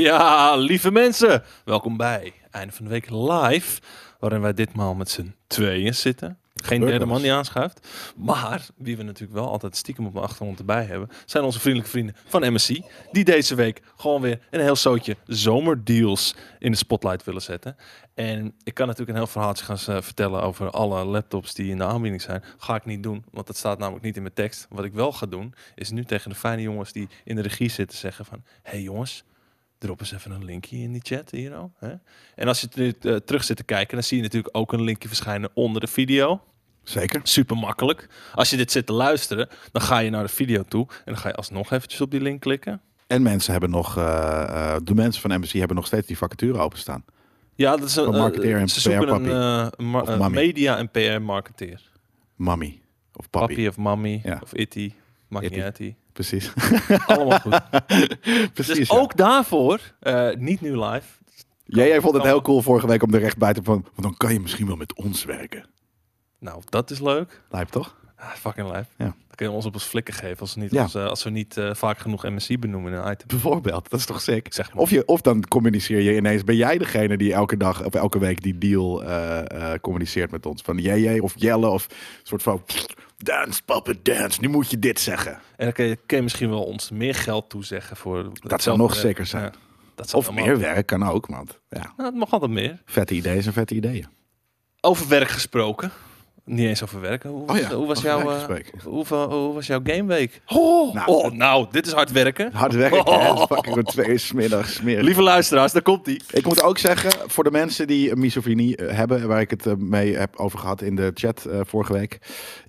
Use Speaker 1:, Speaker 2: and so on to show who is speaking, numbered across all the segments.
Speaker 1: Ja, lieve mensen, welkom bij Einde van de Week Live, waarin wij ditmaal met z'n tweeën zitten. Geen
Speaker 2: Gebeurt
Speaker 1: derde
Speaker 2: wel
Speaker 1: man
Speaker 2: eens.
Speaker 1: die aanschuift. Maar, wie we natuurlijk wel altijd stiekem op de achtergrond erbij hebben, zijn onze vriendelijke vrienden van MSC, die deze week gewoon weer een heel zootje zomerdeals in de spotlight willen zetten. En ik kan natuurlijk een heel verhaaltje gaan eh, vertellen over alle laptops die in de aanbieding zijn. Ga ik niet doen, want dat staat namelijk niet in mijn tekst. Wat ik wel ga doen, is nu tegen de fijne jongens die in de regie zitten zeggen van... Hé hey jongens, Drop eens even een linkje in die chat hier al. Hè? En als je het nu eh, terug zit te kijken, dan zie je natuurlijk ook een linkje verschijnen onder de video.
Speaker 2: Zeker.
Speaker 1: Super makkelijk. Als je dit zit te luisteren, dan ga je naar de video toe en dan ga je alsnog eventjes op die link klikken.
Speaker 2: En mensen hebben nog, eh, eh, de mensen van Embassy hebben nog steeds die vacature openstaan.
Speaker 1: Ja, dat is een
Speaker 2: Van
Speaker 1: eh,
Speaker 2: marketeer en
Speaker 1: ze zoeken een
Speaker 2: PR-pappie.
Speaker 1: eh, een mar-
Speaker 2: Of
Speaker 1: eh,
Speaker 2: mammie.
Speaker 1: media en PR marketeer.
Speaker 2: Mammy of papi.
Speaker 1: Papi of mami
Speaker 2: Ja.
Speaker 1: of itty, maakt
Speaker 2: Itty.
Speaker 1: niet uit, die.
Speaker 2: Precies.
Speaker 1: Allemaal goed.
Speaker 2: Precies.
Speaker 1: dus
Speaker 2: ja.
Speaker 1: ook daarvoor, eh, niet nu live.
Speaker 2: Jij, jij vond het
Speaker 1: kan-
Speaker 2: heel cool vorige week om er recht bij te van. Want dan kan je misschien wel met ons werken.
Speaker 1: Nou, dat is leuk.
Speaker 2: Lijp toch?
Speaker 1: Ah, fucking lijf.
Speaker 2: Ja.
Speaker 1: Dan kun je ons op ons flikken geven als we niet,
Speaker 2: Ja.
Speaker 1: als, eh, als we niet eh, vaak genoeg MSC benoemen in een item.
Speaker 2: Bijvoorbeeld, dat is toch sick?
Speaker 1: Ik zeg maar.
Speaker 2: Of, je, of dan communiceer je ineens, ben jij degene die elke dag of elke week die deal eh, eh, communiceert met ons? Van jij of Jelle of een soort van dance, papa, dance, nu moet je dit zeggen.
Speaker 1: En dan kun je, kun je misschien wel ons meer geld toezeggen voor.
Speaker 2: Dat zou
Speaker 1: hetzelfde
Speaker 2: nog
Speaker 1: werk.
Speaker 2: zeker zijn.
Speaker 1: Ja, dat zou
Speaker 2: Of
Speaker 1: allemaal-
Speaker 2: meer werk kan ook, want ja,
Speaker 1: Nou, dat mag altijd meer.
Speaker 2: vette ideeën zijn vette ideeën.
Speaker 1: Over werk gesproken. Niet eens over werken. Hoe was,
Speaker 2: Oh ja,
Speaker 1: hoe was
Speaker 2: over
Speaker 1: jouw.
Speaker 2: werk
Speaker 1: eh,
Speaker 2: gesproken.
Speaker 1: hoe, hoe, hoe was jouw gameweek? Oh,
Speaker 2: Nou,
Speaker 1: nou, oh, nou, dit is hard werken.
Speaker 2: Hard werken, hè?
Speaker 1: Oh.
Speaker 2: fucking om twee uur 's middags smerig.
Speaker 1: Lieve luisteraars, daar komt ie.
Speaker 2: Ik eh, moet ook zeggen, voor de mensen die een misofinie eh, hebben, waar ik het eh, mee heb over gehad in de chat eh, vorige week.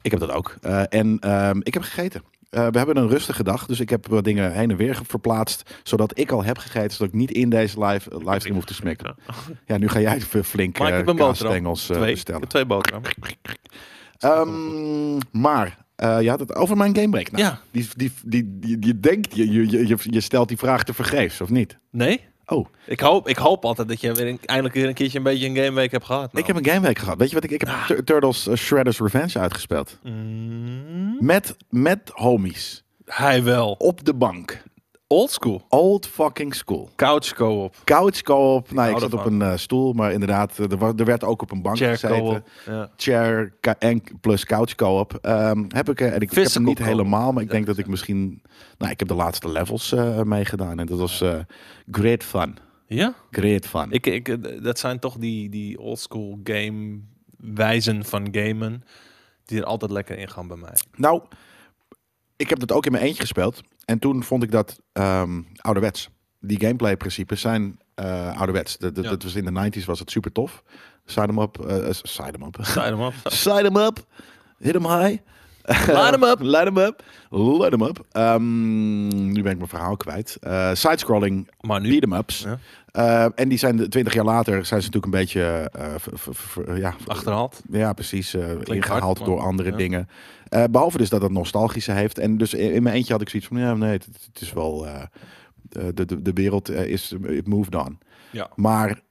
Speaker 2: Ik heb dat ook. Eh, en ehm, ik heb gegeten. Eh, we hebben een rustige dag, dus ik heb wat dingen heen en weer ge- verplaatst. Zodat ik al heb gegeten, zodat ik niet in deze live, eh, livestream hoef te smikken. Ja, nu ga jij even flink
Speaker 1: Maar ik
Speaker 2: eh
Speaker 1: heb een boterham.
Speaker 2: kaasstengels eh,
Speaker 1: twee. Ik
Speaker 2: bestellen.
Speaker 1: heb twee boterhammen.
Speaker 2: Ehm, maar eh, je had het over mijn gamebreak. Nou,
Speaker 1: Ja.
Speaker 2: die, die, die, die, je denkt, je, je, je, je stelt die vraag te vergeefs, of niet?
Speaker 1: Nee?
Speaker 2: Oh,
Speaker 1: Ik hoop, ik hoop altijd dat je weer een- eindelijk weer een keertje een beetje een gameweek hebt gehad. nou.
Speaker 2: ik heb een gameweek gehad. Weet je wat ik... Ik heb
Speaker 1: Ah.
Speaker 2: Tur- Turtles eh, Shredder's Revenge uitgespeeld.
Speaker 1: Mm,
Speaker 2: Met, met homies.
Speaker 1: hij wel.
Speaker 2: Op de bank.
Speaker 1: Old school.
Speaker 2: Old fucking school.
Speaker 1: Couch co-op.
Speaker 2: Couch co-op. Nou, ik
Speaker 1: hou
Speaker 2: zat op
Speaker 1: ervan.
Speaker 2: een eh, stoel, maar inderdaad, eh, er, wa- er werd ook op een bank
Speaker 1: Chair
Speaker 2: gezeten.
Speaker 1: co-op. Ja.
Speaker 2: Chair ka- en plus couch co-op. Ehm, heb ik, eh, en ik, ik heb hem
Speaker 1: Physical
Speaker 2: niet
Speaker 1: co-op.
Speaker 2: helemaal, maar ik
Speaker 1: Dat
Speaker 2: denk dat
Speaker 1: is
Speaker 2: ik misschien... Nou, ik heb de laatste levels eh, meegedaan en dat was eh, great fun.
Speaker 1: ja?
Speaker 2: Great fun.
Speaker 1: Ik, ik, eh, dat zijn toch die, die oldschool game wijzen van gamen. Die er altijd lekker in gaan bij mij.
Speaker 2: Nou, ik heb dat ook in mijn eentje gespeeld. En toen vond ik dat ehm, ouderwets. Die gameplay-principes zijn eh, ouderwets. Dat, dat,
Speaker 1: Ja.
Speaker 2: dat was in de 90s was het super tof. Side em up. eh, eh, side em up.
Speaker 1: Ga je hem op?
Speaker 2: side em up. Hit em high.
Speaker 1: Line 'em up.
Speaker 2: Light em up. Light em up. Ehm, nu ben ik mijn verhaal kwijt. Eh Sidescrolling
Speaker 1: Maar nu.
Speaker 2: beat em ups.
Speaker 1: Ja.
Speaker 2: Eh, en die zijn de- 20 jaar later zijn ze natuurlijk een beetje eh, ver- ver- ver- ja,
Speaker 1: Achterhaald.
Speaker 2: ja, precies. eh, ingehaald
Speaker 1: hard, maar-
Speaker 2: door andere
Speaker 1: ja.
Speaker 2: dingen. Eh, behalve dus dat het nostalgische heeft. En dus in, in mijn eentje had ik zoiets van... Ja, nee, het, het is wel... eh, eh, de, de, de wereld eh, is... It moved on.
Speaker 1: Ja.
Speaker 2: Maar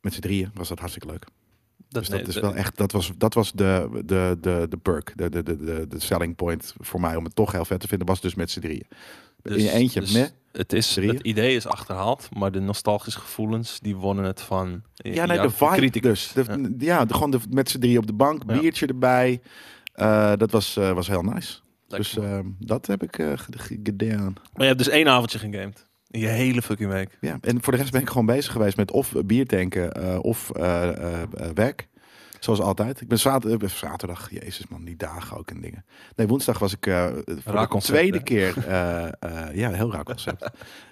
Speaker 2: met z'n drieën was dat hartstikke leuk.
Speaker 1: Dat,
Speaker 2: Dus dat
Speaker 1: nee,
Speaker 2: is
Speaker 1: dat-
Speaker 2: wel echt... Dat was, dat was de, de, de, de perk. De, de, de, de, de selling point voor mij om het toch heel vet te vinden... was dus met z'n drieën. in je eentje.
Speaker 1: dus
Speaker 2: meh.
Speaker 1: het, is,
Speaker 2: drieën.
Speaker 1: het idee is achterhaald. Maar de nostalgische gevoelens die wonnen het van.
Speaker 2: Ja, nee,
Speaker 1: jouw
Speaker 2: de vibe
Speaker 1: kritiek.
Speaker 2: dus. De-
Speaker 1: Ja.
Speaker 2: ja, de- gewoon de, met z'n drieën op de bank.
Speaker 1: Ja.
Speaker 2: Biertje erbij. Eh, dat was, eh, was heel nice.
Speaker 1: Lekker,
Speaker 2: dus
Speaker 1: man.
Speaker 2: ehm, dat heb ik eh, ge- ge- gedaan.
Speaker 1: Maar je hebt dus één avondje gegamed. In je hele fucking week.
Speaker 2: Ja, en voor de rest ben ik gewoon bezig geweest met of bier tanken eh, of eh, eh, eh, werk. Zoals altijd. Ik ben zat- eh, zaterdag, jezus man, die dagen ook en dingen. Nee, woensdag was ik eh, voor
Speaker 1: Raar
Speaker 2: de
Speaker 1: concept,
Speaker 2: tweede
Speaker 1: hè?
Speaker 2: keer. eh, eh, ja, heel raar concept.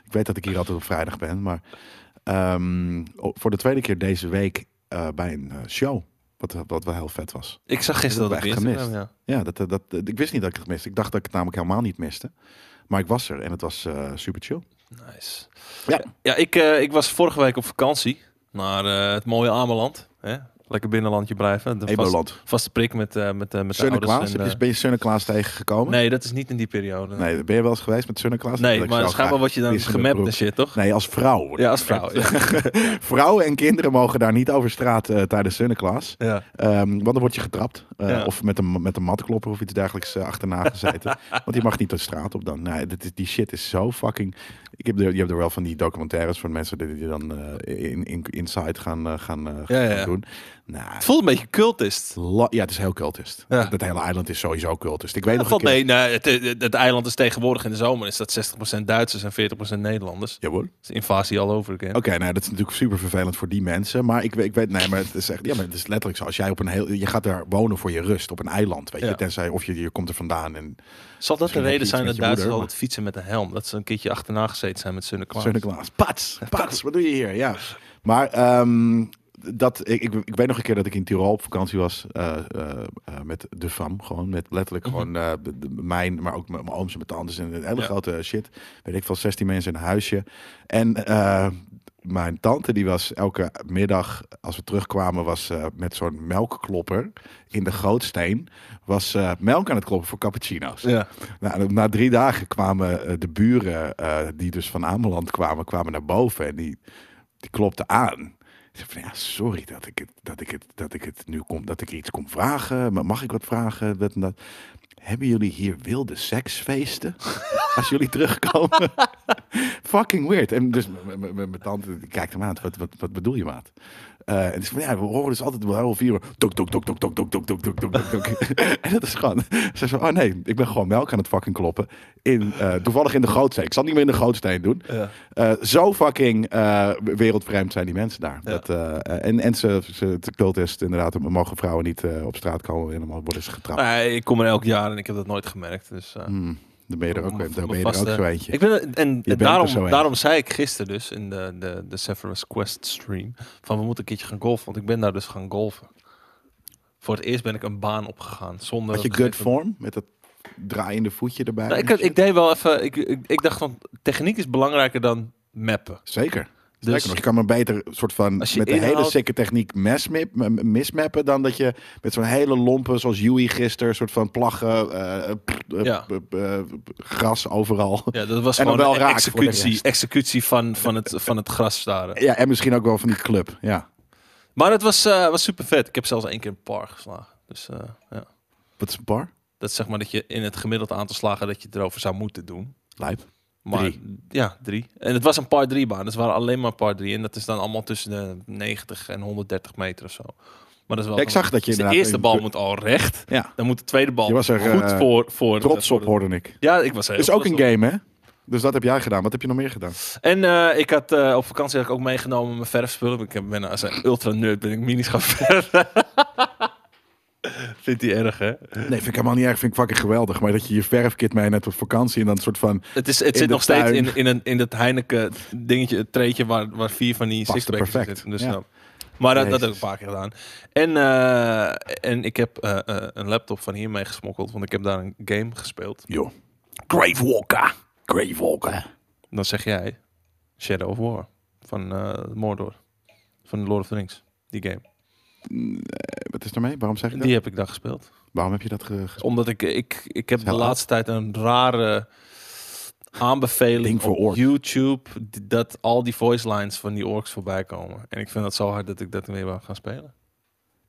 Speaker 2: ik weet dat ik hier altijd op vrijdag ben, maar ehm, o- voor de tweede keer deze week eh, bij een eh, show. Wat, wat wel heel vet was.
Speaker 1: Ik zag gisteren
Speaker 2: Dat
Speaker 1: dat,
Speaker 2: heb
Speaker 1: ik
Speaker 2: ik
Speaker 1: gemist. Ja.
Speaker 2: Ja, dat, eh, dat, dat- ik wist niet dat ik het miste. Ik dacht dat ik het namelijk helemaal niet miste. Maar ik was er en het was eh, super chill.
Speaker 1: Nice.
Speaker 2: Ja.
Speaker 1: Ja, ik, eh, ik was vorige week op vakantie naar eh, het mooie Ameland. Hè? Lekker binnenlandje blijven. De vast,
Speaker 2: Eboland.
Speaker 1: vaste prik met, eh met, eh, met de ouders.
Speaker 2: Sunneklaas,
Speaker 1: en,
Speaker 2: heb je-
Speaker 1: eh,
Speaker 2: ben je Sunneklaas tegengekomen?
Speaker 1: nee, dat is niet in die periode. Nee,
Speaker 2: Nee, ben je wel eens geweest met Sunneklaas? Dat ik
Speaker 1: maar
Speaker 2: zou
Speaker 1: schijnbaar
Speaker 2: graag-
Speaker 1: word je dan
Speaker 2: die is in de
Speaker 1: gemapt
Speaker 2: broek.
Speaker 1: en shit, toch?
Speaker 2: Nee, als vrouw.
Speaker 1: Ja, als vrouw. Ja.
Speaker 2: Vrouwen en kinderen mogen daar niet over straat eh, tijdens Sunneklaas.
Speaker 1: Ja.
Speaker 2: Ehm, want dan word je getrapt. Eh,
Speaker 1: Ja.
Speaker 2: Of met een, met een matklopper of iets dergelijks eh, achterna gezeten. want je mag niet de straat op dan. Nee, dit is, die shit is zo fucking... Ik heb de, je hebt er wel van die documentaires van mensen die die dan eh, in, in, inside gaan, eh, gaan, eh,
Speaker 1: Ja, ja.
Speaker 2: gaan doen. Nou,
Speaker 1: Het voelt een beetje cultist.
Speaker 2: la- ja, het is heel cultist.
Speaker 1: Ja.
Speaker 2: Dat hele eiland is sowieso cultist. Ik weet
Speaker 1: Dat
Speaker 2: nog een
Speaker 1: valt
Speaker 2: keer...
Speaker 1: mee. Nee, het, het, het eiland is tegenwoordig in de zomer is dat 60% Duitsers en 40% Nederlanders.
Speaker 2: Jawel.
Speaker 1: Dat is invasie all over again.
Speaker 2: Oké, nou dat is natuurlijk super vervelend voor die mensen. Maar ik, weet- ik weet, nee, maar het is echt, ja, maar het is letterlijk zo. Als jij op een heel, je gaat daar wonen voor je rust op een eiland, weet
Speaker 1: Ja.
Speaker 2: je, tenzij of je, je komt er vandaan en
Speaker 1: Zal dat de
Speaker 2: Misschien heb
Speaker 1: reden zijn
Speaker 2: je iets
Speaker 1: dat
Speaker 2: met je
Speaker 1: Duitsers
Speaker 2: moeder,
Speaker 1: altijd fietsen met een helm? Dat ze een keertje achterna gezeten zijn met Sunneklaas.
Speaker 2: Sinterklaas, pats, pats, wat doe je hier? Ja, maar ehm, dat, ik, ik, ik weet nog een keer dat ik in Tirol op vakantie was eh, eh, eh, met de fam, gewoon met letterlijk gewoon eh, de- de- mijn, maar ook mijn mijn ooms en mijn tantes en een hele
Speaker 1: Ja.
Speaker 2: grote shit. Weet ik veel, 16 mensen in een huisje en eh, mijn tante die was elke middag, als we terugkwamen, was eh, met zo'n melkklopper in de gootsteen, was eh, melk aan het kloppen voor cappuccino's.
Speaker 1: Ja.
Speaker 2: Nou, en na drie dagen kwamen eh, de buren, eh, die dus van Ameland kwamen, kwamen naar boven en die, die klopten aan. Ik zei van ja, sorry dat ik het, dat ik het, dat ik het nu kom, dat ik iets kom vragen. Maar mag ik wat vragen? Dat en dat. Hebben jullie hier wilde seksfeesten? Als jullie terugkomen. Fucking weird. En dus m- m- m- mijn tante die kijkt hem aan. Wat, wat, wat bedoel je, maat? Eh, en het is van, ja, we horen dus altijd wel half vier uur. Tok, tok, tok, tok, tok, tok, tok, tok, tok, tok, tok. en dat is gewoon... Ze zo, oh nee, ik ben gewoon melk aan het fucking kloppen. In, eh, toevallig in de gootsteen. Ik zal het niet meer in de gootsteen doen.
Speaker 1: Ja.
Speaker 2: Eh, zo fucking eh, wereldvreemd zijn die mensen daar.
Speaker 1: Ja.
Speaker 2: Dat, eh, en en ze, ze, het cultist inderdaad. Er mogen vrouwen niet eh, op straat komen en dan worden ze getrapt.
Speaker 1: Nee, Nou, ik kom er elk jaar en ik heb dat nooit gemerkt. Dus, eh,
Speaker 2: Hmm, dan ben je er ook,
Speaker 1: Om-
Speaker 2: dan
Speaker 1: om
Speaker 2: ben je er
Speaker 1: vast,
Speaker 2: ook
Speaker 1: eh,
Speaker 2: zo eentje.
Speaker 1: Ik ben, en- en
Speaker 2: bent
Speaker 1: daarom,
Speaker 2: er zo een.
Speaker 1: daarom zei ik gisteren dus in de, de, de Severus Quest stream van we moeten een keertje gaan golfen, want ik ben daar dus gaan golfen. Voor het eerst ben ik een baan opgegaan zonder.
Speaker 2: Had je
Speaker 1: dat
Speaker 2: good
Speaker 1: gegeven-
Speaker 2: vorm met dat draaiende voetje erbij?
Speaker 1: Nou, ik,
Speaker 2: en
Speaker 1: had-
Speaker 2: shit?
Speaker 1: ik deed wel even. Ik, ik, ik dacht van techniek is belangrijker dan mappen.
Speaker 2: Zeker.
Speaker 1: Dus-
Speaker 2: Dus, je kan maar beter soort van
Speaker 1: Als
Speaker 2: met
Speaker 1: je
Speaker 2: een hele
Speaker 1: inhoudt-
Speaker 2: sikke techniek mesmip, m- m- mismappen dan dat je met zo'n hele lompe zoals Yui gisteren soort van plaggen, eh, p- eh,
Speaker 1: Ja.
Speaker 2: p- p- eh, p- gras overal. Ja.
Speaker 1: Ja, dat was
Speaker 2: En dan
Speaker 1: gewoon
Speaker 2: wel
Speaker 1: een
Speaker 2: raak voor de
Speaker 1: executie,
Speaker 2: rest.
Speaker 1: executie van, van, het, van het gras staren.
Speaker 2: en misschien ook wel van die club. Ja.
Speaker 1: Maar het was, eh, was super vet. Ik heb zelfs één keer een par geslagen. Dus eh, ja.
Speaker 2: Wat is een par?
Speaker 1: dat is zeg maar dat je in het gemiddelde aantal slagen dat je het erover zou moeten doen.
Speaker 2: Lijp.
Speaker 1: Maar, Ja, drie. En het was een par drie baan. Dus het waren alleen maar par drie. En dat is dan allemaal tussen de 90 en 130 meter of zo. Maar dat is wel...
Speaker 2: Ja, ik zag dat je
Speaker 1: Dus de
Speaker 2: inderdaad-
Speaker 1: eerste bal moet al recht.
Speaker 2: Ja.
Speaker 1: Dan moet de tweede bal
Speaker 2: Je was er,
Speaker 1: goed
Speaker 2: eh,
Speaker 1: voor, voor...
Speaker 2: Trots
Speaker 1: voor
Speaker 2: op
Speaker 1: de-
Speaker 2: hoorde ik.
Speaker 1: Ja, ik was heel
Speaker 2: Is ook
Speaker 1: trots
Speaker 2: een
Speaker 1: op.
Speaker 2: game hè? Dus dat heb jij gedaan. Wat heb je nog meer gedaan?
Speaker 1: En eh, ik had eh, op vakantie had ik ook meegenomen mijn verfspullen. Ik heb- ben als een ultra nerd ben ik minis gaan verven. Vindt hij erg, hè?
Speaker 2: Nee, vind ik helemaal niet erg. Vind ik fucking geweldig. Maar dat je je verfkit mee net op vakantie en dan soort van
Speaker 1: Het, is, het
Speaker 2: In
Speaker 1: zit
Speaker 2: de
Speaker 1: nog steeds
Speaker 2: tuin.
Speaker 1: in, in, een, in dat Heineken dingetje, het treetje waar, waar vier van die
Speaker 2: Past er
Speaker 1: sixpacks in
Speaker 2: perfect,
Speaker 1: zitten. Dus
Speaker 2: ja.
Speaker 1: ja. Maar dat, dat heb ik
Speaker 2: Jezus.
Speaker 1: een paar keer gedaan. En, eh, en ik heb eh, eh, een laptop van hier meegesmokkeld, want ik heb daar een game gespeeld.
Speaker 2: joh. Grave Walker. Grave Walker.
Speaker 1: Dan zeg jij Shadow of War van eh, Mordor, van Lord of the Rings, die game.
Speaker 2: Eh, Wat is daarmee? Waarom zeg je dat?
Speaker 1: Die heb ik daar gespeeld.
Speaker 2: Waarom heb je dat ge- gespeeld?
Speaker 1: Omdat ik, ik, ik heb de
Speaker 2: Heel
Speaker 1: laatste tijd een rare aanbeveling
Speaker 2: Link voor
Speaker 1: op
Speaker 2: orks.
Speaker 1: YouTube d- dat al die voice lines van die orks voorbij komen. En ik vind dat zo hard dat ik dat weer wil gaan spelen.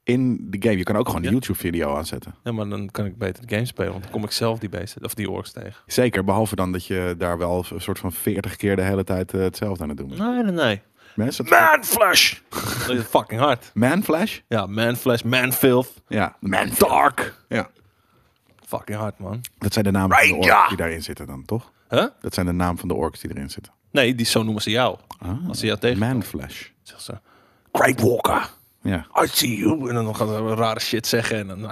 Speaker 2: in de game. Je kan ook gewoon een
Speaker 1: Ja.
Speaker 2: YouTube-video aanzetten.
Speaker 1: Ja, maar dan kan ik beter de game spelen, want dan kom ik zelf die beesten of die orks tegen.
Speaker 2: Zeker, behalve dan dat je daar wel een soort van 40 keer de hele tijd eh, hetzelfde aan het doen bent.
Speaker 1: Nee, nee, nee.
Speaker 2: Mensen,
Speaker 1: Manflash! dat is fucking hard.
Speaker 2: Manflash?
Speaker 1: Ja, Manflash, Manfilth.
Speaker 2: Ja. Mandark? Ja.
Speaker 1: Fucking hard, man.
Speaker 2: Dat zijn de namen van de
Speaker 1: Ranger!
Speaker 2: orks die daarin zitten dan, toch?
Speaker 1: Huh?
Speaker 2: Dat zijn de namen van de orks die erin zitten.
Speaker 1: Nee, die, zo noemen ze jou.
Speaker 2: Ah,
Speaker 1: Als ze jou tegen
Speaker 2: Manflash.
Speaker 1: zegt ze... Great Walker,
Speaker 2: Ja.
Speaker 1: I see you. En dan gaan ze rare shit zeggen en dan... Ah!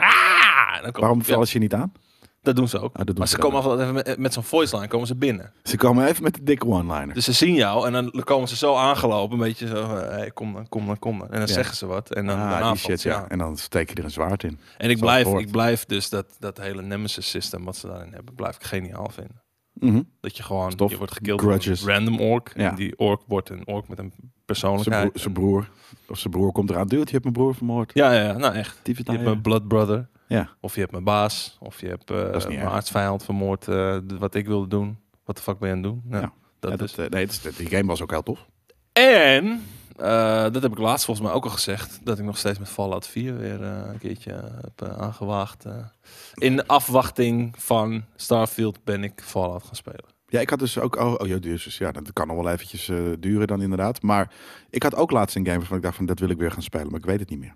Speaker 1: En dan komt-
Speaker 2: Waarom
Speaker 1: Ja.
Speaker 2: vallen ze je niet aan?
Speaker 1: Dat doen ze ook.
Speaker 2: Ah, dat doen
Speaker 1: maar
Speaker 2: ze
Speaker 1: ze
Speaker 2: dan
Speaker 1: komen altijd even met, met zo'n voice line komen ze binnen.
Speaker 2: Ze komen even met de dikke one-liner.
Speaker 1: Dus ze zien jou en dan komen ze zo aangelopen. Een beetje zo, eh, hey, kom dan, kom dan, kom dan. En dan
Speaker 2: Ja.
Speaker 1: zeggen ze wat. En dan daarna
Speaker 2: ah, die
Speaker 1: valt
Speaker 2: shit,
Speaker 1: ze
Speaker 2: ja.
Speaker 1: aan.
Speaker 2: En dan steek je er een zwaard in.
Speaker 1: En ik
Speaker 2: Zoals het
Speaker 1: blijf,
Speaker 2: hoort.
Speaker 1: ik blijf dus dat, dat hele nemesis systeem wat ze daarin hebben, blijf ik geniaal vinden.
Speaker 2: Mhm.
Speaker 1: Dat je gewoon,
Speaker 2: Stof,
Speaker 1: je wordt gekild door een
Speaker 2: grudges.
Speaker 1: random ork.
Speaker 2: Ja.
Speaker 1: En die ork wordt een ork met een
Speaker 2: Zijn
Speaker 1: persoonlijkheid.
Speaker 2: broer, zijn broer, of zijn broer komt eraan. Dude, je hebt mijn broer vermoord.
Speaker 1: Ja, ja, ja, nou echt.
Speaker 2: Tyfus
Speaker 1: Je hebt
Speaker 2: nou,
Speaker 1: mijn blood brother.
Speaker 2: Ja.
Speaker 1: Of je hebt mijn baas. Of je hebt eh,
Speaker 2: is niet
Speaker 1: mijn
Speaker 2: erg.
Speaker 1: aartsvijand vermoord. eh, d- wat ik wilde doen. Wat de fuck ben je aan het doen? Nou,
Speaker 2: Ja.
Speaker 1: Dat
Speaker 2: Ja,
Speaker 1: is.
Speaker 2: dat, eh, nee, dat is- die game was ook heel tof.
Speaker 1: En, eh, dat heb ik laatst volgens mij ook al gezegd. Dat ik nog steeds met Fallout 4 weer eh, een keertje heb eh, aangewaagd. eh. in afwachting van Starfield ben ik Fallout gaan spelen.
Speaker 2: Ja, ik had dus ook... Oh, oh ja, dus ja, dat kan nog wel eventjes eh, duren dan inderdaad. Maar ik had ook laatst een game waarvan ik dacht van... dat wil ik weer gaan spelen, maar ik weet het niet meer.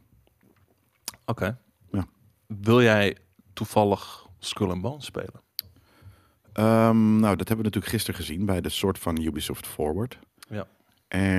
Speaker 1: Oké.
Speaker 2: Ja.
Speaker 1: Wil jij toevallig Skull and Bones spelen?
Speaker 2: Ehm, nou, dat hebben we natuurlijk gisteren gezien... bij de soort van Ubisoft Forward.
Speaker 1: Ja.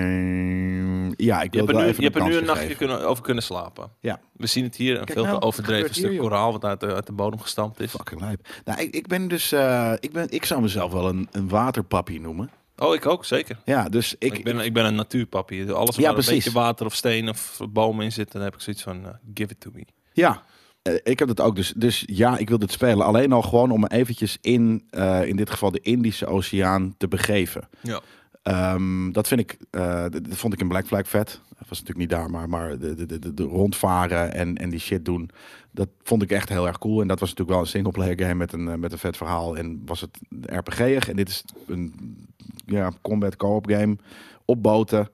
Speaker 2: En ja, ik
Speaker 1: Je
Speaker 2: wil
Speaker 1: hebt er
Speaker 2: wel
Speaker 1: nu,
Speaker 2: even
Speaker 1: je hebt er
Speaker 2: een
Speaker 1: nu een
Speaker 2: kans geven.
Speaker 1: nachtje kunnen, over kunnen slapen.
Speaker 2: Ja.
Speaker 1: We zien het hier, een veel
Speaker 2: nou,
Speaker 1: te
Speaker 2: wat
Speaker 1: overdreven
Speaker 2: gebeurt
Speaker 1: stuk
Speaker 2: hier, joh?
Speaker 1: koraal wat uit de, uit de bodem gestampt is.
Speaker 2: Fucking lijp. Nou, ik, ik ben dus... eh, ik, ben, ik zou mezelf wel een, een waterpappie noemen.
Speaker 1: Oh, ik ook, zeker.
Speaker 2: Ja, dus ik...
Speaker 1: Ik, ben, ik ben een natuurpapier. Alles
Speaker 2: Ja,
Speaker 1: waar een
Speaker 2: precies.
Speaker 1: beetje water of steen of bomen in zit, dan heb ik zoiets van, eh, give it to me.
Speaker 2: Ja, eh, ik heb dat ook. Dus, dus ja, ik wil dit spelen. Alleen al gewoon om me eventjes in, eh, in dit geval, de Indische Oceaan te begeven.
Speaker 1: Ja.
Speaker 2: Ehm, dat vind ik, eh, dat- dat vond ik in Black Flag vet. Dat was natuurlijk niet daar, maar, maar de, de, de- de, de rondvaren en, en die shit doen. Dat vond ik echt heel erg cool. En dat was natuurlijk wel een singleplayer game met een, eh, met een vet verhaal. En was het RPG'ig. En dit is een ja, combat co-op game op boten.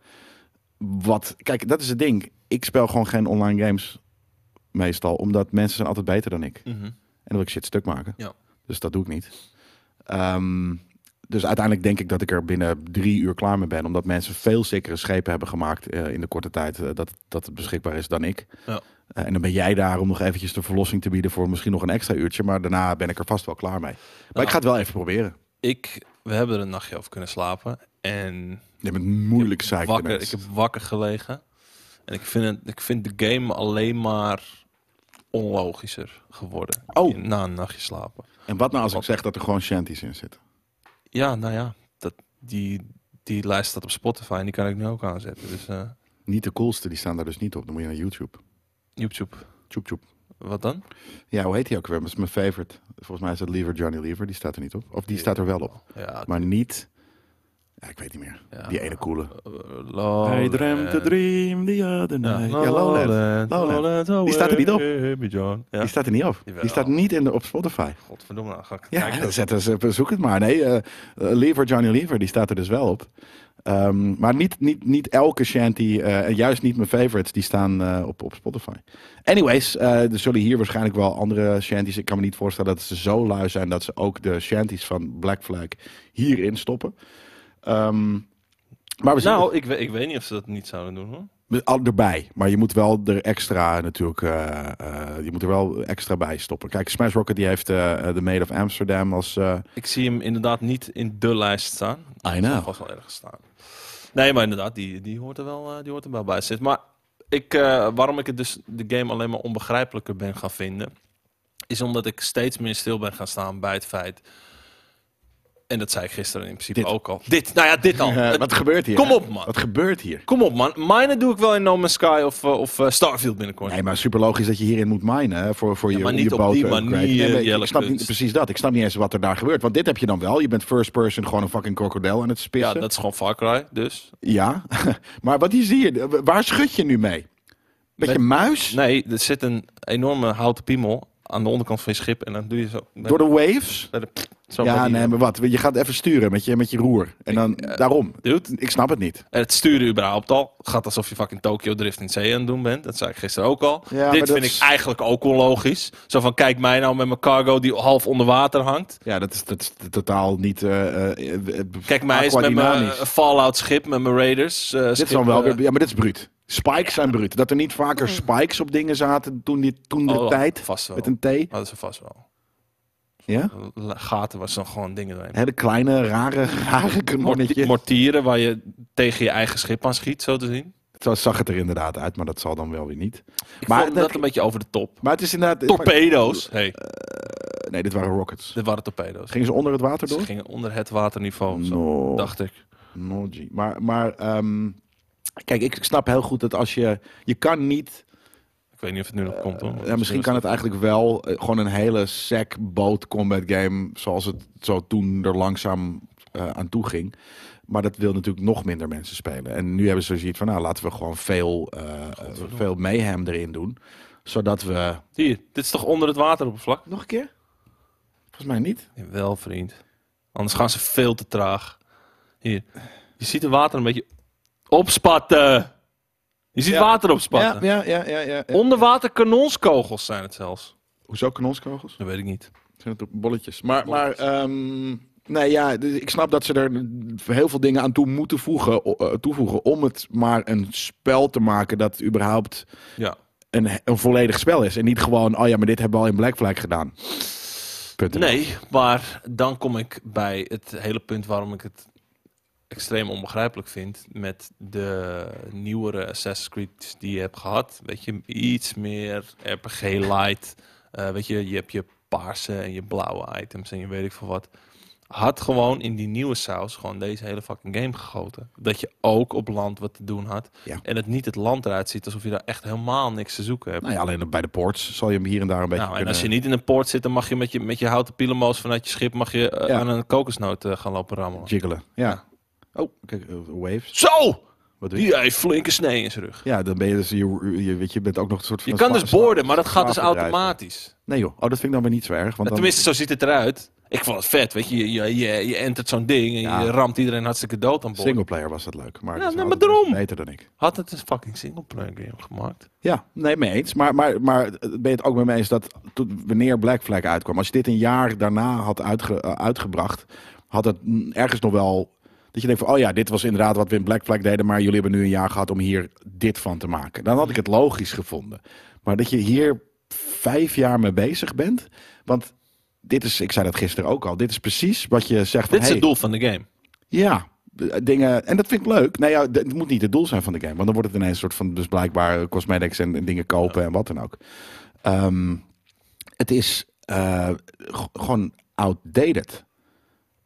Speaker 2: Wat, kijk, dat is het ding. Ik speel gewoon geen online games meestal. Omdat mensen zijn altijd beter dan ik. En dan wil ik shit stuk maken.
Speaker 1: Ja.
Speaker 2: Dus dat doe ik niet. Ehm, dus uiteindelijk denk ik dat ik er binnen drie uur klaar mee ben. Omdat mensen veel sikkere schepen hebben gemaakt eh, in de korte tijd eh, dat, dat het beschikbaar is dan ik.
Speaker 1: Ja.
Speaker 2: Eh, en dan ben jij daar om nog eventjes de verlossing te bieden voor misschien nog een extra uurtje. Maar daarna ben ik er vast wel klaar mee. Maar
Speaker 1: Nou.
Speaker 2: ik ga het wel even proberen.
Speaker 1: Ik, we hebben er een nachtje over kunnen slapen. En
Speaker 2: Je bent moeilijk
Speaker 1: ik heb,
Speaker 2: zeiken.
Speaker 1: wakker, ik heb wakker gelegen. En ik vind, het, ik vind de game alleen maar onlogischer geworden.
Speaker 2: Oh.
Speaker 1: Na een nachtje slapen.
Speaker 2: En wat nou als ik zeg dat er gewoon shanties in zitten?
Speaker 1: Ja, nou ja, dat, die, die lijst staat op Spotify en die kan ik nu ook aanzetten. Dus eh,
Speaker 2: Niet de coolste, die staan daar dus niet op. Dan moet je naar YouTube.
Speaker 1: YouTube,
Speaker 2: Tjoep tjoep.
Speaker 1: wat dan?
Speaker 2: Ja, hoe heet die ook weer? Dat is mijn favorite. Volgens mij is dat Liever Johnny Liever. Die staat er niet op. Of die staat er wel op.
Speaker 1: Ja,
Speaker 2: Maar niet. Ja, ik weet niet meer.
Speaker 1: ja.
Speaker 2: Die ene coole.
Speaker 1: Eh, Lowlands.
Speaker 2: dream the other
Speaker 1: Ja,
Speaker 2: Ja, Lowlands. Lowlands. Die staat er niet op.
Speaker 1: Baby John. Ja.
Speaker 2: Die staat er niet op.
Speaker 1: Jawel.
Speaker 2: Die staat niet in de, op Spotify.
Speaker 1: Godverdomme, nou ga ik
Speaker 2: Ja,
Speaker 1: kijken.
Speaker 2: dan zetten ze, zoek het maar. Nee, eh, eh, Liever Johnny Liever, die staat er dus wel op. Ehm, maar niet, niet, niet elke shanty, eh, en juist niet mijn favorites, die staan eh, op, op Spotify. Anyways, eh, er zullen hier waarschijnlijk wel andere shanties. Ik kan me niet voorstellen dat ze zo lui zijn dat ze ook de shanties van Black Flag hierin stoppen. Ehm, maar we zien
Speaker 1: Nou, ik, we- ik weet niet of ze dat niet zouden doen hoor.
Speaker 2: Dus al erbij. Maar je moet wel er extra natuurlijk. eh, eh, je moet er wel extra bij stoppen. Kijk, Smash Rocket die heeft eh, eh, de Maid of Amsterdam als. eh,
Speaker 1: Ik zie hem inderdaad niet in de lijst staan.
Speaker 2: I
Speaker 1: Hij zal
Speaker 2: know.
Speaker 1: vast wel ergens staan. Nee, maar inderdaad, die, die, hoort, er wel, eh, die hoort er wel bij. Zit. Maar ik, eh, waarom ik het dus de game alleen maar onbegrijpelijker ben gaan vinden, is omdat ik steeds meer stil ben gaan staan bij het feit. En dat zei ik gisteren in principe
Speaker 2: Dit.
Speaker 1: ook al. Dit, nou ja, dit al.
Speaker 2: eh,
Speaker 1: Het-
Speaker 2: wat gebeurt hier?
Speaker 1: Kom op, man.
Speaker 2: Wat gebeurt hier?
Speaker 1: Kom op, man. Mine doe ik wel in No Man's Sky of, eh, of eh, Starfield binnenkort.
Speaker 2: Nee, maar super logisch dat je hierin moet minen hè, voor, voor je
Speaker 1: maar
Speaker 2: je
Speaker 1: niet op
Speaker 2: boot
Speaker 1: die
Speaker 2: upgrade.
Speaker 1: manier,
Speaker 2: Nee, maar ik-
Speaker 1: Jelle
Speaker 2: ik snap niet
Speaker 1: Kunst.
Speaker 2: precies dat. Ik snap niet eens wat er daar gebeurt. Want dit heb je dan wel. Je bent first person gewoon een fucking krokodil aan het
Speaker 1: ja,
Speaker 2: spissen.
Speaker 1: dat is gewoon Far Cry, dus.
Speaker 2: Ja. maar wat is hier? Waar schud je nu mee? Met,
Speaker 1: Met-
Speaker 2: je muis?
Speaker 1: Nee, er zit een enorme houten piemel aan de onderkant van je schip. En dan doe je zo...
Speaker 2: Door de waves?
Speaker 1: Bij de- zo bij
Speaker 2: ja,
Speaker 1: die-
Speaker 2: nee, maar wat? Je gaat even sturen met je, met je roer. En dan, daarom.
Speaker 1: Dude,
Speaker 2: Ik snap het niet.
Speaker 1: het sturen überhaupt al gaat alsof je fucking Tokyo Drift in zee aan het doen bent. Dat zei ik gisteren ook al.
Speaker 2: Ja, maar
Speaker 1: Dit
Speaker 2: dat
Speaker 1: vind
Speaker 2: is-
Speaker 1: ik eigenlijk ook onlogisch. Zo van, kijk mij nou met mijn cargo die half onder water hangt.
Speaker 2: Ja, dat is, dat is totaal niet. eh, eh, eh,
Speaker 1: Kijk mij eens met mijn
Speaker 2: aquadynamisch.
Speaker 1: eh, Fallout schip, met mijn Raiders eh,
Speaker 2: Dit
Speaker 1: schip,
Speaker 2: is dan wel
Speaker 1: eh,
Speaker 2: weer. Ja, maar dit is bruut. Spikes zijn bruut. Dat er niet vaker spikes op dingen zaten toen, die, toen de
Speaker 1: oh,
Speaker 2: tijd.
Speaker 1: Vast wel.
Speaker 2: Met een T.
Speaker 1: Hadden ze vast wel.
Speaker 2: Ja?
Speaker 1: L- Gaten was dan gewoon dingen doorheen.
Speaker 2: Hele kleine, rare, rare
Speaker 1: Morti-
Speaker 2: kanonnetje.
Speaker 1: Mortieren waar je tegen je eigen schip aan schiet, zo te zien.
Speaker 2: Zo zag het er inderdaad uit, maar dat zal dan wel weer niet.
Speaker 1: Ik
Speaker 2: Maar
Speaker 1: maar vond
Speaker 2: dat-
Speaker 1: dat een beetje over de top.
Speaker 2: Maar het is inderdaad.
Speaker 1: Torpedo's. Hey,
Speaker 2: Nee, dit waren rockets.
Speaker 1: dit waren torpedo's.
Speaker 2: Gingen ze onder het water
Speaker 1: Ze
Speaker 2: door? Mm,
Speaker 1: gingen onder het waterniveau, zo,
Speaker 2: No.
Speaker 1: dacht ik.
Speaker 2: No, G. Maar, maar ehm, kijk, ik snap heel goed dat als je. Je kan niet.
Speaker 1: Ik weet niet of het nu nog komt hoor.
Speaker 2: Ja, Eh, misschien kan het eigenlijk wel eh, gewoon een hele sec boot combat game zoals het zo toen er langzaam eh, aan toe ging. Maar dat wil natuurlijk nog minder mensen spelen. En nu hebben ze zoiets van, nou laten we gewoon veel, eh,
Speaker 1: Godverdomme.
Speaker 2: veel mayhem erin doen. Zodat we...
Speaker 1: Hier, dit is toch onder het wateroppervlak?
Speaker 2: Nog een keer? Volgens mij niet.
Speaker 1: Wel, vriend. Anders gaan ze veel te traag. Hier. Je ziet het water een beetje opspatten. Je ziet
Speaker 2: Ja.
Speaker 1: water opspatten.
Speaker 2: Ja, ja, ja, ja. ja, ja.
Speaker 1: Onderwater kanonskogels zijn het zelfs.
Speaker 2: Hoezo kanonskogels?
Speaker 1: Dat weet ik niet.
Speaker 2: Zijn het op bolletjes. Maar, maar ehm, nee, ja, dus ik snap dat ze er heel veel dingen aan toe moeten voegen, o- eh, toevoegen. Om het maar een spel te maken dat überhaupt
Speaker 1: Ja.
Speaker 2: een, een volledig spel is. En niet gewoon, oh ja, maar dit hebben we al in Black Flag gedaan. Punt.
Speaker 1: Nee, maar dan kom ik bij het hele punt waarom ik het extreem onbegrijpelijk vind met de nieuwere Assassin's Creed die je hebt gehad. Weet je, iets meer RPG light. Eh, weet je, je hebt je paarse en je blauwe items en je weet ik veel wat. Had gewoon in die nieuwe saus gewoon deze hele fucking game gegoten. Dat je ook op land wat te doen had.
Speaker 2: Ja.
Speaker 1: En het niet het land eruit ziet alsof je daar echt helemaal niks te zoeken hebt.
Speaker 2: Nou ja, alleen bij de ports zal je hem hier en daar een beetje
Speaker 1: Nou, en
Speaker 2: kunnen...
Speaker 1: als je niet in een poort zit, dan mag je met je, met je houten pielenmoos vanuit je schip mag je, eh,
Speaker 2: Ja.
Speaker 1: aan een kokosnoot eh, gaan lopen rammelen.
Speaker 2: jiggelen. Ja. Oh, kijk, eh, waves.
Speaker 1: Zo!
Speaker 2: Wat doe je?
Speaker 1: Die heeft flinke snee in zijn rug.
Speaker 2: Ja, dan ben je dus, je, je, weet je, je bent ook nog een soort van...
Speaker 1: Je kan dus
Speaker 2: sla-
Speaker 1: boorden, maar dat gaat dus
Speaker 2: slavenbedrijf.
Speaker 1: automatisch.
Speaker 2: Nee joh, oh, dat vind ik dan weer niet zo erg. Want
Speaker 1: Nou,
Speaker 2: dan,
Speaker 1: tenminste, zo ziet het eruit. Ik vond het vet, weet je. Je, je, je, je entert zo'n ding en
Speaker 2: Ja.
Speaker 1: je ramt iedereen hartstikke dood aan boord.
Speaker 2: Singleplayer was dat leuk. Maar
Speaker 1: Ja,
Speaker 2: dat is
Speaker 1: nee,
Speaker 2: nou
Speaker 1: maar daarom.
Speaker 2: Beter dan ik.
Speaker 1: Had het een fucking singleplayer game gemaakt?
Speaker 2: Ja, nee, mee eens. Maar, maar, maar ben je het ook mee me eens dat toen- wanneer Black Flag uitkwam, als je dit een jaar daarna had uitge- eh, uitgebracht, had het mm, ergens nog wel. Dat je denkt van, oh ja, dit was inderdaad wat we in Black Flag deden, maar jullie hebben nu een jaar gehad om hier dit van te maken. Dan had ik het logisch gevonden. Maar dat je hier vijf jaar mee bezig bent, want dit is, ik zei dat gisteren ook al, dit is precies wat je zegt van,
Speaker 1: Dit is
Speaker 2: hey,
Speaker 1: het doel van de game.
Speaker 2: ja, eh, dingen. En dat vind ik leuk. Nou ja, d- het moet niet het doel zijn van de game. Want dan wordt het ineens een soort van, dus blijkbaar cosmetics en, en dingen kopen en wat dan ook. Ehm, het is eh, g- gewoon outdated.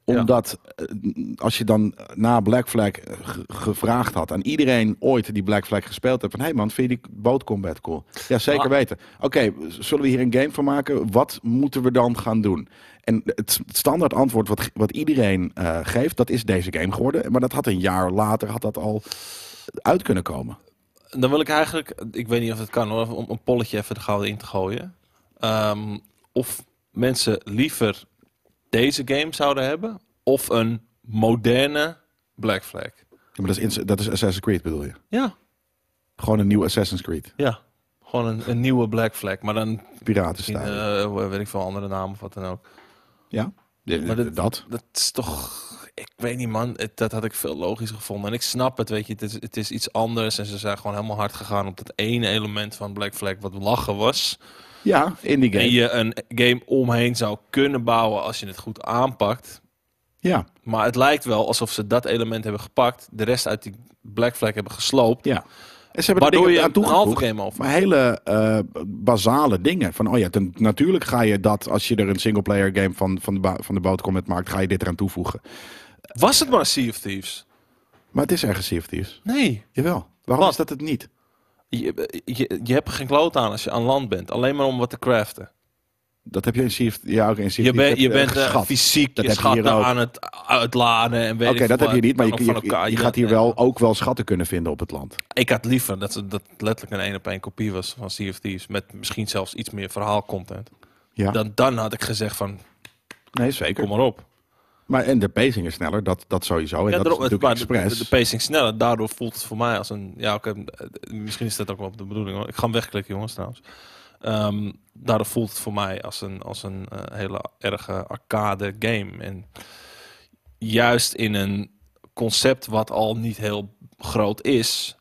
Speaker 1: Ja.
Speaker 2: Omdat eh, n- als je dan na Black Flag eh, ge- gevraagd had aan iedereen ooit die Black Flag gespeeld heeft. Van hé hey man, vind je die bootcombat cool? Ja, zeker
Speaker 1: Ah.
Speaker 2: weten. Oké, z- zullen we hier een game van maken? Wat moeten we dan gaan doen? En het het standaard antwoord wat, wat iedereen eh, geeft, dat is deze game geworden. Maar dat had een jaar later had dat al uit kunnen komen.
Speaker 1: Dan wil ik eigenlijk, ik weet niet of het kan hoor, om een polletje even de gouden in te gooien. Ehm, of mensen liever deze game zouden hebben, of een moderne Black Flag.
Speaker 2: Ja, maar dat is, ins- dat is Assassin's Creed bedoel je?
Speaker 1: Ja,
Speaker 2: Gewoon een nieuw Assassin's Creed.
Speaker 1: ja. Gewoon een, een nieuwe Black Flag, maar dan in,
Speaker 2: Piratenstijl.
Speaker 1: eh, hoe- weet ik veel andere naam of wat dan ook.
Speaker 2: ja, Eh,
Speaker 1: maar dit-
Speaker 2: dat.
Speaker 1: Dat is toch, ik weet niet man, het- dat had ik veel logischer gevonden. En ik snap het, weet je, het is, het is iets anders. En ze zijn gewoon helemaal hard gegaan op dat ene element van Black Flag wat lachen was.
Speaker 2: Ja, indie game.
Speaker 1: en je een game omheen zou kunnen bouwen als je het goed aanpakt.
Speaker 2: Ja,
Speaker 1: Maar het lijkt wel alsof ze dat element hebben gepakt, de rest uit die Black Flag hebben gesloopt.
Speaker 2: ja. En ze hebben er
Speaker 1: waardoor
Speaker 2: dingen
Speaker 1: je
Speaker 2: aan
Speaker 1: een halve
Speaker 2: toegevoegd.
Speaker 1: game over.
Speaker 2: Maar hele eh, basale dingen. Van, oh ja, ten- natuurlijk ga je dat, als je er een singleplayer game van, van, de, ba- van de bootcombat maakt, ga je dit eraan toevoegen.
Speaker 1: Was het maar Sea of Thieves?
Speaker 2: Maar het is ergens Sea of Thieves.
Speaker 1: Nee.
Speaker 2: Jawel. Waarom
Speaker 1: Wat?
Speaker 2: is dat het niet?
Speaker 1: Je, je, je hebt er geen kloot aan als je aan land bent. Alleen maar om wat te craften.
Speaker 2: Dat heb je in Sea of Ja, ook in Sea of
Speaker 1: Je,
Speaker 2: Thieves
Speaker 1: bent je
Speaker 2: heb, eh,
Speaker 1: bent eh,
Speaker 2: geschat.
Speaker 1: fysiek
Speaker 2: Dat
Speaker 1: je
Speaker 2: heb je hier
Speaker 1: schatten
Speaker 2: ook.
Speaker 1: aan het uitladen. en weet
Speaker 2: Oké,
Speaker 1: ik
Speaker 2: dat
Speaker 1: veel
Speaker 2: heb je
Speaker 1: wat.
Speaker 2: niet,
Speaker 1: Kan
Speaker 2: maar je,
Speaker 1: ook
Speaker 2: je,
Speaker 1: van elkaar-
Speaker 2: je
Speaker 1: ja,
Speaker 2: gaat hier
Speaker 1: ja.
Speaker 2: wel ook wel schatten kunnen vinden op het land.
Speaker 1: Ik had liever dat ze dat letterlijk een één op één kopie was van Sea of Thieves. Met misschien zelfs iets meer verhaalcontent.
Speaker 2: Ja,
Speaker 1: Dan, dan had ik gezegd van,
Speaker 2: nee, zeker.
Speaker 1: kom maar op.
Speaker 2: Maar en de pacing is sneller, dat, dat sowieso. En
Speaker 1: Ja,
Speaker 2: dat
Speaker 1: daarom-
Speaker 2: is natuurlijk
Speaker 1: maar de-
Speaker 2: expres.
Speaker 1: De, de pacing sneller, daardoor voelt het voor mij als een... Ja, oké, eh, misschien is dat ook wel de bedoeling. Hoor. Ik ga hem wegklikken, jongens, trouwens. Ehm, daardoor voelt het voor mij als een, als een eh, hele erge arcade game. En juist in een concept wat al niet heel groot is...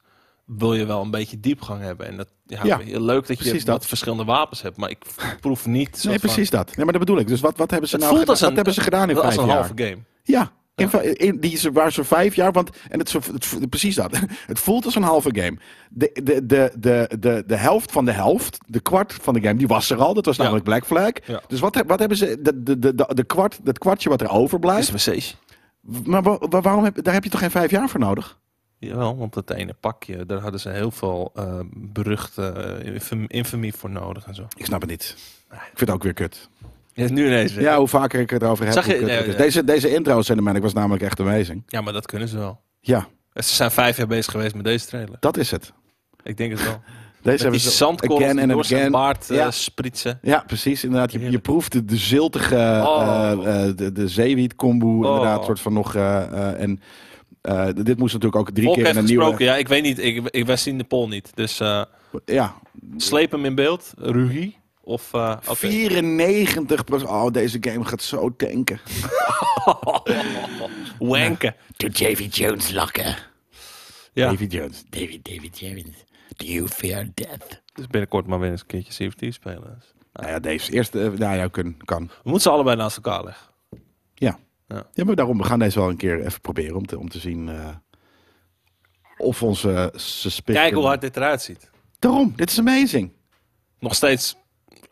Speaker 1: wil je wel een beetje diepgang hebben. En dat, ja,
Speaker 2: Ja,
Speaker 1: weet je, leuk dat je
Speaker 2: precies
Speaker 1: wat
Speaker 2: dat.
Speaker 1: verschillende wapens hebt. Maar ik proef niet... soort
Speaker 2: nee,
Speaker 1: van-
Speaker 2: precies dat. Nee, maar dat bedoel ik. Dus wat, wat hebben ze
Speaker 1: Het
Speaker 2: nou
Speaker 1: voelt
Speaker 2: gedaan?
Speaker 1: als
Speaker 2: Wat
Speaker 1: een,
Speaker 2: hebben ze gedaan in
Speaker 1: wel als
Speaker 2: vijf
Speaker 1: een
Speaker 2: jaar?
Speaker 1: halve game.
Speaker 2: Ja, in, va- in, die ze, waar ze vijf jaar, want en het, is- het, vo- precies dat. Het voelt als een halve game. De, de, de, de, de, de helft van de helft, de kwart van de game, die was er al. Dat was
Speaker 1: Ja.
Speaker 2: namelijk Black Flag.
Speaker 1: Ja.
Speaker 2: Dus wat, heb- wat hebben ze, de, de, de, de, de kwart, dat kwartje wat er
Speaker 1: Het
Speaker 2: overblijft.
Speaker 1: is een message.
Speaker 2: Maar wa- wa- waarom heb, daar heb je toch geen vijf jaar voor nodig?
Speaker 1: Jawel, want dat ene pakje, daar hadden ze heel veel eh, beruchte eh, infam- infamie voor nodig en zo.
Speaker 2: Ik snap het niet. Ik vind het ook weer kut.
Speaker 1: Ja, nu ineens.
Speaker 2: Ja, hoe vaker ik het erover heb.
Speaker 1: Zag je-
Speaker 2: hoe kut het
Speaker 1: nee,
Speaker 2: is.
Speaker 1: nee.
Speaker 2: Deze, deze intro's zijn de man. Ik was namelijk echt amazing.
Speaker 1: ja, maar dat kunnen ze wel. Eh,
Speaker 2: Ja,
Speaker 1: Ze zijn vijf jaar bezig geweest met deze trailer.
Speaker 2: dat is het.
Speaker 1: Ik denk het wel.
Speaker 2: Deze
Speaker 1: Met die
Speaker 2: ze-
Speaker 1: zandkorrels
Speaker 2: again
Speaker 1: die
Speaker 2: and
Speaker 1: door zijn
Speaker 2: again.
Speaker 1: baard eh,
Speaker 2: Ja.
Speaker 1: spritsen.
Speaker 2: Ja, precies. Inderdaad, je, je
Speaker 1: Heerlijk.
Speaker 2: proeft de, de ziltige,
Speaker 1: Oh.
Speaker 2: eh, eh, de, de zeewietcombo
Speaker 1: Oh.
Speaker 2: inderdaad, soort van nog. eh, eh, en eh, d- dit moest natuurlijk ook drie
Speaker 1: Volk
Speaker 2: keer in
Speaker 1: heeft
Speaker 2: een
Speaker 1: gesproken,
Speaker 2: nieuwe.
Speaker 1: ja, ik weet niet. Ik, ik, wij zien de poll niet. Dus eh,
Speaker 2: Ja,
Speaker 1: sleep hem in beeld, Rugi. Of, eh, oké.
Speaker 2: 94 Oh, deze game gaat zo tanken.
Speaker 1: Wanken.
Speaker 3: To Davy Jones locker.
Speaker 1: Ja,
Speaker 2: Davy Jones.
Speaker 3: David, David Jones, do you fear death?
Speaker 1: dus binnenkort maar weer eens een keertje CFT spelen. Dus.
Speaker 2: Nou ja, deze eerste. eh, nou ja, kun, kan.
Speaker 1: We moeten ze allebei naast elkaar leggen.
Speaker 2: Ja, maar daarom, we gaan deze wel een keer even proberen om te, om te zien. eh, of onze suspicion...
Speaker 1: Kijken hoe hard dit eruit ziet.
Speaker 2: Daarom, dit is amazing.
Speaker 1: Nog steeds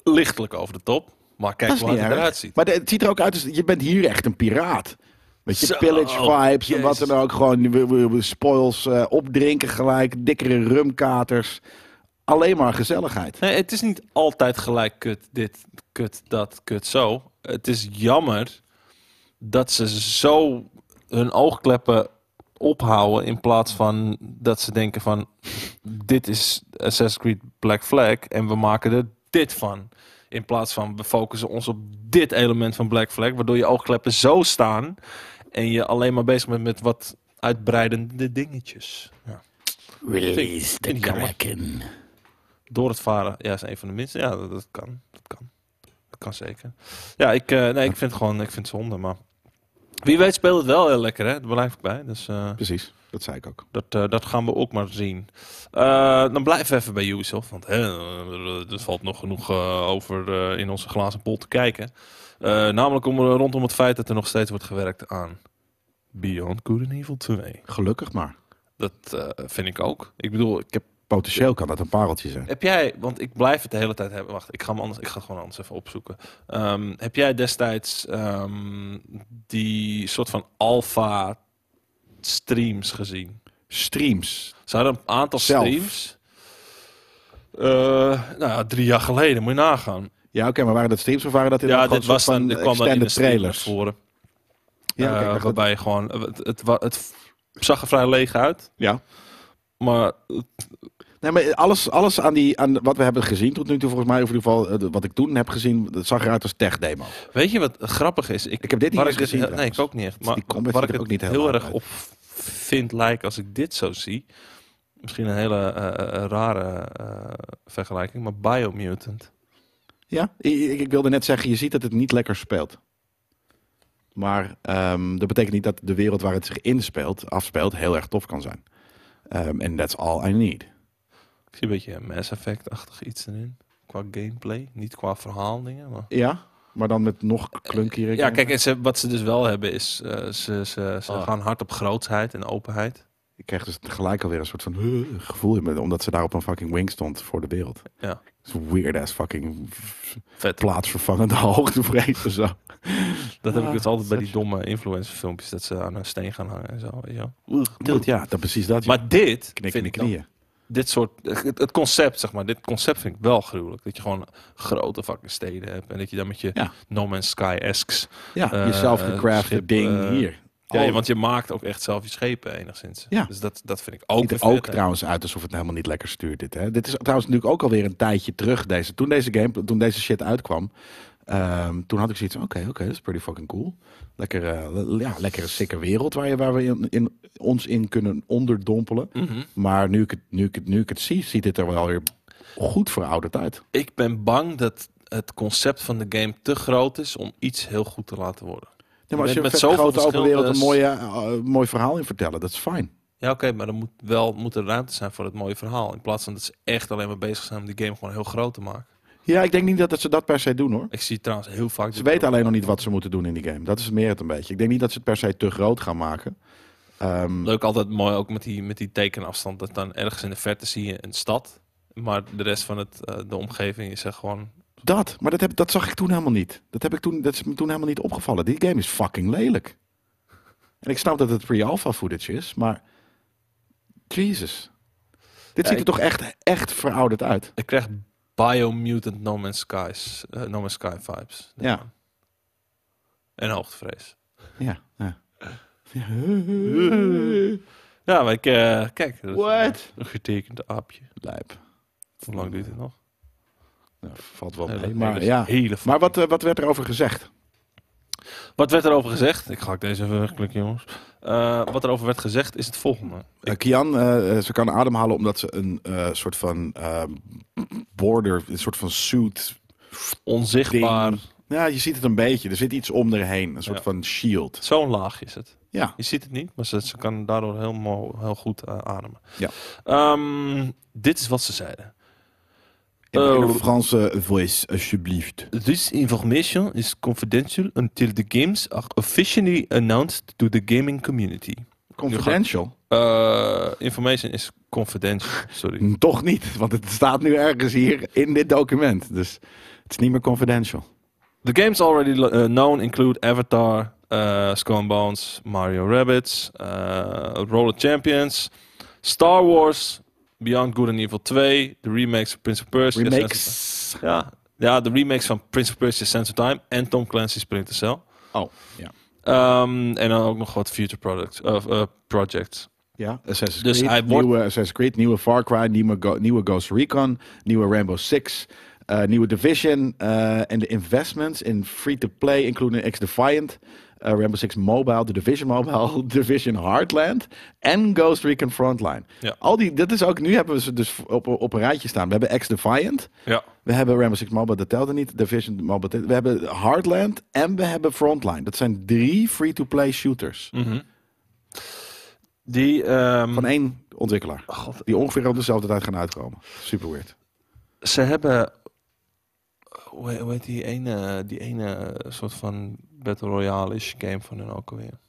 Speaker 1: lichtelijk over de top. Maar kijk
Speaker 2: Dat
Speaker 1: hoe hard
Speaker 2: is niet
Speaker 1: het
Speaker 2: erg.
Speaker 1: eruit ziet.
Speaker 2: Maar de- het ziet er ook uit als je bent hier echt een piraat. Met je
Speaker 1: Zo, oh,
Speaker 2: pillage vibes en wat dan
Speaker 1: jezus.
Speaker 2: ook. Gewoon we- we- we spoils eh, opdrinken gelijk, dikkere rumkaters. Alleen maar gezelligheid.
Speaker 1: Nee, het is niet altijd gelijk kut dit, kut dat, kut zo. Het is jammer dat ze zo hun oogkleppen ophouden in plaats van dat ze denken van dit is Assassin's Creed Black Flag en we maken er dit van. In plaats van we focussen ons op dit element van Black Flag, waardoor je oogkleppen zo staan en je alleen maar bezig bent met wat uitbreidende dingetjes. Ja.
Speaker 3: Release the
Speaker 1: Vind ik jammer.
Speaker 3: Kraken.
Speaker 1: Door het varen, ja, is een van de minste. Ja, dat, dat kan. Dat kan. Dat kan zeker. Ja, ik, eh, nee, ik vind het gewoon, ik vind het zonde, maar... Wie weet speelt het wel heel lekker, hè? Daar blijf ik bij. Dus eh,
Speaker 2: Precies, dat zei ik ook.
Speaker 1: dat, eh, dat gaan we ook maar zien. Eh, dan blijven we even bij Ubisoft, want hè, eh, er valt nog genoeg eh, over eh, in onze glazen pol te kijken. Eh, namelijk om, rondom het feit dat er nog steeds wordt gewerkt aan Beyond Good and Evil 2.
Speaker 2: Gelukkig maar.
Speaker 1: Dat eh, vind ik ook. Ik bedoel, ik heb
Speaker 2: Potentieel kan dat een pareltje zijn.
Speaker 1: Heb jij, want ik blijf het de hele tijd hebben. Wacht, ik ga hem anders. Ik ga het gewoon anders even opzoeken. Ehm, heb jij destijds ehm, die soort van alpha streams gezien?
Speaker 2: Streams.
Speaker 1: Zijn er een aantal
Speaker 2: Zelf.
Speaker 1: streams? Eh, nou ja, drie jaar geleden, moet je nagaan.
Speaker 2: Ja, oké, maar waren dat streams of waren dat in
Speaker 1: ja, dit was
Speaker 2: van eh,
Speaker 1: dan, dit kwam dan in de
Speaker 2: extended
Speaker 1: stream
Speaker 2: trailers?
Speaker 1: naar voren.
Speaker 2: Ja,
Speaker 1: Ja,
Speaker 2: oké, maar dat-
Speaker 1: waarbij je gewoon, het, het, wa- het zag er vrij leeg uit,
Speaker 2: ja.
Speaker 1: maar
Speaker 2: Nee, maar alles, alles aan, die, aan wat we hebben gezien tot nu toe, volgens mij, of in ieder geval eh, wat ik toen heb gezien, dat zag eruit als tech-demo.
Speaker 1: Weet je wat grappig is?
Speaker 2: Ik heb dit niet
Speaker 1: waar
Speaker 2: eens
Speaker 1: ik het-
Speaker 2: gezien,
Speaker 1: Nee,
Speaker 2: trouwens. Dus
Speaker 1: ik ook niet echt. Maar
Speaker 2: Die combat
Speaker 1: waar ik
Speaker 2: ziet er
Speaker 1: het
Speaker 2: ook niet heel
Speaker 1: heel
Speaker 2: raar
Speaker 1: erg
Speaker 2: uit.
Speaker 1: op vind lijkt als ik dit zo zie. Misschien een hele eh, eh, rare eh, vergelijking, maar Biomutant.
Speaker 2: Ja, ik, ik ik wilde net zeggen, je ziet dat het niet lekker speelt. Maar ehm, dat betekent niet dat de wereld waar het zich inspeelt, afspeelt, heel erg tof kan zijn. Ehm, En that's all I need.
Speaker 1: Ik zie een beetje een Mass Effect-achtig iets erin. Qua gameplay, niet qua verhaaldingen. Maar...
Speaker 2: Ja, maar dan met nog klunkier.
Speaker 1: Ja, kijk, en ze, wat ze dus wel hebben is, eh, ze, ze, ze
Speaker 2: Ah.
Speaker 1: gaan hard op grootsheid en openheid.
Speaker 2: Ik kreeg dus gelijk alweer een soort van huh, gevoel in me, omdat ze daar op een fucking wing stond voor de wereld.
Speaker 1: Ja,
Speaker 2: Zo'n weird ass fucking
Speaker 1: vet.
Speaker 2: plaatsvervangende hoogtevrees of zo.
Speaker 1: Dat heb ik
Speaker 2: Ah,
Speaker 1: dus altijd bij die domme influencer filmpjes, dat ze aan een steen gaan hangen en zo. Weet je wel.
Speaker 2: Tilt, ja, dat precies dat.
Speaker 1: Maar dit
Speaker 2: knik in
Speaker 1: vind
Speaker 2: de
Speaker 1: ik dan
Speaker 2: knieën.
Speaker 1: dit soort, het het concept zeg maar, dit concept vind ik wel gruwelijk. Dat je gewoon grote fucking steden hebt en dat je dan met je
Speaker 2: Ja.
Speaker 1: No Man's Sky-esques.
Speaker 2: Ja,
Speaker 1: Eh,
Speaker 2: jezelf
Speaker 1: eh,
Speaker 2: gecrafte
Speaker 1: schip,
Speaker 2: ding
Speaker 1: eh,
Speaker 2: hier.
Speaker 1: Ja,
Speaker 2: Oh,
Speaker 1: want je maakt ook echt zelf je schepen enigszins.
Speaker 2: Ja.
Speaker 1: Dus dat, dat vind ik ook
Speaker 2: ziet
Speaker 1: een
Speaker 2: er ook
Speaker 1: vette.
Speaker 2: trouwens uit alsof het helemaal niet lekker stuurt dit. Hè? Dit is trouwens natuurlijk ook alweer een tijdje terug. Deze. Toen deze game, toen deze shit uitkwam, ehm, toen had ik zoiets van oké, oké, dat is pretty fucking cool. Lekker, eh, le- ja, lekkere sikke wereld waar, je, waar we in, in, ons in kunnen onderdompelen.
Speaker 1: Mhm.
Speaker 2: Maar nu ik, het, nu, ik het, nu ik het zie, ziet dit er wel weer goed verouderd uit.
Speaker 1: Ik ben bang dat het concept van de game te groot is om iets heel goed te laten worden.
Speaker 2: Ja, maar als
Speaker 1: Met-
Speaker 2: je een
Speaker 1: met
Speaker 2: vet
Speaker 1: zoveel dus-
Speaker 2: grote open wereld een mooie,
Speaker 1: verschillende
Speaker 2: eh, eh, mooi verhaal in vertellen, dat is fijn.
Speaker 1: Ja, oké, maar dan moet wel moet er ruimte zijn voor het mooie verhaal. In plaats van dat ze echt alleen maar bezig zijn om die game gewoon heel groot te maken.
Speaker 2: Ja, ik denk niet dat, dat ze dat per se doen hoor.
Speaker 1: Ik zie trouwens heel vaak...
Speaker 2: Ze weten alleen nog niet wat ze moeten doen in die game. Dat is meer het een beetje. Ik denk niet dat ze het per se te groot gaan maken. Ehm,
Speaker 1: Leuk altijd mooi ook met die, met die tekenafstand. Dat dan ergens in de verte zie je een stad. Maar de rest van het, eh, de omgeving is echt gewoon...
Speaker 2: dat, maar dat, heb, dat zag ik toen helemaal niet. Dat, heb ik toen, dat is me toen helemaal niet opgevallen. Die game is fucking lelijk. En ik snap dat het pre-alpha footage is, maar Jesus. Dit
Speaker 1: Ja,
Speaker 2: ziet er
Speaker 1: ik-
Speaker 2: toch echt, echt verouderd uit.
Speaker 1: Ik krijg Biomutant No Man's, Skies, eh, no Man's Sky vibes.
Speaker 2: Ja.
Speaker 1: En hoogtevrees.
Speaker 2: Ja. ja.
Speaker 1: Ja, maar ik, eh, kijk. dat is
Speaker 2: What?
Speaker 1: Een getekend aapje.
Speaker 2: Lijp.
Speaker 1: Hoe lang duurt het nog?
Speaker 2: Nou, valt wel
Speaker 1: Hele-
Speaker 2: mee. Maar,
Speaker 1: hele-
Speaker 2: ja.
Speaker 1: hele
Speaker 2: maar wat, eh, wat werd er over gezegd?
Speaker 1: Wat werd erover gezegd? Ik ga ik deze even wegklikken, jongens. Eh, wat erover werd gezegd is het volgende.
Speaker 2: Eh, Kian, eh, ze kan ademhalen omdat ze een eh, soort van eh, border, een soort van suit.
Speaker 1: Onzichtbaar.
Speaker 2: Ding. Ja, je ziet het een beetje. Er zit iets om erheen. Een soort
Speaker 1: Ja.
Speaker 2: van shield.
Speaker 1: Zo'n laag is het.
Speaker 2: Ja.
Speaker 1: Je ziet het niet, maar ze, ze kan daardoor heel, mo- heel goed eh, ademen.
Speaker 2: Ja.
Speaker 1: Ehm, dit is wat ze zeiden.
Speaker 2: In,
Speaker 1: Oh.
Speaker 2: in een Franse voice, alsjeblieft.
Speaker 1: This information is confidential until the games are officially announced to the gaming community.
Speaker 2: Confidential?
Speaker 1: Eh, information is confidential, sorry.
Speaker 2: Hm, Toch niet, want het staat nu ergens hier in dit document. Dus het is niet meer confidential.
Speaker 1: The games already lo- uh, known include Avatar, uh, Skull and Bones, Mario Rabbids, uh, Roller Champions, Star Wars, Beyond Good and Evil 2, de remakes van Prince of Persia. Sands
Speaker 2: Remakes.
Speaker 1: of- Ja, ja, de remakes van Prince of Persia Sands of Time en Tom Clancy's Splinter Cell.
Speaker 2: Oh, ja.
Speaker 1: Ehm, en dan ook nog wat future products, of eh, projects.
Speaker 2: Ja, Assassin's
Speaker 1: Dus
Speaker 2: Creed,
Speaker 1: hij wordt-
Speaker 2: nieuwe Assassin's Creed, nieuwe Far Cry, nieuwe, Go- nieuwe Ghost Recon, nieuwe Rainbow Six, eh, nieuwe Division eh, en de investments in free-to-play, including X-Defiant, eh, Rainbow Six Mobile, de Division Mobile, Division Heartland en Ghost Recon Frontline.
Speaker 1: Ja.
Speaker 2: Al die, dat is ook, nu hebben we ze dus op, op een rijtje staan. We hebben X-Defiant,
Speaker 1: Ja.
Speaker 2: we hebben Rainbow Six Mobile, dat telde niet, Division Mobile, dat- we hebben Heartland en we hebben Frontline. Dat zijn drie free-to-play shooters
Speaker 1: Die, ehm,
Speaker 2: van één ontwikkelaar.
Speaker 1: Oh, God,
Speaker 2: Die ongeveer op dezelfde tijd gaan uitkomen. Super weird.
Speaker 1: ze hebben. Hoe hoe heet die ene, die ene soort van Battle Royale-ish game van hun ook alweer?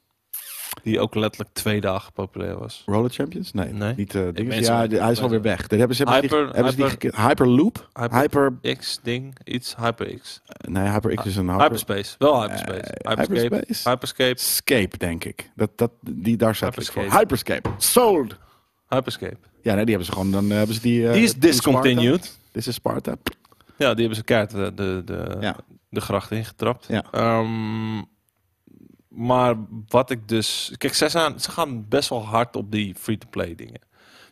Speaker 1: Die ook letterlijk twee dagen populair was.
Speaker 2: Roller Champions? Nee.
Speaker 1: Nee.
Speaker 2: Niet, eh, dingen.
Speaker 1: ben
Speaker 2: ja,
Speaker 1: zo-
Speaker 2: de- hij is
Speaker 1: ben
Speaker 2: alweer
Speaker 1: zo-
Speaker 2: weg. Dat hebben ze, hebben ze die-
Speaker 1: Hyper-
Speaker 2: hebben ze die geke- Hyperloop? Hyper,
Speaker 1: Hyper- X-ding, iets HyperX.
Speaker 2: nee, HyperX is een hyper,
Speaker 1: Hyperspace, wel Hyperspace.
Speaker 2: Eh,
Speaker 1: Hyperscape.
Speaker 2: Hyperspace?
Speaker 1: Hyperscape.
Speaker 2: Escape, denk ik. Dat, dat, die, daar staat het voor.
Speaker 1: Hyperscape.
Speaker 2: Hyperscape. Sold!
Speaker 1: Hyperscape.
Speaker 2: Ja, nee, die hebben ze gewoon. Dan hebben ze die. eh,
Speaker 1: Die is
Speaker 2: toen Sparta-
Speaker 1: discontinued.
Speaker 2: Dit is Sparta.
Speaker 1: Ja, die hebben ze kaart de, de, de,
Speaker 2: Ja.
Speaker 1: de gracht ingetrapt.
Speaker 2: Ja.
Speaker 1: Ehm, maar wat ik dus... Kijk, ze, zijn, ze gaan best wel hard op die free-to-play dingen.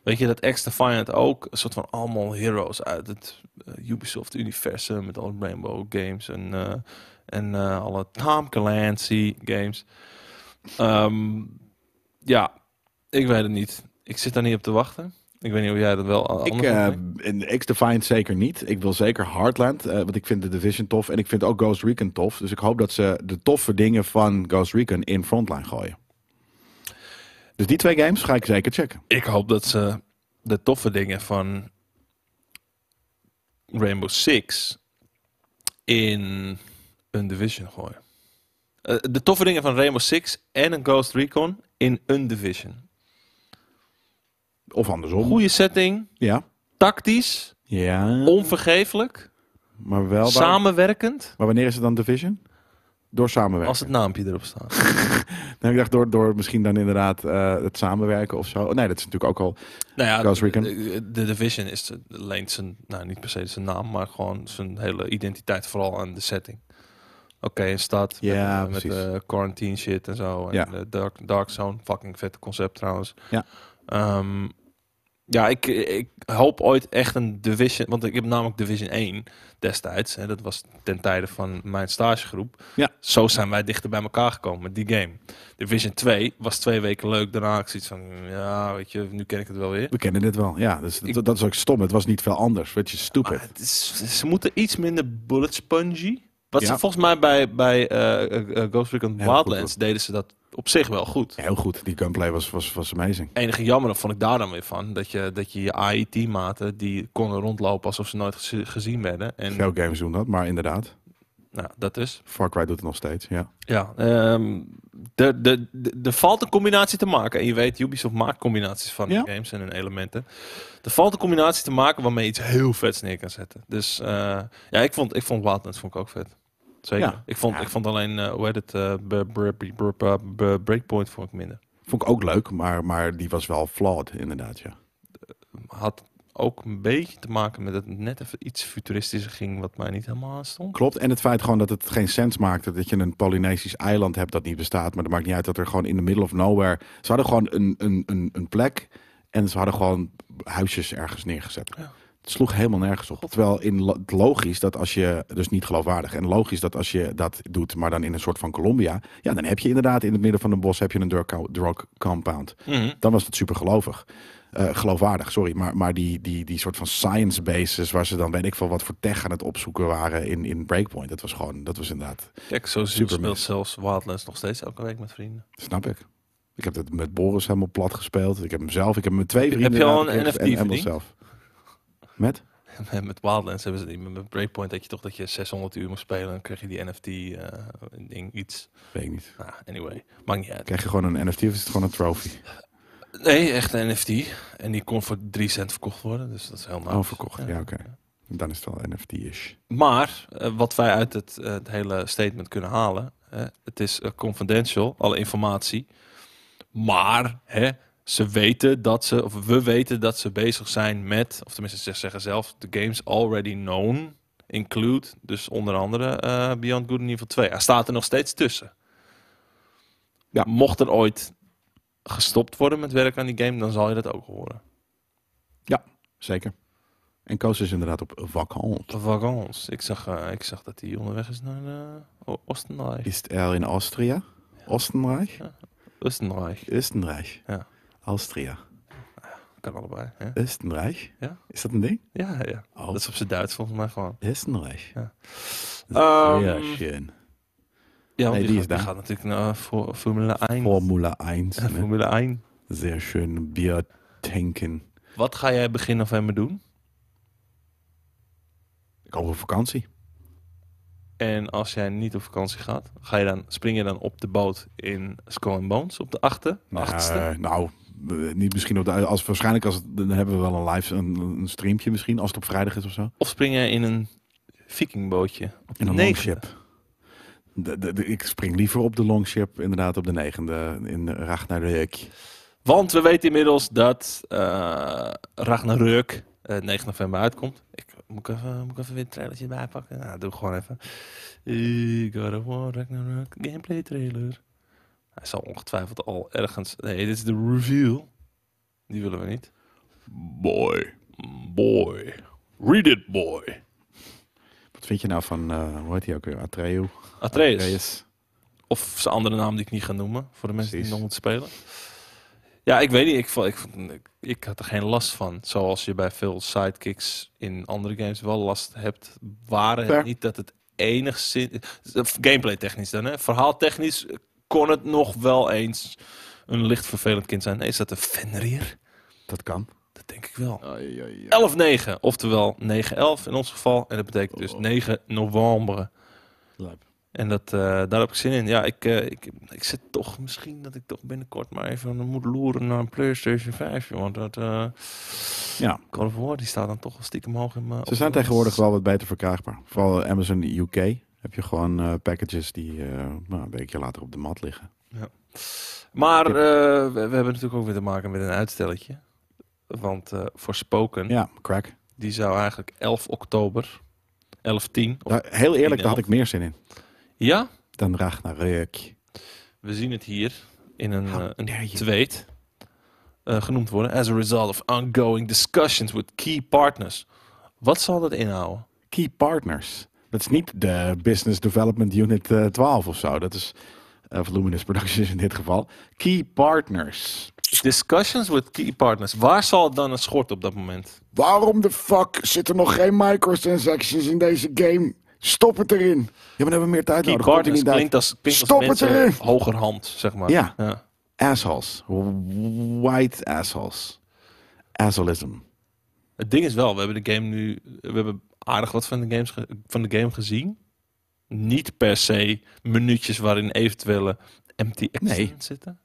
Speaker 1: Weet je, dat X-Defiant ook, een soort van allemaal heroes uit het eh, Ubisoft-universum... met alle Rainbow games en, eh, en eh, alle Tom Clancy games. Ehm, ja, ik weet het niet. Ik zit daar niet op te wachten. Ik weet niet of jij dat wel anders
Speaker 2: Ik,
Speaker 1: vindt,
Speaker 2: eh
Speaker 1: Nick.
Speaker 2: in X-Defined zeker niet. Ik wil zeker Heartland, eh, want ik vind de Division tof. En ik vind ook Ghost Recon tof. Dus ik hoop dat ze de toffe dingen van Ghost Recon in Frontline gooien. Dus die twee games ga ik zeker checken.
Speaker 1: ik hoop dat ze de toffe dingen van Rainbow Six in een division gooien. Eh, de toffe dingen van Rainbow Six en een Ghost Recon in een division.
Speaker 2: Of andersom.
Speaker 1: Goede setting,
Speaker 2: Ja.
Speaker 1: tactisch,
Speaker 2: ja.
Speaker 1: onvergeeflijk,
Speaker 2: Maar wel. waar-
Speaker 1: samenwerkend.
Speaker 2: Maar wanneer is het dan Division? Door samenwerken.
Speaker 1: Als het naampje erop staat.
Speaker 2: Nou, ik dacht door, door misschien dan inderdaad eh, het samenwerken of zo. Oh, Nee, dat is natuurlijk ook al.
Speaker 1: nou ja,
Speaker 2: Ghost Recon.
Speaker 1: De, de division is, leent zijn, nou niet per se zijn naam, maar gewoon zijn hele identiteit vooral aan de setting. Oké, in stad.
Speaker 2: Ja,
Speaker 1: met,
Speaker 2: precies.
Speaker 1: eh, quarantine shit en zo. En
Speaker 2: Ja.
Speaker 1: eh, dark, dark Zone, fucking vette concept trouwens.
Speaker 2: Ja.
Speaker 1: Ehm, ja, ik, ik hoop ooit echt een Division... Want ik heb namelijk Division 1 destijds. Hè, dat was ten tijde van mijn stagegroep.
Speaker 2: Ja.
Speaker 1: Zo zijn wij dichter bij elkaar gekomen met die game. Division 2 was twee weken leuk. Daarna had ik zoiets van... Ja, weet je, nu ken ik het wel weer.
Speaker 2: We kennen dit wel. Ja, dus,
Speaker 1: Ik-
Speaker 2: dat, dat is ook stom. Het was niet veel anders. Weet je, stupid.
Speaker 1: Maar het is- ze moeten iets minder bullet spongy. Wat
Speaker 2: Ja.
Speaker 1: ze volgens mij bij, bij eh, eh, eh, Ghost Recon
Speaker 2: Heel goed
Speaker 1: Wildlands deden ze dat op zich wel goed.
Speaker 2: Heel goed. Die gunplay was, was, was amazing.
Speaker 1: enige jammer vond ik daar dan weer van. Dat je dat je, je AI-teammaten die konden rondlopen alsof ze nooit gezi- gezien werden. En
Speaker 2: Veel games doen dat, maar inderdaad.
Speaker 1: nou, dat is.
Speaker 2: Far Cry doet het nog steeds. Ja.
Speaker 1: Ja, ehm, de de de- er valt een combinatie te maken. En je weet, Ubisoft maakt combinaties van
Speaker 2: Ja.
Speaker 1: games en hun elementen. Er valt een combinatie te maken waarmee je iets heel vets neer kan zetten. Dus eh, ja, ik vond, ik vond Wildlands vond ik ook vet. Zeker.
Speaker 2: Ja.
Speaker 1: Ik, vond,
Speaker 2: Ja.
Speaker 1: ik vond alleen, eh, hoe heet het, eh, Bur- Bur- Bur- Bur- Bur- Breakpoint vond ik minder.
Speaker 2: Vond ik ook leuk, maar, maar die was wel flawed inderdaad, ja.
Speaker 1: Had ook een beetje te maken met dat het net even iets futuristischer ging, wat mij niet helemaal aanstond.
Speaker 2: Klopt, en het feit gewoon dat het geen sens maakte dat je een Polynesisch eiland hebt dat niet bestaat. Maar dat maakt niet uit dat er gewoon in the middle of nowhere... Ze hadden gewoon een, een, een, een plek en ze hadden gewoon huisjes ergens neergezet.
Speaker 1: Ja.
Speaker 2: Het sloeg helemaal nergens op. Terwijl in lo- het logisch dat als je, dus niet geloofwaardig, en logisch dat als je dat doet, maar dan in een soort van Colombia, ja, dan heb je inderdaad in het midden van een bos heb je een drug, drug compound.
Speaker 1: Mhm.
Speaker 2: Dan was het super gelovig. Eh, geloofwaardig, sorry. Maar, maar die, die, die soort van science bases waar ze dan weet ik veel wat voor tech aan het opzoeken waren in, in Breakpoint. Dat was gewoon, dat was inderdaad,
Speaker 1: Kijk, zo
Speaker 2: Superman.
Speaker 1: speelt zelfs Wildlands nog steeds elke week met vrienden.
Speaker 2: snap ik. Ik heb dat met Boris helemaal plat gespeeld. Ik heb hem zelf, ik heb hem met twee
Speaker 1: je
Speaker 2: vrienden.
Speaker 1: al
Speaker 2: laten
Speaker 1: een
Speaker 2: kijken
Speaker 1: NFT
Speaker 2: en- en
Speaker 1: verdiend?
Speaker 2: zelf. Met?
Speaker 1: En Eh, met Wildlands hebben ze die, met Breakpoint dat je toch dat je 600 uur moest spelen, dan kreeg je die NFT eh, ding iets.
Speaker 2: Weet ik niet.
Speaker 1: Nou, anyway, maakt niet uit.
Speaker 2: Krijg je gewoon een NFT of is het gewoon een trophy?
Speaker 1: Nee, echt een NFT. En die kon voor 3 cent verkocht worden, dus dat is heel nice.
Speaker 2: Oh, verkocht. Ja, oké. Dan is het wel NFT-ish.
Speaker 1: Maar eh, wat wij uit het, eh, het hele statement kunnen halen, hè, het is eh, confidential, alle informatie. Maar hè, ze weten dat ze, of we weten dat ze bezig zijn met, of tenminste ze zeggen zelf, de games already known include, dus onder andere eh, Beyond Good and Evil 2. Hij staat er nog steeds tussen.
Speaker 2: Ja.
Speaker 1: Mocht er ooit gestopt worden met werk aan die game, dan zal je dat ook horen.
Speaker 2: Zeker. En Koos is inderdaad op vakant.
Speaker 1: Vagons. Ik zag, eh, ik zag dat hij onderweg is naar eh, O- Oostenrijk.
Speaker 2: Is het er in Austria? Oostenrijk?
Speaker 1: Oostenrijk.
Speaker 2: Oostenrijk.
Speaker 1: Ja.
Speaker 2: Austria.
Speaker 1: Kan allebei. Hè?
Speaker 2: Oostenrijk?
Speaker 1: Ja.
Speaker 2: Is dat een ding?
Speaker 1: Ja, ja.
Speaker 2: Oh,
Speaker 1: Dat is op zijn Duits volgens mij gewoon.
Speaker 2: Oostenrijk.
Speaker 1: Ja.
Speaker 2: Dat is
Speaker 1: Ehm,
Speaker 2: heel schön.
Speaker 1: Ja, want die, gaat,
Speaker 2: Nee, die is
Speaker 1: die
Speaker 2: daar.
Speaker 1: gaat natuurlijk naar eh, voor Formule 1.
Speaker 2: Formule 1.
Speaker 1: Eh,
Speaker 2: ne?
Speaker 1: Formule 1.
Speaker 2: Zeer schön Bier tanken.
Speaker 1: Wat ga jij begin november doen?
Speaker 2: Ik hoop op vakantie.
Speaker 1: En als jij niet op vakantie gaat, ga je dan, spring je dan op de boot in Skull and Bones op de achte, achtste?
Speaker 2: Eh, nou, eh, niet misschien op de... Als, waarschijnlijk als het, dan hebben we wel een live een, een streampje misschien. Als het op vrijdag is of zo.
Speaker 1: Of spring jij in een vikingbootje? Op de
Speaker 2: In een
Speaker 1: negende?
Speaker 2: longship. De, de, de- ik spring liever op de longship, inderdaad, op de negende in Ragnarök.
Speaker 1: Want we weten inmiddels dat eh Ragnarök eh 9 november uitkomt. Ik, moet, ik even, moet ik even weer een trailertje bijpakken? Nou, doe ik gewoon even. Eh, God of War Ragnarök gameplay trailer. Hij zal ongetwijfeld al ergens... Nee, dit is de reveal. Die willen we niet. Boy. Boy. Read it, boy.
Speaker 2: Wat vind je nou van, eh, hoe heet hij ook weer, Atreu?
Speaker 1: Atreus. Of zijn andere naam die ik niet ga noemen. Voor de mensen die
Speaker 2: Precies.
Speaker 1: nog moeten spelen. Ja, ik weet niet. Ik, vo- ik, vond- ik, ik had er geen last van. Zoals je bij veel sidekicks in andere games wel last hebt. Waren het
Speaker 2: Fair.
Speaker 1: niet dat het enigszins... Gameplay technisch dan, hè? Verhaal technisch kon het nog wel eens een licht vervelend kind zijn. Nee, is dat een Fenrir?
Speaker 2: Dat kan.
Speaker 1: Dat denk ik wel.
Speaker 2: Ai, ai, ai.
Speaker 1: 11-9, oftewel 9-11 in ons geval. En dat betekent dus
Speaker 2: Oh.
Speaker 1: 9 november.
Speaker 2: Lijp.
Speaker 1: En dat, eh, daar heb ik zin in. Ja, ik, eh, ik, ik zit toch misschien dat ik toch binnenkort maar even moet loeren naar een PlayStation 5. joh, Want dat eh
Speaker 2: Ja,
Speaker 1: Call of War, die staat dan toch wel stiekem hoog in mijn...
Speaker 2: ze zijn tegenwoordig wel wat beter verkrijgbaar. Vooral Amazon UK heb je gewoon eh, packages die eh, nou, een beetje later op de mat liggen.
Speaker 1: Maar eh, we, we hebben natuurlijk ook weer te maken met een uitstelletje. Want eh, voor Spoken,
Speaker 2: Ja, crack.
Speaker 1: die zou eigenlijk 11 oktober, 11-10... of-
Speaker 2: Daar- heel eerlijk, daar had ik meer zin in.
Speaker 1: Ja,
Speaker 2: Dan eh, Ragnarök.
Speaker 1: we zien het hier in een,
Speaker 2: How
Speaker 1: eh, een
Speaker 2: dare you.
Speaker 1: tweet eh, genoemd worden. As a result of ongoing discussions with key partners. Wat zal dat inhouden?
Speaker 2: Key Partners. Dat is niet de Business Development Unit eh, 12 of zo. Dat is eh, of Luminous Productions in dit geval. Key Partners.
Speaker 1: Discussions with key partners. Waar zal het dan een schort op dat
Speaker 2: Nou,
Speaker 1: moment?
Speaker 4: Waarom de fuck zitten nog geen microtransactions in deze game? Stop het erin.
Speaker 2: Ja, maar dan hebben we meer tijd
Speaker 1: Key
Speaker 2: nodig. Komt er
Speaker 1: partners
Speaker 2: niet
Speaker 1: klinkt
Speaker 2: uit.
Speaker 1: als, klinkt als
Speaker 4: Stop het
Speaker 1: mensen
Speaker 4: erin!
Speaker 1: hogerhand, zeg maar.
Speaker 2: Ja.
Speaker 1: ja.
Speaker 2: Assholes. White assholes. Assholism.
Speaker 1: Het ding is wel, we hebben de game nu, we hebben aardig wat van de, games ge- van de game gezien. Niet per se minuutjes waarin eventuele empty exits
Speaker 2: Nee.
Speaker 1: zitten.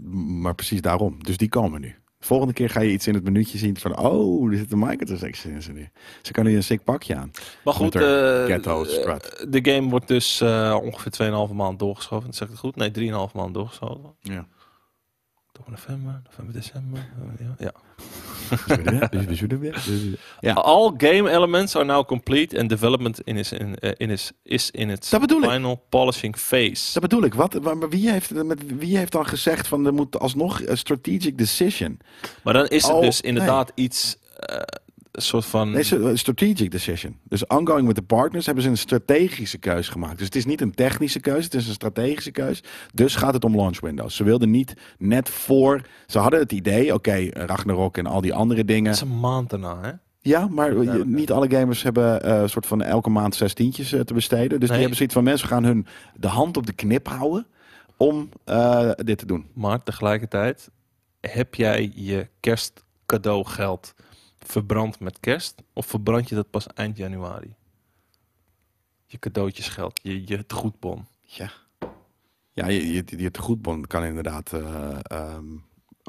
Speaker 2: M- Maar precies daarom. Dus die komen nu. Volgende keer ga je iets in het minuutje zien van... Oh, er zit een microtransaction in. zitten. Ze kunnen je een sick pakje aan.
Speaker 1: Maar goed,
Speaker 2: Met haar
Speaker 1: eh,
Speaker 2: ghetto
Speaker 1: eh,
Speaker 2: strut.
Speaker 1: de game wordt dus eh, ongeveer 2,5 maand doorgeschoven. Zeg ik het goed? Nee, 3,5 maand doorgeschoven.
Speaker 2: Ja.
Speaker 1: Oktober, november, november, december. eh, ja. ja.
Speaker 2: Ja.
Speaker 1: All game elements are now complete and development in is in, eh, in, is, is in its
Speaker 2: Dat bedoel ik.
Speaker 1: final polishing phase.
Speaker 2: Dat bedoel ik. Wat, waar- maar wie heeft, met, wie heeft dan gezegd van er moet alsnog een strategic decision?
Speaker 1: Maar dan is het
Speaker 2: Oh,
Speaker 1: dus inderdaad iets, eh, een soort van...
Speaker 2: Nee, ze- een strategic decision. Dus ongoing with the partners hebben ze een strategische keus gemaakt. Dus het is niet een technische keus, het is een strategische keus. Dus gaat het om launch windows. Ze wilden niet net voor. Ze hadden het idee, oké, Ragnarok en al die andere dingen.
Speaker 1: dat is een maand daarna, hè?
Speaker 2: Ja, maar je-
Speaker 1: Duidelijk,
Speaker 2: niet alle gamers hebben eh, soort van elke maand zestientjes eh, te besteden. Dus die
Speaker 1: Nee.
Speaker 2: hebben zoiets van mensen gaan hun de hand op de knip houden om eh, dit te doen.
Speaker 1: Maar tegelijkertijd heb jij je kerstcadeau geld verbrand met kerst? Of verbrand je dat pas eind januari? Je cadeautjesgeld, je, je goedbon.
Speaker 2: Ja, ja je, je, je tegoedbon kan inderdaad eh, ehm,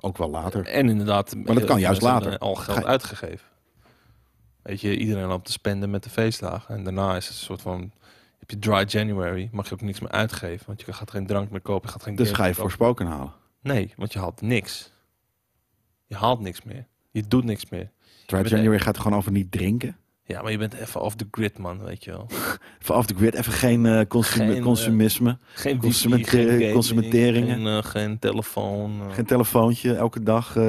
Speaker 2: ook wel later.
Speaker 1: En inderdaad,
Speaker 2: dat
Speaker 1: heel
Speaker 2: kan
Speaker 1: veel
Speaker 2: juist
Speaker 1: mensen
Speaker 2: later.
Speaker 1: hebben Al geld
Speaker 2: Ga-
Speaker 1: uitgegeven. Weet je, iedereen loopt te spenden met de feestdagen. En daarna is het een soort van, heb je dry January, mag je ook niks meer uitgeven. Want je gaat geen drank meer kopen, je gaat geen
Speaker 2: Dus
Speaker 1: games
Speaker 2: ga je
Speaker 1: meer kopen.
Speaker 2: voorspoken halen.
Speaker 1: Nee, want je haalt niks. Je haalt niks meer. Je doet niks meer.
Speaker 2: Dry
Speaker 1: bent-
Speaker 2: January gaat gewoon over niet drinken.
Speaker 1: Ja, maar je bent even off the grid, man, weet je wel.
Speaker 2: Even off the grid, even geen, eh, consum-
Speaker 1: Geen, eh,
Speaker 2: consumisme.
Speaker 1: Geen
Speaker 2: Consumenten-
Speaker 1: wifi, geen gaming,
Speaker 2: consumenteringen.
Speaker 1: Geen, eh, geen telefoon. eh,
Speaker 2: Geen telefoontje elke dag. eh,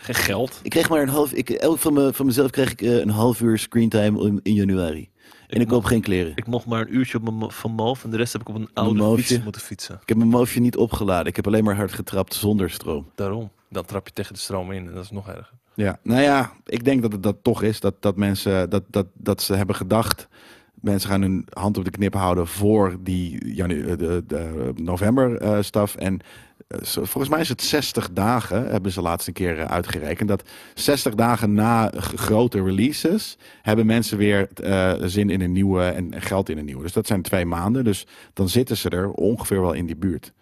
Speaker 1: geen geld.
Speaker 5: Ik kreeg maar een half. Ik, elk van, me, van mezelf kreeg ik eh, een half uur screentime in, in januari. En ik, koop geen kleren.
Speaker 1: Ik mocht maar een uurtje op mijn mo- van Moof en de rest heb ik op een oude
Speaker 5: Moofje.
Speaker 1: fiets moeten fietsen.
Speaker 5: Ik heb mijn moofje niet opgeladen. Ik heb alleen maar hard getrapt zonder stroom.
Speaker 1: Daarom. Dan trap je tegen de stroom in en dat is nog erger.
Speaker 2: Ja, nou ja, ik denk dat het dat toch is. Dat, dat mensen, dat, dat, dat ze hebben gedacht. Mensen gaan hun hand op de knip houden voor die janu eh, de, de november eh, staf. En eh, zo- volgens mij is het 60 dagen, hebben ze laatst een keer eh, uitgerekend. Dat 60 dagen na g- grote releases hebben mensen weer eh, zin in een nieuwe en en geld in een nieuwe. Dus dat zijn twee maanden. Dus dan zitten ze er ongeveer wel in die buurt.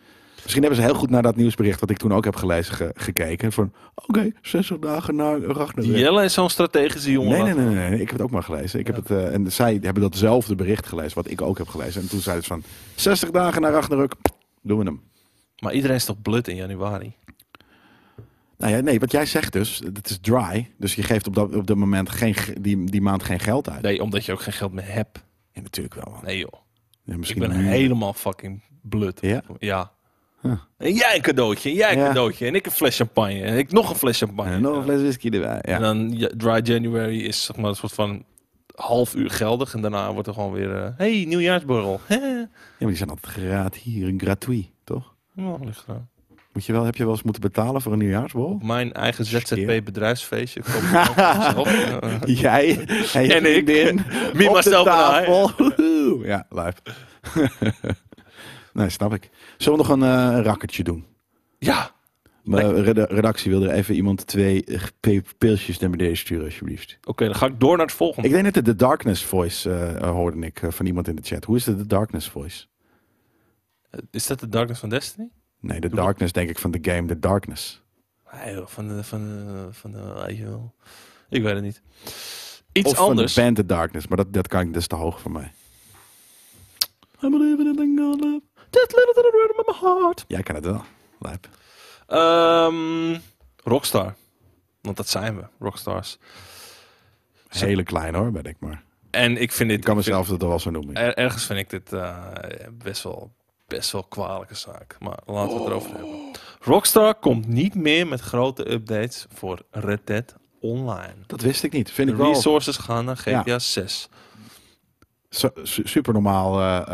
Speaker 2: Misschien hebben ze heel goed naar dat nieuwsbericht, wat ik toen ook heb gelezen, ge- gekeken. Van oké, 60 dagen na Ragnarok.
Speaker 1: Jelle is zo'n strategische jongen.
Speaker 2: Nee, nee, nee, nee, nee. Ik heb het ook maar gelezen. Ik heb het, eh, en zij hebben datzelfde bericht gelezen, wat ik ook heb gelezen. En toen zei het van 60 dagen naar Ragnarok, doen we hem.
Speaker 1: Maar iedereen is toch blut in januari?
Speaker 2: Nou ja, nee, wat jij zegt dus, het is dry. Dus je geeft op dat, op dat moment geen, ge- die, die maand geen geld uit.
Speaker 1: Nee, omdat je ook geen geld meer hebt.
Speaker 2: Ja, natuurlijk wel. man.
Speaker 1: Nee joh.
Speaker 2: Ja,
Speaker 1: Ik
Speaker 2: misschien
Speaker 1: ben
Speaker 2: nu.
Speaker 1: helemaal fucking blut.
Speaker 2: Ja?
Speaker 1: Ja.
Speaker 2: Huh.
Speaker 1: En jij een cadeautje, en jij een
Speaker 2: Ja.
Speaker 1: cadeautje. En ik een fles champagne. En ik nog een fles champagne.
Speaker 2: Ja, nog een fles whisky erbij.
Speaker 1: En
Speaker 2: Ja.
Speaker 1: dan eh, ja, Dry January is zeg maar een soort van half uur geldig. En daarna wordt er gewoon weer... eh, hey, nieuwjaarsborrel. Hè?
Speaker 2: ja, maar die zijn altijd gratis hier, een gratuit, toch?
Speaker 1: Nou, ligt eraan.
Speaker 2: Moet je wel, heb je wel eens moeten betalen voor een nieuwjaarsbol?
Speaker 1: Op mijn eigen
Speaker 2: Skeer.
Speaker 1: ZZP bedrijfsfeestje. koop ik ook voor mezelf. Eh,
Speaker 2: Jij
Speaker 1: En ik.
Speaker 2: in.
Speaker 1: Me, myself and I.
Speaker 2: ja, live. nee, snap ik. Zullen we nog een, eh, een rakkertje doen?
Speaker 1: ja,
Speaker 2: Maar reda- redactie wil er even iemand twee eh, pe- pilsjes naar beneden sturen, alsjeblieft.
Speaker 1: oké, dan ga ik door naar het volgende.
Speaker 2: Ik denk dat het de Darkness Voice eh, eh, hoorde ik eh, van iemand in de chat. Hoe is het de Darkness Voice?
Speaker 1: Is dat de Darkness van Destiny?
Speaker 2: Nee, de Darkness denk ik van de game The Darkness.
Speaker 1: Nee, joh, van de, van de, van de, weet je wel. Ik weet het niet. Iets
Speaker 2: of
Speaker 1: anders.
Speaker 2: van de band The Darkness, maar dat, dat kan ik dus te hoog voor mij.
Speaker 1: That little rhythm of my heart.
Speaker 2: Jij kan het wel, Lijp.
Speaker 1: Ehm, Rockstar. Want dat zijn we, Rockstars.
Speaker 2: Hele klein hoor, ben ik maar.
Speaker 1: En ik vind dit...
Speaker 2: Ik kan
Speaker 1: ik vind-
Speaker 2: mezelf dat wel zo noemen.
Speaker 1: Er- ergens vind ik dit eh, best, wel, best wel kwalijke zaak. Maar laten we het erover hebben. Rockstar komt niet meer met grote updates voor Red Dead Online.
Speaker 2: Dat wist ik niet. Vind
Speaker 1: De
Speaker 2: ik wel
Speaker 1: resources gaan naar GTA
Speaker 2: Ja.
Speaker 1: 6.
Speaker 2: su- su- super normaal, eh,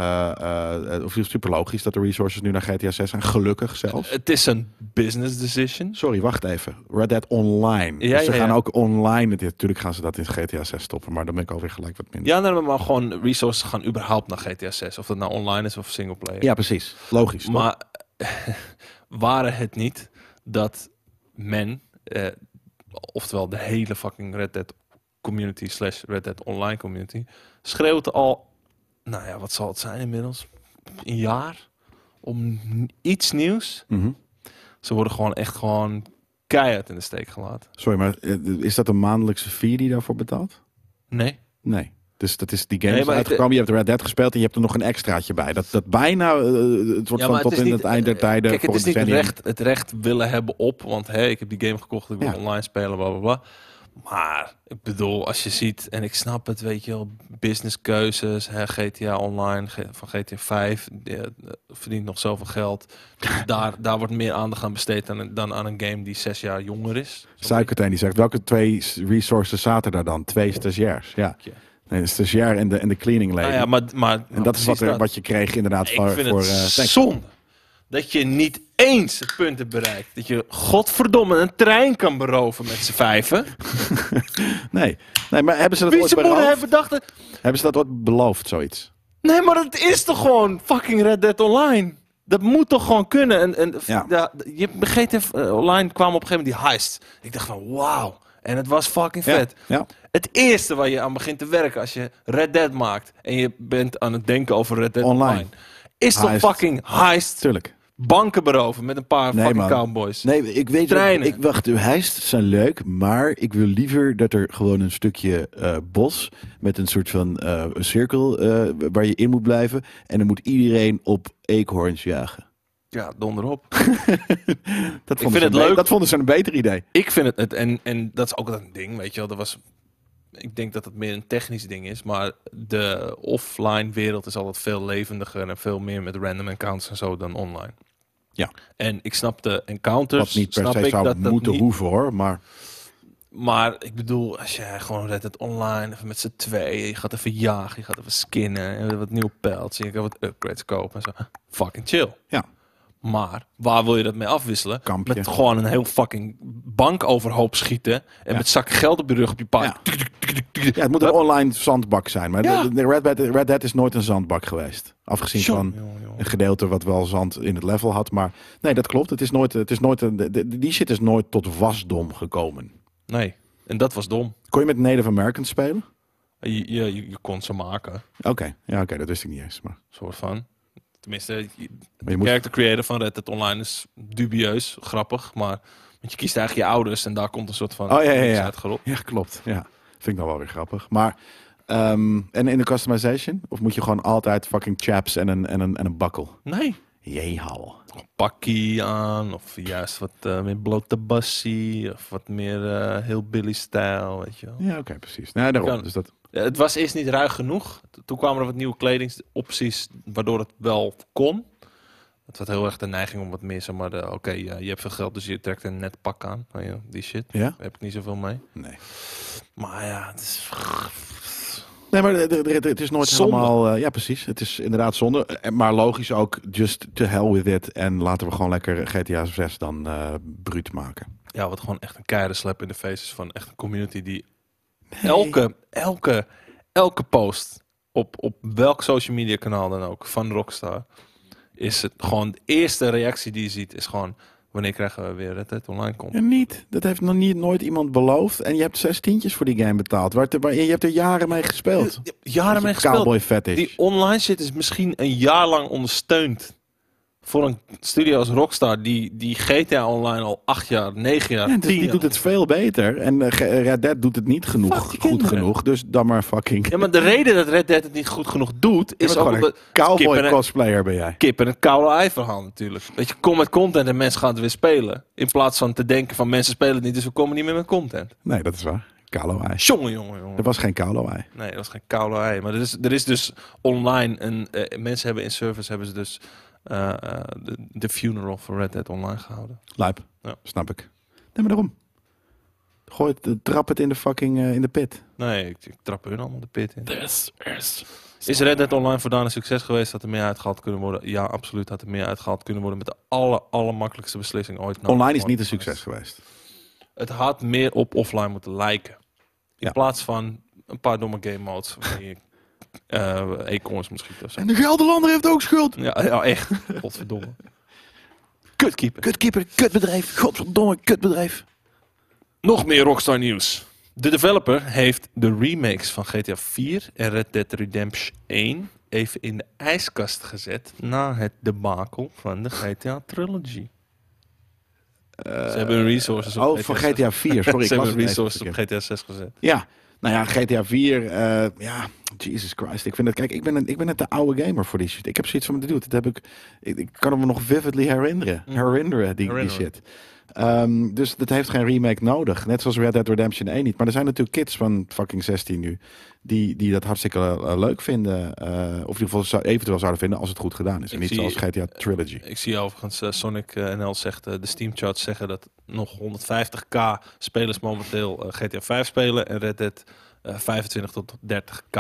Speaker 2: eh, eh, of super logisch dat de resources nu naar GTA 6 zijn. Gelukkig zelfs.
Speaker 1: Het is een business decision.
Speaker 2: Sorry, wacht even. Red Dead Online.
Speaker 1: Ja,
Speaker 2: dus ze
Speaker 1: ja, ja.
Speaker 2: gaan ook online. het- Natuurlijk gaan ze dat in GTA 6 stoppen, maar dan ben ik alweer gelijk wat minder.
Speaker 1: Ja, nee, maar gewoon resources gaan überhaupt naar GTA 6. Of dat nou online is of singleplayer.
Speaker 2: Ja, precies. Logisch. toch?
Speaker 1: Maar waren het niet dat men, eh, oftewel de hele fucking Red Dead community slash Red Dead online community, schreeuwt al, nou ja, wat zal het zijn inmiddels? Een jaar om n- iets nieuws.
Speaker 2: Mhm.
Speaker 1: Ze worden gewoon echt gewoon keihard in de steek gelaten.
Speaker 2: Sorry, maar eh, is dat een maandelijkse fee die daarvoor betaalt?
Speaker 1: Nee.
Speaker 2: Nee. Dus dat is die game
Speaker 1: Nee,
Speaker 2: is
Speaker 1: maar het-
Speaker 2: uitgekomen. Je hebt Red Dead gespeeld en je hebt er nog een extraatje bij. Dat, dat bijna, eh, het wordt van tot in het eind der tijden.
Speaker 1: eh, Kijk, het
Speaker 2: voor
Speaker 1: is niet het
Speaker 2: decennium.
Speaker 1: recht, het recht willen hebben op, want hé, ik heb die game gekocht, ik wil
Speaker 2: Ja.
Speaker 1: online spelen, bla bla bla. Maar ik bedoel, als je ziet, en ik snap het, weet je wel, businesskeuzes, hè, GTA Online, G- van GTA 5, die, eh, verdient nog zoveel geld. Dus daar, daar wordt meer aandacht aan besteed aan, een- dan aan een game die zes jaar jonger is.
Speaker 2: Suikerteen die zegt, welke twee s- resources zaten daar dan? Twee stagiairs, ja.
Speaker 1: Ja.
Speaker 2: Nee, een stagiair en de, en de cleaning lady.
Speaker 1: Nou ja, maar, maar
Speaker 2: en dat is wat, er, wat je kreeg inderdaad
Speaker 1: Ik
Speaker 2: voor...
Speaker 1: vind
Speaker 2: voor
Speaker 1: het
Speaker 2: eh, thanks.
Speaker 1: zonde dat je niet eens het punt hebt bereikt. Dat je godverdomme een trein kan beroven met z'n vijven.
Speaker 2: nee. nee, maar hebben ze dat
Speaker 1: Wie
Speaker 2: ooit
Speaker 1: zijn
Speaker 2: beloofd?
Speaker 1: moeder heeft bedacht... dat-
Speaker 2: Hebben ze dat ooit beloofd, zoiets?
Speaker 1: Nee, maar dat is toch gewoon fucking Red Dead Online? Dat moet toch gewoon kunnen? En, en
Speaker 2: Ja.
Speaker 1: ja, je GTA eh, Online kwam op een gegeven moment die heist. Ik dacht van, wauw. En het was fucking
Speaker 2: Ja,
Speaker 1: vet.
Speaker 2: ja.
Speaker 1: Het eerste waar je aan begint te werken als je Red Dead maakt... en je bent aan het denken over Red Dead Online...
Speaker 2: Online.
Speaker 1: is toch
Speaker 2: Heist.
Speaker 1: fucking heist?
Speaker 2: Tuurlijk.
Speaker 1: Banken beroven met een paar
Speaker 2: Nee,
Speaker 1: fucking
Speaker 2: man.
Speaker 1: cowboys.
Speaker 5: Nee, ik weet
Speaker 1: Treinen.
Speaker 5: Ik wacht, de heist zijn leuk, maar ik wil liever dat er gewoon een stukje eh, bos met een soort van eh, een cirkel eh, waar je in moet blijven. En dan moet iedereen op eekhoorns jagen.
Speaker 1: Ja, donder op.
Speaker 2: Dat
Speaker 1: vind
Speaker 2: vonden ze
Speaker 1: het
Speaker 2: een be-
Speaker 1: leuk.
Speaker 2: Dat vonden ze een beter idee.
Speaker 1: Ik vind het, het en, en dat is ook altijd een ding, weet je wel. Dat was, ik denk dat het meer een technisch ding is, maar de offline wereld is altijd veel levendiger en veel meer met random encounters en zo dan online.
Speaker 2: Ja.
Speaker 1: En ik snap de
Speaker 2: Wat
Speaker 1: encounters,
Speaker 2: niet per
Speaker 1: Dus snap
Speaker 2: se
Speaker 1: ik
Speaker 2: zou
Speaker 1: dat dat
Speaker 2: moeten
Speaker 1: niet-
Speaker 2: hoeven hoor, maar
Speaker 1: Maar ik bedoel, als je gewoon Red Dead Online, even met z'n tweeën, je gaat even jagen, je gaat even skinnen, en wat nieuwe pelts, en je kan wat upgrades kopen en zo. Fucking chill.
Speaker 2: ja.
Speaker 1: Maar waar wil je dat mee afwisselen?
Speaker 2: Kampje.
Speaker 1: Met gewoon een heel fucking bank overhoop schieten. En
Speaker 2: Ja.
Speaker 1: met zakken geld op je rug op je paard.
Speaker 2: Ja. ja, het moet een online zandbak zijn. Maar
Speaker 1: Ja.
Speaker 2: de- de Red, Dead, Red Dead is nooit een zandbak geweest. Afgezien
Speaker 1: Tjonge,
Speaker 2: van
Speaker 1: jonge, jonge.
Speaker 2: een gedeelte wat wel zand in het level had. Maar nee, dat klopt. Het is nooit, het is nooit een, de- de- die shit is nooit tot wasdom gekomen.
Speaker 1: Nee, en dat was dom.
Speaker 2: Kon je met Native Americans spelen?
Speaker 1: Je, je, je- je kon ze maken,
Speaker 2: Oké, ja, oké, dat wist ik niet eens. Maar,
Speaker 1: soort van. Tenminste, je-
Speaker 2: maar je
Speaker 1: de
Speaker 2: moet,
Speaker 1: character creator van Red Dead Online is dubieus, grappig, maar... Want je kiest eigenlijk je ouders en daar komt een soort van...
Speaker 2: Oh, ja, ja, ja.
Speaker 1: uitgerold.
Speaker 2: ja, klopt. Ja, vind ik dan wel weer grappig. Maar ehm, en in de customization? Of moet je gewoon altijd fucking chaps en een, en een, en een bakkel?
Speaker 1: Nee.
Speaker 2: Jehal.
Speaker 1: Pakkie aan, of juist wat eh, meer blote bassie, of wat meer eh heel Billy-stijl, weet je wel.
Speaker 2: Ja, oké, precies. Nou, daarom.
Speaker 1: Kan-
Speaker 2: Dus dat,
Speaker 1: Ja, Eh, Het was eerst niet ruig genoeg. T- Toen kwamen er wat nieuwe kledingsopties, waardoor het wel kon. Het had heel erg de neiging om wat meer, zeg maar, de, oké, eh, je hebt veel geld, dus je trekt een net pak aan. Nou ja, die shit,
Speaker 2: ja?
Speaker 1: daar heb ik niet zoveel mee.
Speaker 2: Nee.
Speaker 1: Maar ja, het is...
Speaker 2: Nee, maar de- de- de- het is nooit
Speaker 1: Zonde.
Speaker 2: helemaal... eh, ja, precies. Het is inderdaad zonde. Eh, Maar logisch ook, just to hell with it. En laten we gewoon lekker GTA 6 dan eh bruut maken.
Speaker 1: Ja, wat gewoon echt een keiharde slap in de face is van echt een community die elke, elke, elke post op, op welk social media kanaal dan ook van Rockstar is het gewoon de eerste reactie die je ziet is gewoon wanneer krijgen we weer Red Dead Online komt.
Speaker 2: En niet. Dat heeft nog niet, nooit iemand beloofd. En je hebt zes tientjes voor die game betaald. Waar, waar, je hebt er jaren mee gespeeld.
Speaker 1: Ja, Jaren mee gespeeld.
Speaker 2: Cowboy fetish.
Speaker 1: Die online shit is misschien een jaar lang ondersteund. Voor een studio als Rockstar, die, die GTA Online al acht jaar, negen jaar,
Speaker 2: Ja, dus
Speaker 1: tien
Speaker 2: die
Speaker 1: jaar-
Speaker 2: doet het veel beter. En eh, Ge- eh, Red Dead doet het niet genoeg,
Speaker 1: Fuck die
Speaker 2: goed
Speaker 1: kinderen.
Speaker 2: genoeg. Dus dan maar fucking...
Speaker 1: Ja, maar de reden dat Red Dead het niet goed genoeg doet,
Speaker 2: Je
Speaker 1: is
Speaker 2: bent
Speaker 1: ook
Speaker 2: gewoon
Speaker 1: omdat...
Speaker 2: een cowboy
Speaker 1: kip en-
Speaker 2: cosplayer ben jij.
Speaker 1: Kip en het koude ei verhaal natuurlijk. Weet je, kom met content en mensen gaan het weer spelen. In plaats van te denken van mensen spelen het niet, dus we komen niet meer met content.
Speaker 2: Nee, dat is waar. Kalo ei.
Speaker 1: Jongen, jongen, jongen.
Speaker 2: Er was geen kalo ei.
Speaker 1: Nee, dat is geen koude ei. Maar er is, er is dus online een eh, mensen hebben in service hebben ze dus eh, eh, de, de funeral voor Red Dead online gehouden.
Speaker 2: Lijp.
Speaker 1: Ja.
Speaker 2: Snap ik. Nee, maar daarom. Gooi het, eh, trap het in de fucking eh, in de pit.
Speaker 1: Nee, ik, ik trap hun allemaal de pit in.
Speaker 3: This is
Speaker 1: Is Red Dead Online voordanig een succes geweest? Had er meer uitgehaald kunnen worden? Ja, absoluut had er meer uitgehaald kunnen worden. Met de aller, allermakkelijkste beslissing ooit. nam
Speaker 2: Online is
Speaker 1: gewoon-
Speaker 2: niet een succes geweest.
Speaker 1: Het had meer op offline moeten lijken. In
Speaker 2: Ja.
Speaker 1: plaats van een paar domme game modes. Waar je eh, acorns misschien of zo.
Speaker 2: En de Gelderlander heeft ook schuld.
Speaker 1: Ja, ja, echt. Godverdomme. Kutkeeper.
Speaker 5: Kutkeeper, kutbedrijf, godverdomme kutbedrijf.
Speaker 1: Nog meer Rockstar nieuws. De developer heeft de remakes van GTA 4 en Red Dead Redemption 1 even in de ijskast gezet na het debakel van de GTA Trilogy. Ze hebben hun resources op
Speaker 2: Oh, van
Speaker 1: 6.
Speaker 2: GTA 4. Sorry, ik
Speaker 1: Ze hebben
Speaker 2: was het
Speaker 1: hun resources op
Speaker 2: even verkeerd.
Speaker 1: GTA 6 gezet.
Speaker 2: Ja, Nou ja, GTA 4, eh, ja, Jesus Christ. Ik vind het, kijk, ik ben, een, ik ben net de oude gamer voor die shit. Ik heb zoiets van, dude, dat heb ik, ik, ik kan me nog vividly herinneren. Herinneren, die, die
Speaker 1: Mhm. Herinneren.
Speaker 2: shit. Ehm, dus dat heeft geen remake nodig. Net zoals Red Dead Redemption 1 niet. Maar er zijn natuurlijk kids van fucking 16 nu. Die, die dat hartstikke eh, leuk vinden. eh, of in ieder geval zou, eventueel zouden vinden als het goed gedaan is. En
Speaker 1: Ik
Speaker 2: niet
Speaker 1: zie-
Speaker 2: zoals GTA Trilogy.
Speaker 1: Ik zie overigens eh, Sonic eh, NL zegt, eh, de Steam charts zeggen dat nog 150k spelers momenteel eh, GTA 5 spelen en Red Dead eh, 25 tot 30k.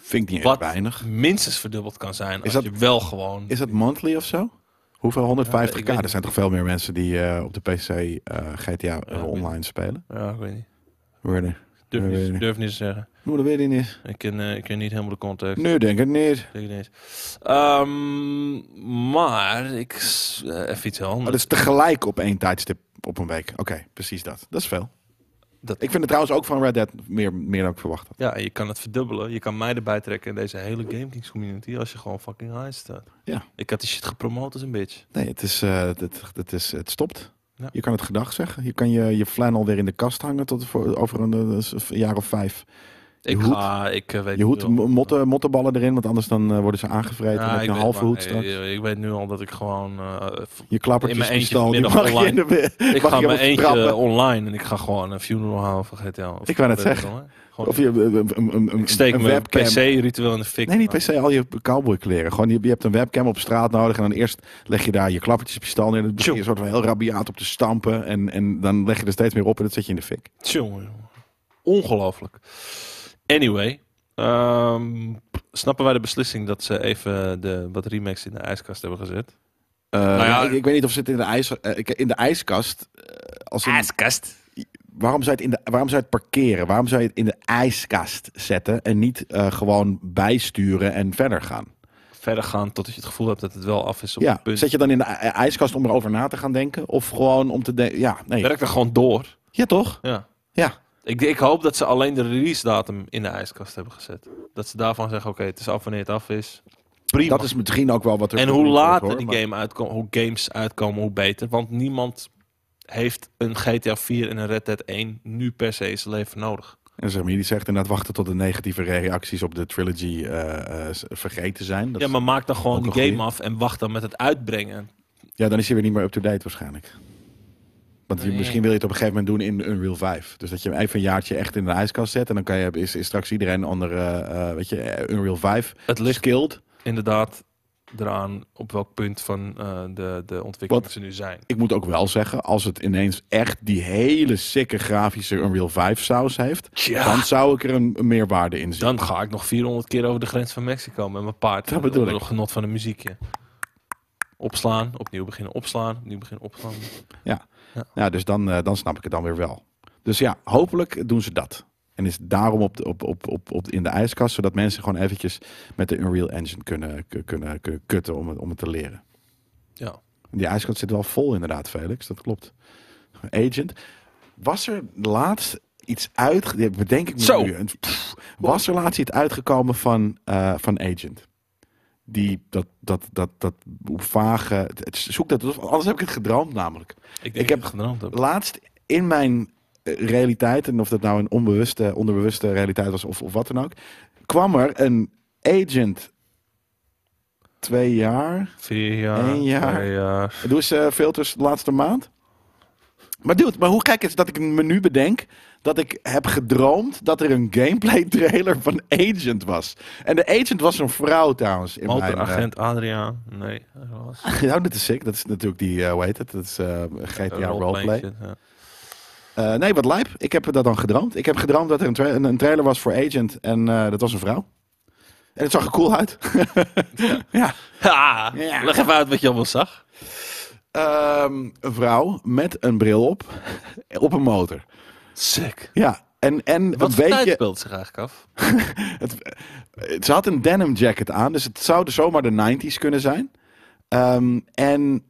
Speaker 2: Vind ik niet
Speaker 1: Wat
Speaker 2: erg weinig.
Speaker 1: minstens verdubbeld kan zijn als
Speaker 2: dat-
Speaker 1: je wel gewoon...
Speaker 2: Is dat monthly of zo? Hoeveel? 150k?
Speaker 1: Eh, ik weet
Speaker 2: er zijn toch veel meer mensen die eh, op de PC eh, GTA
Speaker 1: weet ik
Speaker 2: online spelen?
Speaker 1: Ja, ik weet niet.
Speaker 2: Worden.
Speaker 1: Durf,
Speaker 2: Ja, weet ik
Speaker 1: niet,
Speaker 2: niet.
Speaker 1: durf niet te zeggen.
Speaker 2: Moet dat weet ik niet.
Speaker 1: Ik ken, eh, ik ken niet helemaal de context.
Speaker 2: Nu denk ik niet.
Speaker 1: Ik denk niet. Ehm, maar ik s- eh, even iets heel
Speaker 2: Maar
Speaker 1: anders.
Speaker 2: dat is tegelijk op één tijdstip op een week. Oké, precies dat. Dat is veel.
Speaker 1: Dat-
Speaker 2: Ik vind het trouwens ook van Red Dead meer, meer dan ik verwacht had.
Speaker 1: Ja, en je kan het verdubbelen. Je kan mij erbij trekken in deze hele GameKings community als je gewoon fucking high staat.
Speaker 2: Ja.
Speaker 1: Ik had die shit gepromoot als een bitch.
Speaker 2: Nee, het, is, eh, het, het, is, het stopt.
Speaker 1: Ja.
Speaker 2: Je kan het gedag zeggen. Je kan je, je flannel weer in de kast hangen tot voor, over een, eh, een jaar of vijf.
Speaker 1: Ik
Speaker 2: hoed-
Speaker 1: ga, ik eh, weet
Speaker 2: Je hoed
Speaker 1: nu al-
Speaker 2: mo- motten, mottenballen erin, want anders dan eh, worden ze aangevreten.
Speaker 1: Ja,
Speaker 2: en dan heb
Speaker 1: ik
Speaker 2: je een
Speaker 1: weet-
Speaker 2: halve
Speaker 1: maar,
Speaker 2: hoed straks.
Speaker 1: eh, Ik weet nu al dat ik gewoon... eh, v-
Speaker 2: Je klappertjes
Speaker 1: in mijn eentje
Speaker 2: pistool, die
Speaker 1: vanmiddag
Speaker 2: mag je in de-
Speaker 1: ik
Speaker 2: mag
Speaker 1: ga
Speaker 2: je
Speaker 1: mijn
Speaker 2: op
Speaker 1: eentje eh,
Speaker 2: trappen.
Speaker 1: online en ik ga gewoon een funeral houden van GTA. Of
Speaker 2: Ik wou net
Speaker 1: weet ik
Speaker 2: zeggen.
Speaker 1: wel, hè. Gewoon-
Speaker 2: Of je een, een, een, een,
Speaker 1: ik steek
Speaker 2: een
Speaker 1: mijn
Speaker 2: webcam.
Speaker 1: PC-ritueel in de fik.
Speaker 2: Nee, niet
Speaker 1: man.
Speaker 2: per se al je cowboykleren. Gewoon, je, je hebt een webcam op straat nodig. En dan eerst leg je daar je klappertjespistool neer. En dan begin je
Speaker 1: Tjoe.
Speaker 2: soort van heel rabiaat op te stampen. En, en dan leg je er steeds meer op en dat zet je in de fik.
Speaker 1: Tjonge, jonge. Ongelooflijk. Anyway, ehm, snappen wij de beslissing dat ze even de, wat remakes in de ijskast hebben gezet?
Speaker 2: Eh,
Speaker 1: Nou ja,
Speaker 2: ik, ik weet niet of ze het in de, ijs, eh, ik- in de ijskast... eh, als in-
Speaker 1: Ijskast?
Speaker 2: waarom, zou je het in de, waarom zou je het parkeren? Waarom zou je het in de ijskast zetten? En niet eh, gewoon bijsturen en verder gaan?
Speaker 1: Verder gaan totdat je het gevoel hebt dat het wel af is op
Speaker 2: Ja,
Speaker 1: het punt.
Speaker 2: zet je dan in de i- ijskast om erover na te gaan denken? Of gewoon om te denken... Ja, nee.
Speaker 1: Werk er gewoon door.
Speaker 2: Ja, toch?
Speaker 1: Ja.
Speaker 2: Ja.
Speaker 1: Ik, ik hoop dat ze alleen de release datum in de ijskast hebben gezet. Dat ze daarvan zeggen, oké, het is af wanneer het af is. Prima.
Speaker 2: Dat is misschien ook wel wat er...
Speaker 1: en hoe
Speaker 2: gebeurd wordt,
Speaker 1: later
Speaker 2: hoor,
Speaker 1: die
Speaker 2: maar-
Speaker 1: game uitkomt, hoe games uitkomen, hoe beter. Want niemand heeft een GTA 4 en een Red Dead 1 nu per se in zijn leven nodig.
Speaker 2: En zeg maar, jullie zegt inderdaad wachten tot de negatieve reacties op de trilogy eh, eh, s- vergeten zijn. Dat
Speaker 1: Ja,
Speaker 2: is-
Speaker 1: maar maak dan gewoon
Speaker 2: ook
Speaker 1: die
Speaker 2: een
Speaker 1: game
Speaker 2: goeie.
Speaker 1: af en wacht dan met het uitbrengen.
Speaker 2: ja, dan is hij weer niet meer up-to-date waarschijnlijk. Want je,
Speaker 1: Nee.
Speaker 2: misschien wil je het op een gegeven moment doen in Unreal 5. Dus dat je hem even een jaartje echt in de ijskast zet. En dan kan je, is, is straks iedereen onder, eh, eh, weet je, eh, Unreal 5
Speaker 1: Het ligt
Speaker 2: skilled.
Speaker 1: inderdaad eraan op welk punt van eh, de, de ontwikkeling
Speaker 2: Wat-
Speaker 1: ze nu zijn.
Speaker 2: Ik moet ook wel zeggen, als het ineens echt die hele sikke grafische Unreal 5 saus heeft... dan zou ik er een, een meerwaarde in zien.
Speaker 1: Ah. Dan ga ik nog 400 keer over de grens van Mexico met mijn paard.
Speaker 2: Dat bedoel ik.
Speaker 1: Onder genot van een muziekje. Opslaan, opnieuw beginnen opslaan, opnieuw beginnen opslaan.
Speaker 2: Ja, dus dan, eh, dan snap ik het dan weer wel. Dus ja, hopelijk doen ze dat. En is daarom op de, op, op, op, op, in de ijskast, zodat mensen gewoon eventjes met de Unreal Engine kunnen, ku- kunnen, kunnen kutten om het, om het te leren.
Speaker 1: Ja.
Speaker 2: En Die ijskast zit wel vol inderdaad, Felix, dat klopt. Agent. Was er laatst iets uit... ja, Bedenk ik me
Speaker 1: Zo.
Speaker 2: nu. En pff, was er laatst iets uitgekomen van, eh, van Agent? Die, dat, dat, dat, dat vage... het- Zoek dat, anders heb ik het gedroomd namelijk
Speaker 1: Ik, denk
Speaker 2: Ik
Speaker 1: ik
Speaker 2: heb-
Speaker 1: heb gedroomd. heb.
Speaker 2: laatst in mijn eh, realiteit, en of dat nou een onbewuste, onderbewuste realiteit was of, of wat dan ook, kwam er een agent. Twee jaar.
Speaker 1: Vier jaar.
Speaker 2: Eén jaar.
Speaker 1: twee jaar.
Speaker 2: Doe eens eh, filters de laatste maand. Maar dude, maar hoe gek is het dat ik me nu bedenk dat ik heb gedroomd dat er een gameplay trailer van Agent was. En de agent was een vrouw trouwens. In mijn, eh,
Speaker 1: Motoragent Adriaan. Nee. helaas.
Speaker 2: nou, dat is sick. Dat is natuurlijk die, eh, hoe heet het? Dat is eh, GTA Roleplay.
Speaker 1: shit, ja.
Speaker 2: Eh, nee, wat lijp. Ik heb dat dan gedroomd. Ik heb gedroomd dat er een, tra- een, een trailer was voor Agent. En eh, dat was een vrouw. En het zag er cool uit. ja.
Speaker 1: Ha,
Speaker 2: Ja.
Speaker 1: Leg even uit wat je allemaal zag.
Speaker 2: Ehm, een vrouw met een bril op. op een motor.
Speaker 1: Sick.
Speaker 2: Ja. En, en
Speaker 1: Wat
Speaker 2: een
Speaker 1: voor tijd
Speaker 2: beetje.
Speaker 1: speelt zich eigenlijk af?
Speaker 2: Het, het- ze had een denim jacket aan. Dus het zou dus zomaar de 90s kunnen zijn. Ehm, en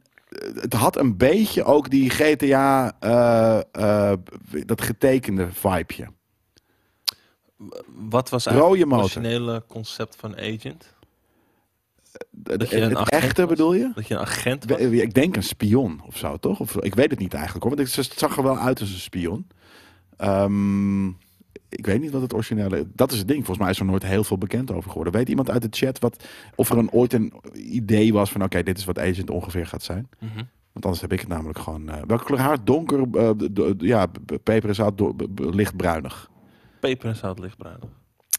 Speaker 2: het had een beetje ook die GTA. eh, eh, dat getekende vibeje.
Speaker 1: Wat was
Speaker 2: Rode
Speaker 1: eigenlijk het
Speaker 2: motor.
Speaker 1: originele concept van Agent?
Speaker 2: Het,
Speaker 1: je een
Speaker 2: het
Speaker 1: agent
Speaker 2: echte
Speaker 1: was?
Speaker 2: bedoel je?
Speaker 1: Dat je een agent was?
Speaker 2: We- Ik denk een spion of zo, toch? Of, ik weet het niet eigenlijk hoor. Want het zag er wel uit als een spion. Ehm, ik, Ik weet niet wat het originele... Dat is het ding. Volgens mij is er nooit heel veel bekend over geworden. Weet iemand uit de chat wat, of er een, ooit een idee was van... Oké, dit is wat Agent ongeveer gaat zijn?
Speaker 1: Mhm.
Speaker 2: Want anders heb ik het namelijk gewoon... eh, welke kleur haar? Donker, eh, d- d- ja, p- peperzout, do- b- b- lichtbruinig.
Speaker 1: Peper en zout lichtbruin.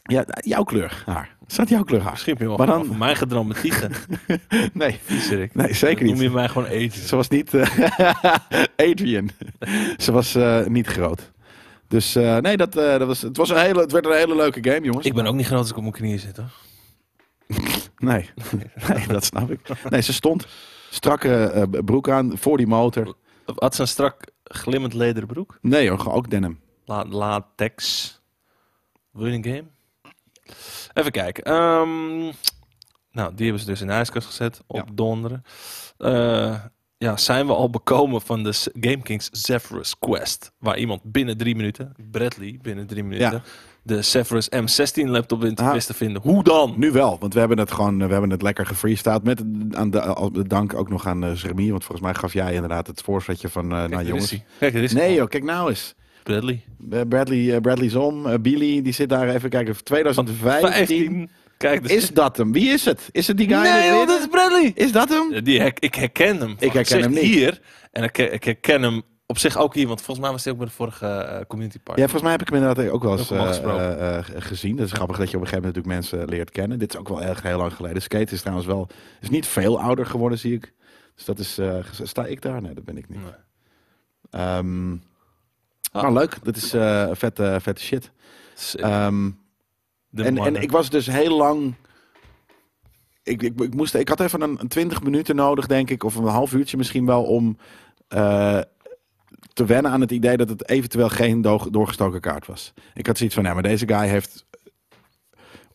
Speaker 2: Ja, jouw kleur haar. Staat jouw kleur haar?
Speaker 1: Schip je wel
Speaker 2: Maar
Speaker 1: gewoon
Speaker 2: dan-
Speaker 1: over mijn gedroom met tieten.
Speaker 2: Nee,
Speaker 1: Viezerik.
Speaker 2: nee zeker niet.
Speaker 1: Noem je mij gewoon eten.
Speaker 2: Ze was niet eh, Adrian. Ze was eh, niet groot. Dus eh, nee, dat, eh, dat was, het, was een hele, het werd een hele leuke game, jongens.
Speaker 1: Ik ben ook niet groot als ik op mijn knieën zit hoor.
Speaker 2: Nee. nee, dat snap ik. Nee, ze stond strakke eh, broek aan voor die motor.
Speaker 1: Had ze een strak glimmend lederen broek?
Speaker 2: Nee hoor, ook denim.
Speaker 1: La latex. Wil je een game? Even kijken. Ehm, nou, die hebben ze dus in de ijskast gezet. Op donderen. Eh, ja, zijn we al bekomen van de S- Game Kings Zephyrus Quest. Waar iemand binnen drie minuten, Bradley binnen drie minuten,
Speaker 2: Ja.
Speaker 1: de Zephyrus M16 laptop wint
Speaker 2: Ah. Nou,
Speaker 1: wist te vinden. Hoe dan?
Speaker 2: Nu wel, want we hebben het gewoon, eh, we hebben het lekker gefreestyled. Met eh, aan de, al- dank ook nog aan eh Remy, want volgens mij gaf jij inderdaad het voorzetje van, eh nou
Speaker 1: Kijk, er is
Speaker 2: jongens.
Speaker 1: hij. Kijk, er is hij.
Speaker 2: Nee joh, kijk nou eens.
Speaker 1: Bradley.
Speaker 2: Eh, Bradley, eh, Bradley Zom, eh, Billy, die zit daar even kijken. 2015.
Speaker 1: 15. Kijk, dus.
Speaker 2: Is dat hem? Wie is het? Is het die guy?
Speaker 1: Nee,
Speaker 2: in
Speaker 1: joh,
Speaker 2: het
Speaker 1: dat
Speaker 2: wit?
Speaker 1: is Bradley.
Speaker 2: Is dat hem?
Speaker 1: Eh, Die her- ik herken hem.
Speaker 2: herken
Speaker 1: Zegt
Speaker 2: hem niet.
Speaker 1: hier. En ik, her- ik herken hem op zich ook hier. Want volgens mij was hij ook bij de vorige eh, community
Speaker 2: Ja,
Speaker 1: party.
Speaker 2: volgens mij heb ik hem inderdaad ook wel eens
Speaker 1: Ook hem al
Speaker 2: eh,
Speaker 1: gesproken.
Speaker 2: eh, eh, gezien. Dat is grappig dat je op een gegeven moment natuurlijk mensen leert kennen. Dit is ook wel erg heel lang geleden. Skate is trouwens wel is niet veel ouder geworden, zie ik. Dus dat is. eh, gez- sta ik daar? Nee, dat ben ik niet.
Speaker 1: Nee.
Speaker 2: Ehm,
Speaker 1: Ah.
Speaker 2: Nou, leuk. Dat is eh vette, vette shit.
Speaker 1: Dus, eh,
Speaker 2: Ehm,
Speaker 1: de
Speaker 2: en, en
Speaker 1: mannen.
Speaker 2: ik was dus heel lang. Ik, ik, ik, moest, ik had even een, een 20 minuten nodig, denk ik, of een half uurtje misschien wel, om eh, te wennen aan het idee dat het eventueel geen doog- doorgestoken kaart was. Ik had zoiets van, ja, maar deze guy heeft.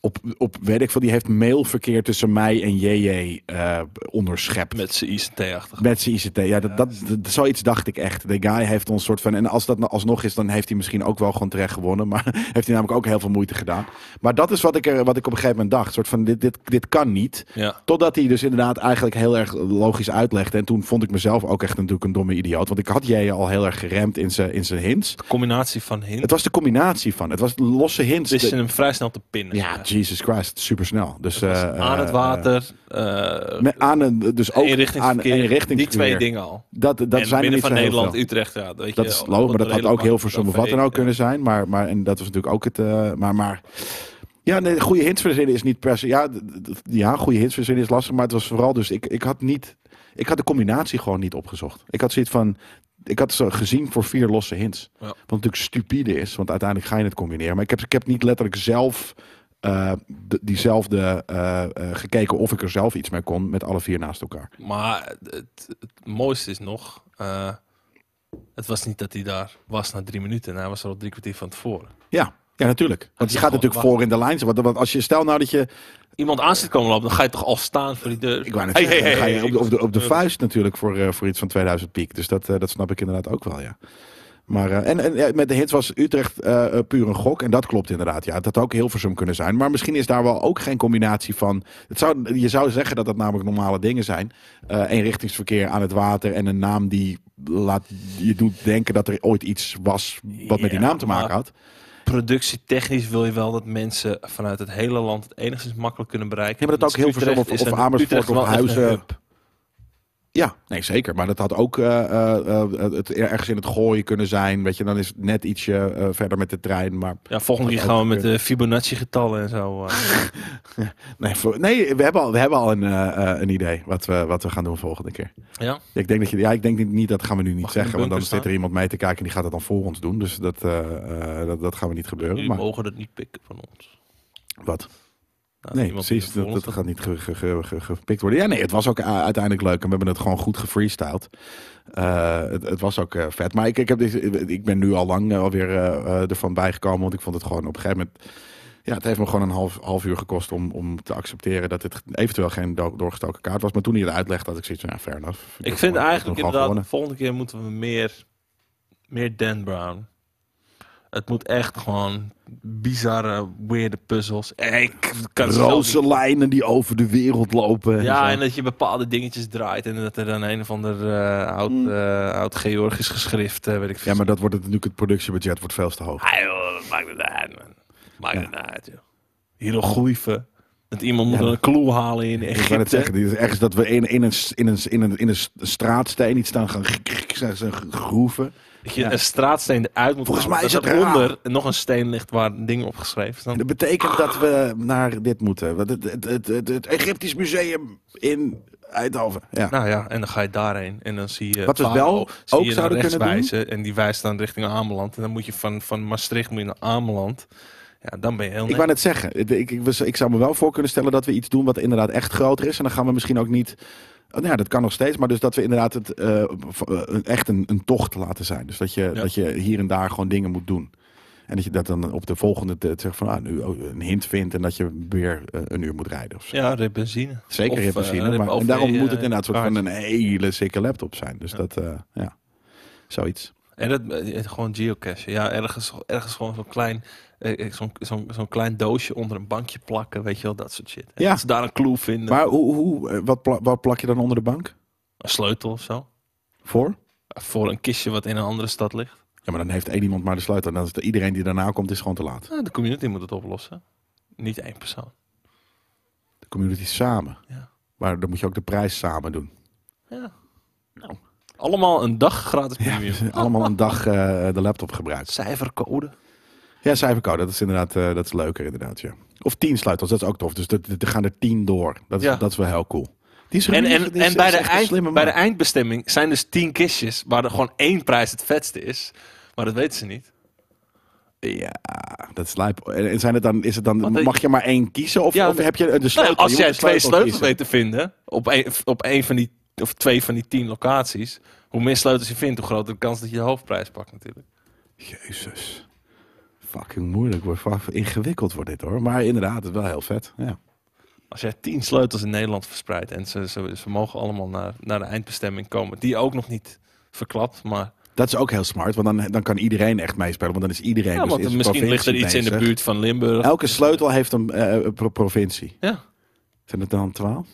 Speaker 2: Op, op weet ik veel, die heeft mailverkeer tussen mij en JJ eh onderschept.
Speaker 1: Met zijn ICT-achtig.
Speaker 2: Met zijn ICT. Ja, dat, dat, dat- zoiets dacht ik echt. De guy heeft ons soort van. En als dat nou alsnog is, dan heeft hij misschien ook wel gewoon terecht gewonnen. Maar heeft hij namelijk ook heel veel moeite gedaan. Maar dat is wat ik, er, wat ik op een gegeven moment dacht. Soort van: dit, dit, dit kan niet.
Speaker 1: Ja.
Speaker 2: Totdat hij dus inderdaad eigenlijk heel erg logisch uitlegde. En toen vond ik mezelf ook echt natuurlijk een domme idioot. Want ik had jij al heel erg geremd in zijn in zijn hints.
Speaker 1: De combinatie van hint.
Speaker 2: Het was de combinatie van. Het was de losse hints.
Speaker 1: Wist je
Speaker 2: De-
Speaker 1: hem vrij snel te pinnen.
Speaker 2: ja, Jesus Christ. Super snel. Dus,
Speaker 1: Dus
Speaker 2: eh,
Speaker 1: aan
Speaker 2: eh,
Speaker 1: het water.
Speaker 2: eh,
Speaker 1: eh
Speaker 2: met- aan een, dus ook aan
Speaker 1: inrichtingsverkeer.
Speaker 2: een richting.
Speaker 1: Die twee dingen al.
Speaker 2: Dat, dat
Speaker 1: en
Speaker 2: zijn
Speaker 1: binnen
Speaker 2: er niet
Speaker 1: van
Speaker 2: zo heel
Speaker 1: Nederland,
Speaker 2: veel.
Speaker 1: Utrecht. Ja, weet
Speaker 2: Dat
Speaker 1: je,
Speaker 2: is
Speaker 1: op-
Speaker 2: low,
Speaker 1: op
Speaker 2: maar dat
Speaker 1: een
Speaker 2: had ook
Speaker 1: redelijk
Speaker 2: heel versommen wat en ook
Speaker 1: makkelijk
Speaker 2: kunnen
Speaker 1: café.
Speaker 2: zijn. Maar, maar en dat was natuurlijk ook het. eh, maar, maar ja, nee, goede hints verzinnen is niet per se. Ja, d- d- ja, goede hints verzinnen is lastig, maar het was vooral dus ik, ik had niet. Ik had de combinatie gewoon niet opgezocht. Ik had zoiets van. Ik had ze gezien voor vier losse hints.
Speaker 1: Ja.
Speaker 2: Wat natuurlijk stupide is, want uiteindelijk ga je het combineren. Maar ik heb, ik heb niet letterlijk zelf eh, d- diezelfde eh, eh, gekeken of ik er zelf iets mee kon met alle vier naast elkaar.
Speaker 1: eh, Maar het, het- het mooiste is nog, eh, het was niet dat hij daar was na drie minuten. Hij was er al drie kwartier van tevoren.
Speaker 2: Ja, ja natuurlijk. Want
Speaker 1: is
Speaker 2: je gaat
Speaker 1: gewoon
Speaker 2: natuurlijk voor in de lijn. Want, want als je stel nou dat je
Speaker 1: Iemand aan zit komen lopen, dan ga je toch al staan voor die deur.
Speaker 2: Ik wou net
Speaker 1: Hey,
Speaker 2: zeggen,
Speaker 1: hey,
Speaker 2: dan ga
Speaker 1: hey,
Speaker 2: je op,
Speaker 1: hey,
Speaker 2: de, op, de, op de
Speaker 1: ik-
Speaker 2: vuist natuurlijk voor, eh, voor iets van 2000 piek. Dus dat, eh, dat snap ik inderdaad ook wel, ja. Maar, eh, en, en ja, met de hits was Utrecht eh, eh, puur een gok. En dat klopt inderdaad. Ja, het had ook Hilversum kunnen zijn. Maar misschien is daar wel ook geen combinatie van. Het zou, je zou zeggen dat dat namelijk normale dingen zijn. Eh eenrichtingsverkeer aan het water en een naam die laat, je doet denken dat er ooit iets was wat met die
Speaker 1: Ja,
Speaker 2: naam te maken
Speaker 1: maar-
Speaker 2: had.
Speaker 1: Productietechnisch wil je wel dat mensen vanuit het hele land het enigszins makkelijk kunnen bereiken.
Speaker 2: Ja, maar dat
Speaker 1: Dus
Speaker 2: ook Hilversum
Speaker 1: Utrecht
Speaker 2: of-
Speaker 1: is
Speaker 2: of
Speaker 1: een-
Speaker 2: Amersfoort
Speaker 1: Utrecht
Speaker 2: of
Speaker 1: wel echt een
Speaker 2: Huizen.
Speaker 1: hub.
Speaker 2: Ja, nee, zeker. Maar dat had ook eh, eh, eh, het ergens in het gooien kunnen zijn. Weet je, dan is het net ietsje eh, verder met de trein. Maar
Speaker 1: Ja, volgende keer
Speaker 2: Dat
Speaker 1: gaan we
Speaker 2: ook
Speaker 1: met de Fibonacci-getallen en zo. eh.
Speaker 2: nee, voor- nee we, hebben al, we hebben al een, eh, eh, een idee wat we, wat we gaan doen volgende keer.
Speaker 1: ja,
Speaker 2: Ik denk dat je, ja, ik denk niet- niet dat gaan we nu niet
Speaker 1: Mag ik in de
Speaker 2: zeggen. Want dan
Speaker 1: bunker staan?
Speaker 2: zit er iemand mee te kijken en die gaat het dan voor ons doen. Dus dat, eh, eh, dat, dat gaan we niet gebeuren.
Speaker 1: jullie
Speaker 2: Maar
Speaker 1: mogen dat niet pikken van ons.
Speaker 2: wat?
Speaker 1: Nou,
Speaker 2: Nee,
Speaker 1: iemand
Speaker 2: precies.
Speaker 1: die er
Speaker 2: Dat,
Speaker 1: voor
Speaker 2: dat
Speaker 1: ons
Speaker 2: gaat niet ge- ge- ge- ge- gepikt worden. Ja, nee, het was ook eh, uiteindelijk leuk. En we hebben het gewoon goed gefreestyled. Eh, het, het was ook eh, vet. Maar ik, ik, heb dit, ik ben nu al lang eh, alweer eh, eh, ervan bijgekomen. Want ik vond het gewoon op een gegeven moment... Ja, het heeft me gewoon een half, half uur gekost om, om te accepteren dat het eventueel geen do- doorgestoken kaart was. Maar toen hij het uitlegde, had ik zoiets van, ja, fair enough.
Speaker 1: Ik vind eigenlijk
Speaker 2: gewoon
Speaker 1: inderdaad, de
Speaker 2: gewonnen.
Speaker 1: volgende keer moeten we meer, meer Dan Brown. Het moet echt gewoon bizarre, weirde puzzels. En Ik kan het zelf
Speaker 2: Roze
Speaker 1: niet-
Speaker 2: lijnen die over de wereld lopen. en zo.
Speaker 1: Ja, en dat je bepaalde dingetjes draait. En dat er dan een of ander eh, oud, eh, oud Georgisch geschrift, eh, weet ik veel.
Speaker 2: ja, maar dat wordt het, natuurlijk het productiebudget wordt veel te hoog.
Speaker 1: Ah, joh, wat maakt het uit, man. Maakt het uit, joh. Hieroglyphen. Dat iemand moet een clue halen in
Speaker 2: Ik kan het
Speaker 1: Egypte.
Speaker 2: zeggen, die is ergens dat we in, in, een, s- in, een, s- in, een, in een s- straatsteen iets staan gaan grik- grik- zeggen ze, groeven.
Speaker 1: Dat je een straatsteen eruit moet
Speaker 2: Volgens
Speaker 1: halen,
Speaker 2: mij
Speaker 1: dat
Speaker 2: is het
Speaker 1: eronder nog een steen ligt waar dingen op geschreven staan.
Speaker 2: Dat betekent dat we naar dit moeten. Want Het, het, het, het, het Egyptisch Museum in Eindhoven. Ja.
Speaker 1: Nou ja, en dan ga je daarheen en dan zie je...
Speaker 2: Wat we
Speaker 1: Faro,
Speaker 2: wel
Speaker 1: zie
Speaker 2: ook
Speaker 1: je
Speaker 2: zouden
Speaker 1: naar rechts
Speaker 2: kunnen doen?
Speaker 1: wijzen En die wijst dan richting Ameland. En dan moet je van, van Maastricht moet je naar Ameland. Ja, dan ben je heel
Speaker 2: Ik wou net zeggen, het- ik, ik, was- ik zou me wel voor kunnen stellen dat we iets doen wat inderdaad echt groter is. En dan gaan we misschien ook niet. oh, Nou ja, dat kan nog steeds, maar dus dat we inderdaad het, eh, v- eh, echt een, een tocht laten zijn. Dus dat je, dat je hier en daar gewoon dingen moet doen. En dat je dat dan op de volgende eh, zegt van ah, nu oh, een hint vindt en dat je weer eh, een uur moet rijden. Of zo.
Speaker 1: Ja, rib benzine.
Speaker 2: Zeker
Speaker 1: Of,
Speaker 2: in benzine,
Speaker 1: eh, rib
Speaker 2: maar
Speaker 1: OV,
Speaker 2: en daarom moet het
Speaker 1: eh,
Speaker 2: inderdaad soort van
Speaker 1: kaart.
Speaker 2: een hele sikke laptop zijn. Dus dat, eh, ja, zoiets.
Speaker 1: En dat, eh, gewoon geocache. Ja, ergens, ergens gewoon zo'n klein, eh, eh, zo'n zo'n zo'n klein doosje onder een bankje plakken. Weet je wel, dat soort shit. En
Speaker 2: Ja.
Speaker 1: Als ze daar een clue vinden.
Speaker 2: Maar hoe, hoe, eh, wat, pla- wat plak je dan onder de bank?
Speaker 1: Een sleutel of zo.
Speaker 2: Voor?
Speaker 1: Voor een kistje wat in een andere stad ligt.
Speaker 2: Ja, maar dan heeft één iemand maar de sleutel. En dan is het- iedereen die daarna komt is gewoon te laat.
Speaker 1: Nou, de community moet het oplossen. Niet één persoon.
Speaker 2: De community samen.
Speaker 1: Ja.
Speaker 2: Maar dan moet je ook de prijs samen doen.
Speaker 1: Ja. Nou. Allemaal een dag gratis premium.
Speaker 2: dus Allemaal een dag eh, de laptop gebruiken.
Speaker 1: Cijfercode.
Speaker 2: Ja, cijfercode, dat is inderdaad eh, dat is leuker inderdaad, ja. Of tien sluitels, dat is ook tof. Dus dat- dat- er gaan er tien door. Dat is,
Speaker 1: Ja.
Speaker 2: dat is wel heel cool. Die is
Speaker 1: En,
Speaker 2: ruzie,
Speaker 1: en,
Speaker 2: die is-
Speaker 1: en bij,
Speaker 2: is
Speaker 1: de
Speaker 2: echt een slimme
Speaker 1: eind, bij de
Speaker 2: man.
Speaker 1: eindbestemming zijn dus tien kistjes waar er gewoon één prijs het vetste is. Maar dat weten ze niet.
Speaker 2: Ja, dat is lijp. En en zijn het dan, is het dan,
Speaker 1: Want, eh,
Speaker 2: mag je maar één kiezen? Of,
Speaker 1: Ja,
Speaker 2: of heb je de
Speaker 1: Nou ja,
Speaker 2: sleutel?
Speaker 1: als
Speaker 2: Je
Speaker 1: jij
Speaker 2: moet de
Speaker 1: twee sleutels
Speaker 2: kiezen.
Speaker 1: weet te vinden op één op één van die of twee van die tien locaties, hoe meer sleutels je vindt, hoe groter de kans dat je de hoofdprijs pakt natuurlijk.
Speaker 2: Jezus. Fucking moeilijk. wordt. Fuck, Ingewikkeld wordt dit hoor. Maar inderdaad, het is wel heel vet. Ja.
Speaker 1: Als jij tien sleutels in Nederland verspreidt en ze, ze, ze mogen allemaal naar, naar de eindbestemming komen, die ook nog niet verklapt, maar
Speaker 2: Dat is ook heel smart, want dan, dan kan iedereen echt meespelen. Want dan is iedereen.
Speaker 1: ja,
Speaker 2: dus
Speaker 1: want
Speaker 2: is
Speaker 1: misschien ligt er
Speaker 2: provincie
Speaker 1: iets in de
Speaker 2: bezig.
Speaker 1: buurt van Limburg.
Speaker 2: Elke sleutel heeft een eh, pro- provincie.
Speaker 1: Ja,
Speaker 2: Zijn het dan 12?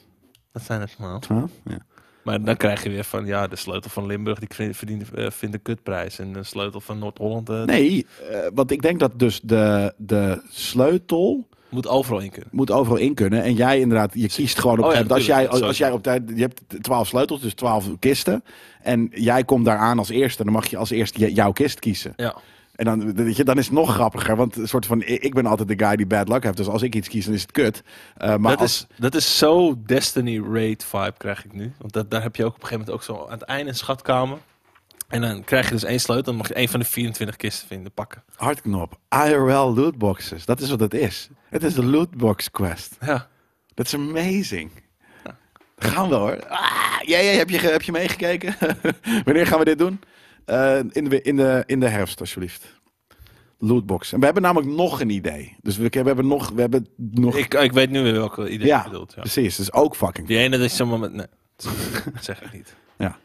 Speaker 1: dat zijn het maar.
Speaker 2: 12? Ja.
Speaker 1: Maar dan krijg je weer van, ja, de sleutel van Limburg die kri- verdient, eh, vindt een kutprijs. En de sleutel van Noord-Holland eh,
Speaker 2: Nee, eh, want ik denk dat dus de, de sleutel
Speaker 1: moet overal in kunnen.
Speaker 2: moet overal in kunnen. En jij inderdaad, je kiest gewoon op
Speaker 1: Oh ja,
Speaker 2: een gegeven moment.
Speaker 1: natuurlijk.
Speaker 2: als jij, als jij op tijd, je hebt 12 sleutels, dus 12 kisten. En jij komt daar aan als eerste, dan mag je als eerste j- jouw kist kiezen.
Speaker 1: Ja.
Speaker 2: En dan, weet je, dan is het nog grappiger, want een soort van, ik ik ben altijd de guy die bad luck heeft. Dus als ik iets kies, dan is het kut. Eh, maar
Speaker 1: Dat,
Speaker 2: als,
Speaker 1: is, dat is zo Destiny Raid vibe krijg ik nu. Want dat, daar heb je ook op een gegeven moment ook zo aan het einde een schatkamer. En dan krijg je dus één sleutel. Dan mag je één van de 24 kisten vinden pakken.
Speaker 2: Hartknop. IRL lootboxes. Dat is wat het is. Het is de lootbox quest.
Speaker 1: Ja.
Speaker 2: Dat is amazing. Gaan we hoor. Ah, ja, ja, heb, je, ge- heb je meegekeken? Wanneer gaan we dit doen? Eh, in, de, in, de, in de herfst, alsjeblieft. Lootbox. En we hebben namelijk nog een idee. Dus we, we hebben nog... We hebben nog
Speaker 1: Ik, ik weet nu weer welke idee je
Speaker 2: ja, Dus-
Speaker 1: bedoelt. Ja.
Speaker 2: precies. Dat is ook fucking...
Speaker 1: Die ene dat is zomaar met... Nee, dat zeg ik niet.
Speaker 2: Ja.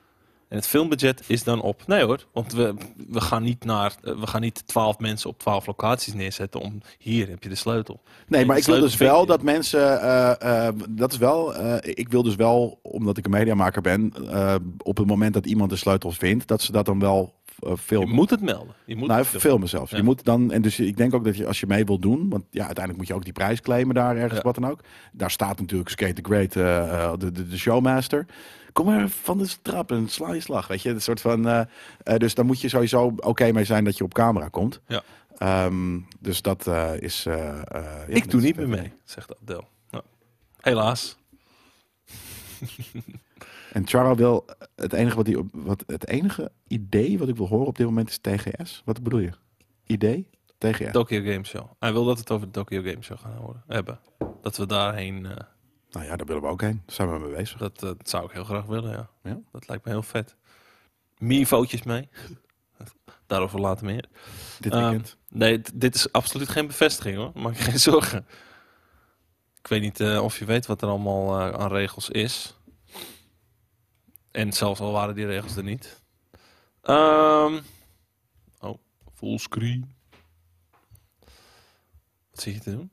Speaker 1: En het filmbudget is dan op. Nee hoor, want we, we gaan niet naar, eh, we gaan niet twaalf mensen op twaalf locaties neerzetten om hier heb je de sleutel.
Speaker 2: Nee,
Speaker 1: En
Speaker 2: maar
Speaker 1: die
Speaker 2: ik wil
Speaker 1: sleutel
Speaker 2: dus
Speaker 1: vind
Speaker 2: wel
Speaker 1: je.
Speaker 2: dat mensen. eh, eh, dat is wel. eh, ik wil dus wel, omdat ik een mediamaker ben. eh, op het moment dat iemand de sleutels vindt, dat ze dat dan wel eh,
Speaker 1: Je
Speaker 2: filmen.
Speaker 1: moet het melden. Je moet
Speaker 2: nou,
Speaker 1: het doen.
Speaker 2: filmen zelfs.
Speaker 1: Ja.
Speaker 2: Je moet dan. En dus ik denk ook dat je als je mee wilt doen. Want ja, uiteindelijk moet je ook die prijs claimen daar ergens,
Speaker 1: Ja.
Speaker 2: wat dan ook. Daar staat natuurlijk Skate the Great, eh, eh, de, de, de showmaster. Kom maar van de trap en sla je slag. Weet je, een soort van. eh, eh, dus daar moet je sowieso oké mee zijn dat je op camera komt.
Speaker 1: Ja.
Speaker 2: Ehm, dus dat eh, is. eh, eh, ja,
Speaker 1: Ik
Speaker 2: dat
Speaker 1: doe
Speaker 2: is
Speaker 1: niet
Speaker 2: vet.
Speaker 1: meer mee, zegt Abdel. Nou, helaas.
Speaker 2: En Charo wil het enige wat hij op, wat het enige idee wat ik wil horen op dit moment is TGS. Wat bedoel je? Idee? TGS.
Speaker 1: Tokyo Game Show. Hij wil dat we het over de Tokyo Game Show gaan horen, hebben. Dat we daarheen, eh,
Speaker 2: nou ja, daar willen we ook heen. Daar zijn we mee bezig.
Speaker 1: dat, eh, dat zou ik heel graag willen, ja.
Speaker 2: Ja?
Speaker 1: Dat lijkt me heel vet. Mivootjes mee. Daarover later meer.
Speaker 2: Dit
Speaker 1: Ehm,
Speaker 2: weekend.
Speaker 1: nee, d- dit is absoluut geen bevestiging hoor. Maak je geen zorgen. Ik weet niet eh, of je weet wat er allemaal eh, aan regels is. En zelfs al waren die regels er niet. Ehm oh, fullscreen. Wat zit je te doen?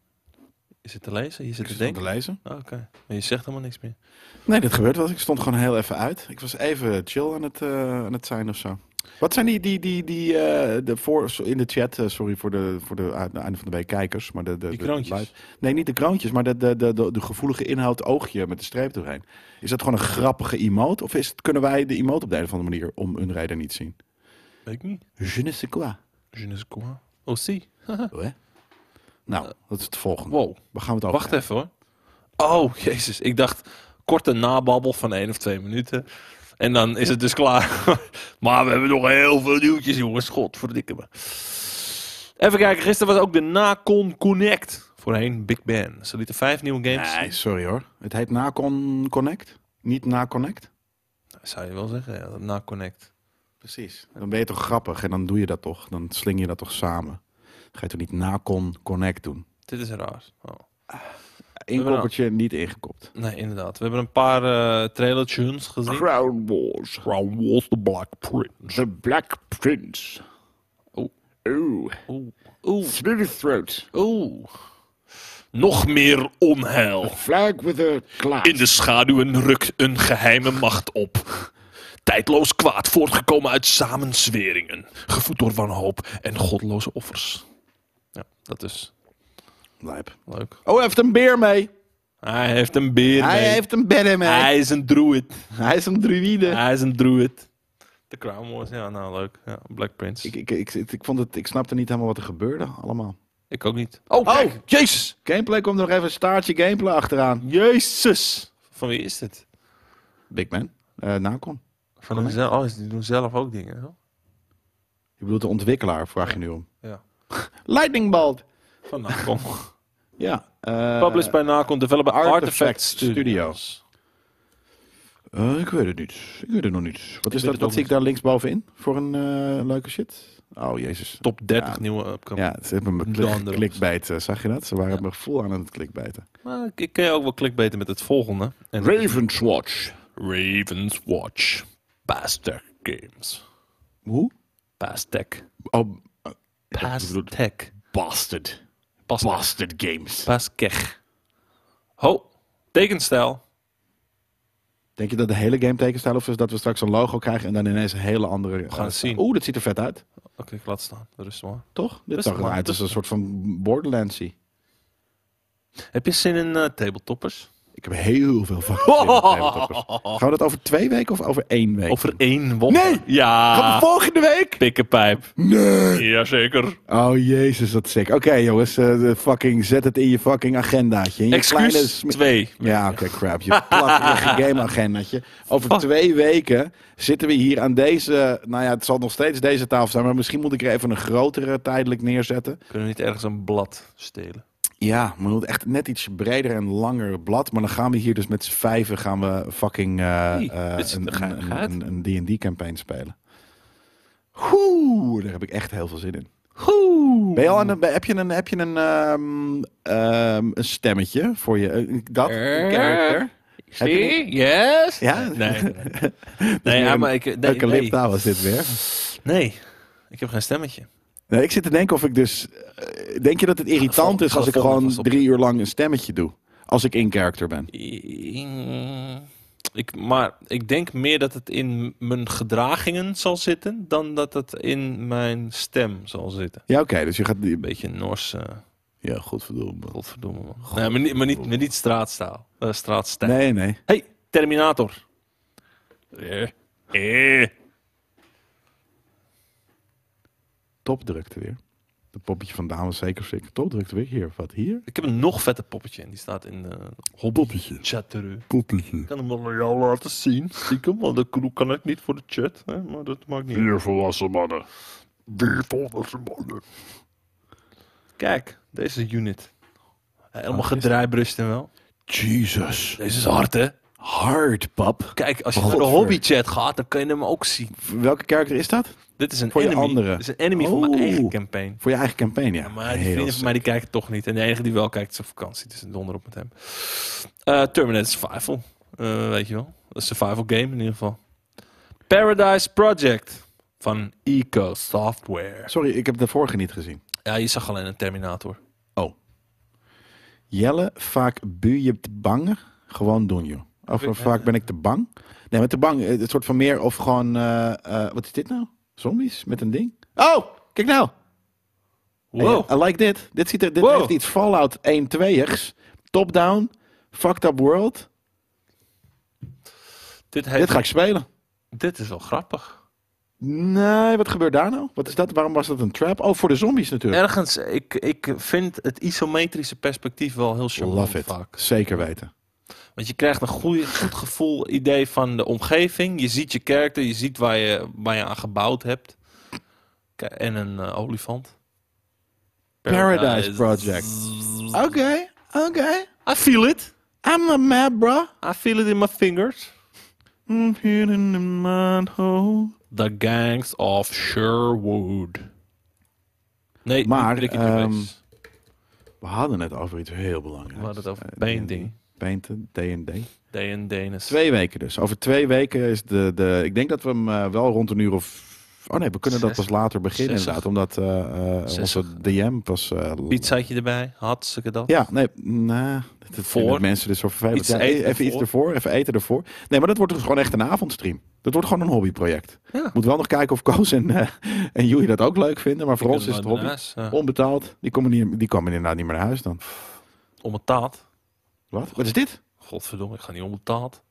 Speaker 1: Is het te lezen? Je zit te
Speaker 2: ik stond
Speaker 1: denken?
Speaker 2: te lezen.
Speaker 1: Oh, Oké, maar je zegt helemaal niks meer.
Speaker 2: Nee, dit gebeurt wel. eens. Ik stond gewoon heel even uit. Ik was even chill aan het, eh, aan het zijn of zo. Wat zijn die, die, die, die eh, de voor, in de chat, eh, sorry voor de, voor de aan- einde van de week kijkers. Maar de, de,
Speaker 1: Die
Speaker 2: de-
Speaker 1: kroontjes.
Speaker 2: live- nee, niet de kroontjes, maar de, de, de, de, de gevoelige inhoud oogje met de streep doorheen. Is dat gewoon een grappige emote? Of is het, kunnen wij de emote op de een of andere manier om een rijder niet zien?
Speaker 1: Weet ik niet.
Speaker 2: Je ne sais quoi.
Speaker 1: Je ne sais quoi. Oh, zie.
Speaker 2: Hè? Nou, dat is het volgende.
Speaker 1: Wow.
Speaker 2: We gaan het over.
Speaker 1: Wacht even hoor. Oh, jezus. Ik dacht, korte nababbel van één of twee minuten. En dan is het dus klaar. maar we hebben nog heel veel nieuwtjes, jongens. Godverdikke me. Even kijken, gisteren was ook de Nacon Connect. Voorheen Big Ben. Ze lieten vijf nieuwe games zien.
Speaker 2: Nee, sorry hoor. Het heet Nacon Connect. Niet Naconnect.
Speaker 1: Zou je wel zeggen, ja, na Connect.
Speaker 2: Precies. Dan ben je toch grappig en dan doe je dat toch. Dan sling je dat toch samen. Ga je toch niet Nacon Connect doen?
Speaker 1: Dit is raar. Oh.
Speaker 2: Eén
Speaker 1: hebben
Speaker 2: koppertje niet ingekopt.
Speaker 1: Nee, inderdaad. We hebben een paar eh trailer tunes gezien.
Speaker 4: Crown Wars.
Speaker 1: Crown Wars The Black Prince.
Speaker 4: The Black Prince.
Speaker 1: Oh.
Speaker 4: Oeh.
Speaker 1: Oeh, oeh,
Speaker 4: Smooth throat.
Speaker 1: oeh. Nog meer onheil.
Speaker 4: Flag with a cloud.
Speaker 1: In de schaduwen rukt een geheime macht op. Tijdloos kwaad voortgekomen uit samenzweringen. Gevoed door wanhoop en godloze offers. Ja, dat is
Speaker 2: Lijp.
Speaker 1: leuk.
Speaker 2: Oh, hij heeft een beer mee.
Speaker 1: Hij heeft een beer
Speaker 2: Hij
Speaker 1: mee.
Speaker 2: heeft een bedden mee. Hij,
Speaker 1: Hij is een druid.
Speaker 2: is een druïde.
Speaker 1: Hij is een druid. De Crown Wars, ja, nou leuk. Ja, Black Prince.
Speaker 2: Ik, ik, ik, ik, vond het, ik snapte niet helemaal wat er gebeurde allemaal.
Speaker 1: Ik ook niet. Oh, kijk, Jezus!
Speaker 2: Gameplay komt er nog even een staartje gameplay achteraan.
Speaker 1: Jezus! Van wie is dit?
Speaker 2: Big man. Eh Nacon.
Speaker 1: Van hemzelf. Oh, die doen zelf ook dingen. Hoor.
Speaker 2: Je bedoelt de ontwikkelaar, vraag je nu om.
Speaker 1: Ja.
Speaker 2: Lightning Bolt.
Speaker 1: Van Nacon.
Speaker 2: Ja. eh,
Speaker 1: Published bij Nacon, developed by Artifact,
Speaker 2: Artifact
Speaker 1: Studios.
Speaker 2: Studios. eh, ik weet het niet. Ik weet het nog niet. Wat, is
Speaker 1: het
Speaker 2: dat,
Speaker 1: ook
Speaker 2: wat zie ik
Speaker 1: niet.
Speaker 2: daar linksbovenin voor een eh, leuke shit? Oh, jezus.
Speaker 1: Top 30
Speaker 2: Ja.
Speaker 1: nieuwe upcoming.
Speaker 2: Ja, ze hebben me
Speaker 1: Dan
Speaker 2: klik,
Speaker 1: erop.
Speaker 2: klikbijten. Zag je dat? Ze waren me vol aan het klikbijten.
Speaker 1: Maar ik, ik kan je ook wel clickbaiten met het volgende. En
Speaker 4: Ravenswatch.
Speaker 1: Ravens Watch. Pastec Games.
Speaker 2: Hoe?
Speaker 1: Pastec.
Speaker 2: Oh,
Speaker 1: Pastec.
Speaker 3: Bastard.
Speaker 1: Pastec.
Speaker 3: Bastard games.
Speaker 1: Pastec. Ho. Tekenstijl.
Speaker 2: Denk je dat de hele game tekenstijl of is dat we straks een logo krijgen en dan ineens een hele andere... We
Speaker 1: gaan het zien.
Speaker 2: Oeh, dat ziet er vet uit.
Speaker 1: Oké, ik laat staan. Rustig maar.
Speaker 2: Toch? Dit
Speaker 1: Rustig
Speaker 2: zag
Speaker 1: maar,
Speaker 2: eruit als een
Speaker 1: rustig.
Speaker 2: soort van borderlands
Speaker 1: Heb je zin in eh, tabletoppers?
Speaker 2: Ik heb heel veel van. gezien met tabletoppers. Gaan we dat over twee weken of over één week?
Speaker 1: Over Ah. één wop.
Speaker 2: Nee! Gaan we
Speaker 1: Ja.
Speaker 2: volgende week?
Speaker 1: Pikkenpijp.
Speaker 2: Nee.
Speaker 1: Jazeker.
Speaker 2: Oh, jezus, dat is sick. Oké, jongens, eh, de fucking, zet het in je fucking agendaatje. In je kleine
Speaker 1: Excuus
Speaker 2: sm-
Speaker 1: 2.
Speaker 2: Ja, oké, crap. Je plakkerige gameagendatje. Over twee weken zitten we hier aan deze... Nou ja, het zal nog steeds deze tafel zijn, maar misschien moet ik er even een grotere tijdelijk neerzetten.
Speaker 1: Kunnen we niet ergens een blad stelen?
Speaker 2: Ja, maar moet echt net iets breder en langer blad. Maar dan gaan we hier dus met z'n vijven gaan we fucking eh,
Speaker 1: Hey,
Speaker 2: eh,
Speaker 1: dit is de
Speaker 2: een- een-
Speaker 1: geinigheid.
Speaker 2: een- een D&D-campaign spelen. Oeh, daar heb ik echt heel veel zin in. Ben je al aan de- heb je een, heb je een, ehm, ehm, een stemmetje voor je? eh, Dat? Een character? Heb je die?
Speaker 1: Yes?
Speaker 2: Ja?
Speaker 1: Nee. Nee,
Speaker 2: Dus
Speaker 1: nee,
Speaker 2: weer
Speaker 1: ja,
Speaker 2: een
Speaker 1: maar ik... Nee, nee.
Speaker 2: Eucalypta was dit weer.
Speaker 1: Nee. Ik heb geen stemmetje.
Speaker 2: Nee, ik zit te denken of ik dus... eh, Denk je dat het irritant
Speaker 1: Ga-
Speaker 2: is
Speaker 1: ga
Speaker 2: als ik
Speaker 1: volgende
Speaker 2: gewoon
Speaker 1: vast op.
Speaker 2: drie uur lang een stemmetje doe? Als ik in character ben.
Speaker 1: Ik, maar ik denk meer dat het in mijn gedragingen zal zitten... dan dat het in mijn stem zal zitten.
Speaker 2: Ja, oké, dus je gaat...
Speaker 1: Een beetje Norse... eh,
Speaker 2: Ja, godverdomme.
Speaker 1: Godverdomme, man. Nee, maar niet, maar niet, maar niet straatstaal. Eh, straatstijl.
Speaker 2: Nee, nee.
Speaker 1: Hey, Terminator. Eh. Eh.
Speaker 2: Topdrukte weer. De poppetje van dames zeker sick. Topdrukte weer hier. Wat hier?
Speaker 1: Ik heb een nog vetter poppetje en die staat in de
Speaker 2: Poppetje.
Speaker 1: chat terug.
Speaker 2: Poppetje.
Speaker 1: Ik kan hem wel aan jou laten zien, stiekem, want dat kan- kan ik niet voor de chat. Hè? Maar dat maakt niet uit.
Speaker 4: Vier volwassen mannen.
Speaker 1: Weer volwassen mannen. Kijk, deze unit. Helemaal gedrijbrust en wel.
Speaker 2: Jesus.
Speaker 1: Deze is hard, hè?
Speaker 2: Hard, pap.
Speaker 1: Kijk, als je naar
Speaker 2: Oh, Godver.
Speaker 1: de hobbychat gaat, dan kan je hem ook zien.
Speaker 2: Welke karakter is dat?
Speaker 1: Dit is een
Speaker 2: Voor je
Speaker 1: enemy.
Speaker 2: anderen.
Speaker 1: Dit is een enemy van mijn
Speaker 2: Oh.
Speaker 1: eigen campaign.
Speaker 2: Voor je eigen campagne. Ja,
Speaker 1: Ja, maar die vrienden van mij die kijken toch niet. En de enige die wel kijkt is op vakantie. Dus een donder op met hem. Eh, Terminator Survival. Eh, weet je wel. Een survival game in ieder geval. Paradise Project. Van Eco Software.
Speaker 2: Sorry, ik heb de vorige niet gezien.
Speaker 1: Ja, je zag alleen een Terminator.
Speaker 2: Jelle, vaak buur je te bangen. Gewoon doen, joh. Of
Speaker 1: Ik-
Speaker 2: vaak ben ik te bang. Nee, maar te bang. eh, Een soort van meer of gewoon... eh, eh, wat is dit nou? Zombies met een ding? Oh, kijk nou.
Speaker 1: Wow.
Speaker 2: Hey, I like dit. Dit, ziet er, dit
Speaker 1: Wow.
Speaker 2: heeft iets Fallout 1-2-igs. Top-down. Fucked up world.
Speaker 1: Dit, heeft,
Speaker 2: Dit ga ik spelen.
Speaker 1: dit is wel grappig.
Speaker 2: Nee, wat gebeurt daar nou? Wat is dat? Waarom was dat een trap? Oh, voor de zombies natuurlijk.
Speaker 1: Ergens, ik, ik vind het isometrische perspectief wel heel charmant
Speaker 2: Love it.
Speaker 1: vaak.
Speaker 2: Zeker weten.
Speaker 1: Want je krijgt een goeie, goed gevoel idee van de omgeving. Je ziet je karakter, je ziet waar je, waar je aan gebouwd hebt. K- En een eh, olifant.
Speaker 2: Paradise Project. Oké, oké.
Speaker 1: I feel it.
Speaker 2: I'm a mad bro.
Speaker 1: I feel it in my fingers.
Speaker 2: I'm here in the oh. manhole.
Speaker 1: The Gangs of Sherwood. Nee,
Speaker 2: Maar,
Speaker 1: niet Ricky
Speaker 2: ehm,
Speaker 1: Gervais.
Speaker 2: We hadden het over iets heel belangrijks.
Speaker 1: we hadden het over
Speaker 2: Eh,
Speaker 1: painting.
Speaker 2: Painten, D&D.
Speaker 1: D&D. Dennis.
Speaker 2: Twee weken dus. Over twee weken is de... de ik denk dat we hem eh, wel rond een uur of... Oh nee, we kunnen dat
Speaker 1: Zes-
Speaker 2: pas later beginnen
Speaker 1: zestig.
Speaker 2: inderdaad. Omdat eh, eh,
Speaker 1: Zestig.
Speaker 2: onze DM pas... eh, l-
Speaker 1: Pizzaatje erbij. Hartstikke dat.
Speaker 2: Ja, nee. nah, dat
Speaker 1: Voor.
Speaker 2: voor. mensen dus zo vervelend.
Speaker 1: Iets
Speaker 2: Ja,
Speaker 1: eten
Speaker 2: even iets
Speaker 1: ervoor.
Speaker 2: ervoor, even eten ervoor. Nee, maar dat wordt dus gewoon echt een avondstream. Dat wordt gewoon een hobbyproject.
Speaker 1: Ja.
Speaker 2: Moet wel nog kijken of Koos en, eh en Joey dat ook leuk vinden. Maar voor ons is het hobby.
Speaker 1: eh,
Speaker 2: Onbetaald. Die komen, niet, die komen inderdaad niet meer naar huis dan.
Speaker 1: Onbetaald.
Speaker 2: Wat? Wat is dit?
Speaker 1: Godverdomme, ik ga niet onbetaald.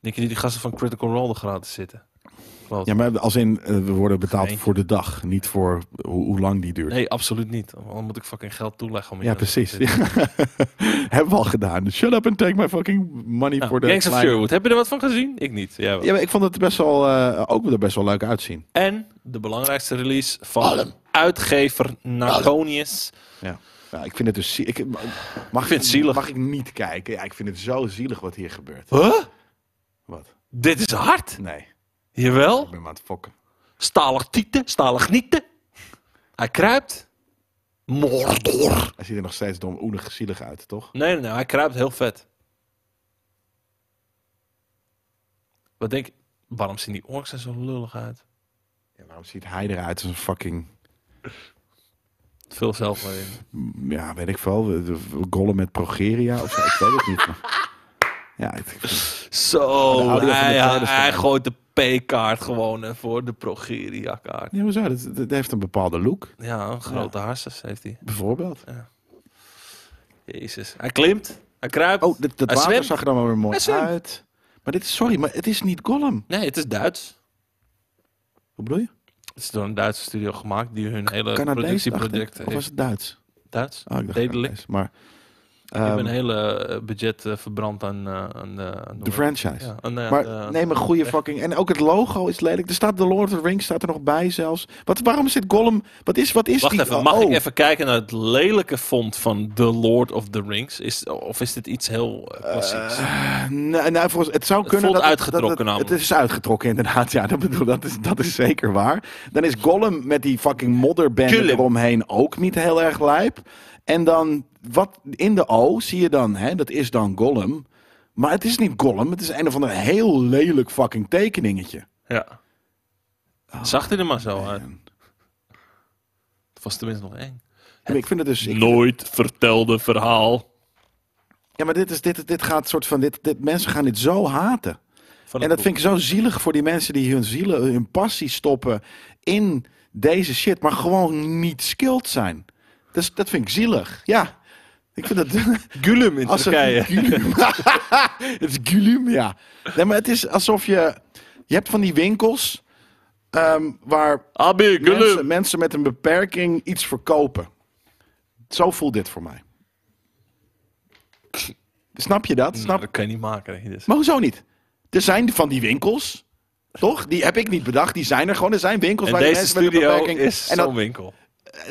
Speaker 1: Denk je dat die gasten van Critical Role er gratis zitten? Kloot.
Speaker 2: Ja, maar als in, eh, we worden betaald
Speaker 1: Geintje.
Speaker 2: voor de dag, niet voor hoe, hoe lang die duurt.
Speaker 1: Nee, absoluut niet. Dan moet ik fucking geld toeleggen om hier
Speaker 2: ja,
Speaker 1: te
Speaker 2: precies.
Speaker 1: zitten.
Speaker 2: Hebben we al gedaan. Shut up and take my fucking money
Speaker 1: Nou,
Speaker 2: voor de...
Speaker 1: Gangs of
Speaker 2: kleine-
Speaker 1: Sherwood. Heb je er wat van gezien? Ik niet. Jij wel.
Speaker 2: Ja, maar ik vond het best wel, eh, ook er best wel leuk uitzien.
Speaker 1: En de belangrijkste release van uitgever Naconius.
Speaker 2: Ja. Ja, ik vind het dus... zie- Ik, mag, ik
Speaker 1: vind het zielig.
Speaker 2: Mag ik niet kijken? Ja, ik vind het zo zielig wat hier gebeurt.
Speaker 1: Huh?
Speaker 2: Wat?
Speaker 1: Dit is hard.
Speaker 2: Nee, ik
Speaker 1: Jawel.
Speaker 2: ben maar aan het fokken.
Speaker 1: Stalig tieten, stalig nieten. Hij kruipt. Mordor.
Speaker 2: Hij ziet er nog steeds dom oenig zielig uit, toch?
Speaker 1: Nee, nee, nee, hij kruipt heel vet. Wat denk je? Waarom zien die orks er zo lullig uit?
Speaker 2: Ja, waarom ziet hij eruit als een fucking...
Speaker 1: Veel zelf maar in.
Speaker 2: mm, Ja, weet ik veel. de- de- Gollen met progeria of zo. Ik weet het niet. maar- Ja, ik ik-
Speaker 1: Zo,
Speaker 2: Maar de audio van de
Speaker 1: hij,
Speaker 2: trailer staat
Speaker 1: hij
Speaker 2: aan.
Speaker 1: gooit de P-kaart gewoon eh, voor de Progeria-kaart.
Speaker 2: Nee, hoezo? Dat, dat heeft een bepaalde look,
Speaker 1: Ja, een grote harses heeft hij.
Speaker 2: bijvoorbeeld.
Speaker 1: Jezus. Hij klimt, hij kruipt.
Speaker 2: Oh, dat, dat
Speaker 1: Hij
Speaker 2: water
Speaker 1: zwemt.
Speaker 2: zag er dan wel weer mooi
Speaker 1: Hij zwemt.
Speaker 2: uit. Maar dit is, sorry, maar het is niet Gollum.
Speaker 1: Nee, het is Duits.
Speaker 2: Wat bedoel je?
Speaker 1: Het is door een Duitse studio gemaakt die hun hele
Speaker 2: Canadees, dacht ik.
Speaker 1: Eh, productieproject
Speaker 2: Of was
Speaker 1: heeft.
Speaker 2: het Duits?
Speaker 1: Duits?
Speaker 2: Ah, ik dacht
Speaker 1: Dedelijk.
Speaker 2: Canadees, Maar
Speaker 1: Ik heb
Speaker 2: ehm,
Speaker 1: een hele eh, budget eh, verbrand aan, eh, aan de... aan
Speaker 2: de franchise.
Speaker 1: Ja, aan, eh, de-
Speaker 2: Maar neem een goede
Speaker 1: echt.
Speaker 2: fucking... En ook het logo is lelijk. Er staat The Lord of the Rings staat er nog bij zelfs. Wat, waarom zit Gollum... Wat is, wat is
Speaker 1: Wacht
Speaker 2: die...
Speaker 1: even, mag
Speaker 2: oh,
Speaker 1: ik even kijken naar het lelijke font van The Lord of the Rings? Is, of is dit iets heel eh, klassieks?
Speaker 2: Nee, nou, volgens, het zou kunnen
Speaker 1: voelt
Speaker 2: dat
Speaker 1: uitgetrokken
Speaker 2: dat het,
Speaker 1: namelijk.
Speaker 2: het is uitgetrokken inderdaad. Ja, dat bedoel dat is, dat is zeker waar. Dan is Gollum met die fucking modderband
Speaker 1: Gollum.
Speaker 2: eromheen ook niet heel erg lijp. En dan wat in de O zie je dan, hè, dat is dan Gollum. Maar het is niet Gollum, het is een of ander heel lelijk fucking tekeningetje.
Speaker 1: Ja.
Speaker 2: Ah,
Speaker 1: Zag hij er maar zo uit. Het was tenminste nog eng.
Speaker 2: Maar Ik vind het dus. ik-
Speaker 1: Nooit vertelde verhaal.
Speaker 2: ja, maar dit, is, dit, dit gaat soort van. Dit, dit, mensen gaan dit zo haten.
Speaker 1: Van
Speaker 2: En dat vind ik zo zielig voor die mensen die hun zielen, hun passie stoppen in deze shit, maar gewoon niet skilled zijn. Dat, is- dat vind ik zielig. Ja. Ik vind dat.
Speaker 1: Gulum in
Speaker 2: Als
Speaker 1: Turkije.
Speaker 2: Gulum. het is gulum, ja. Nee, maar het is alsof je. Je hebt van die winkels. ehm, waar
Speaker 1: Abi,
Speaker 2: mensen,
Speaker 1: Gulum.
Speaker 2: mensen met een beperking iets verkopen. Zo voelt dit voor mij. Snap je dat? Snap,
Speaker 1: Nou, dat kan je niet maken. hè, Dus.
Speaker 2: maar hoezo niet? Er zijn van die winkels, toch? Die heb ik niet bedacht. Die zijn er gewoon. Er zijn winkels
Speaker 1: En
Speaker 2: waar je
Speaker 1: deze
Speaker 2: mensen met een
Speaker 1: studio
Speaker 2: beperking...
Speaker 1: is
Speaker 2: en
Speaker 1: zo'n
Speaker 2: dat,
Speaker 1: winkel.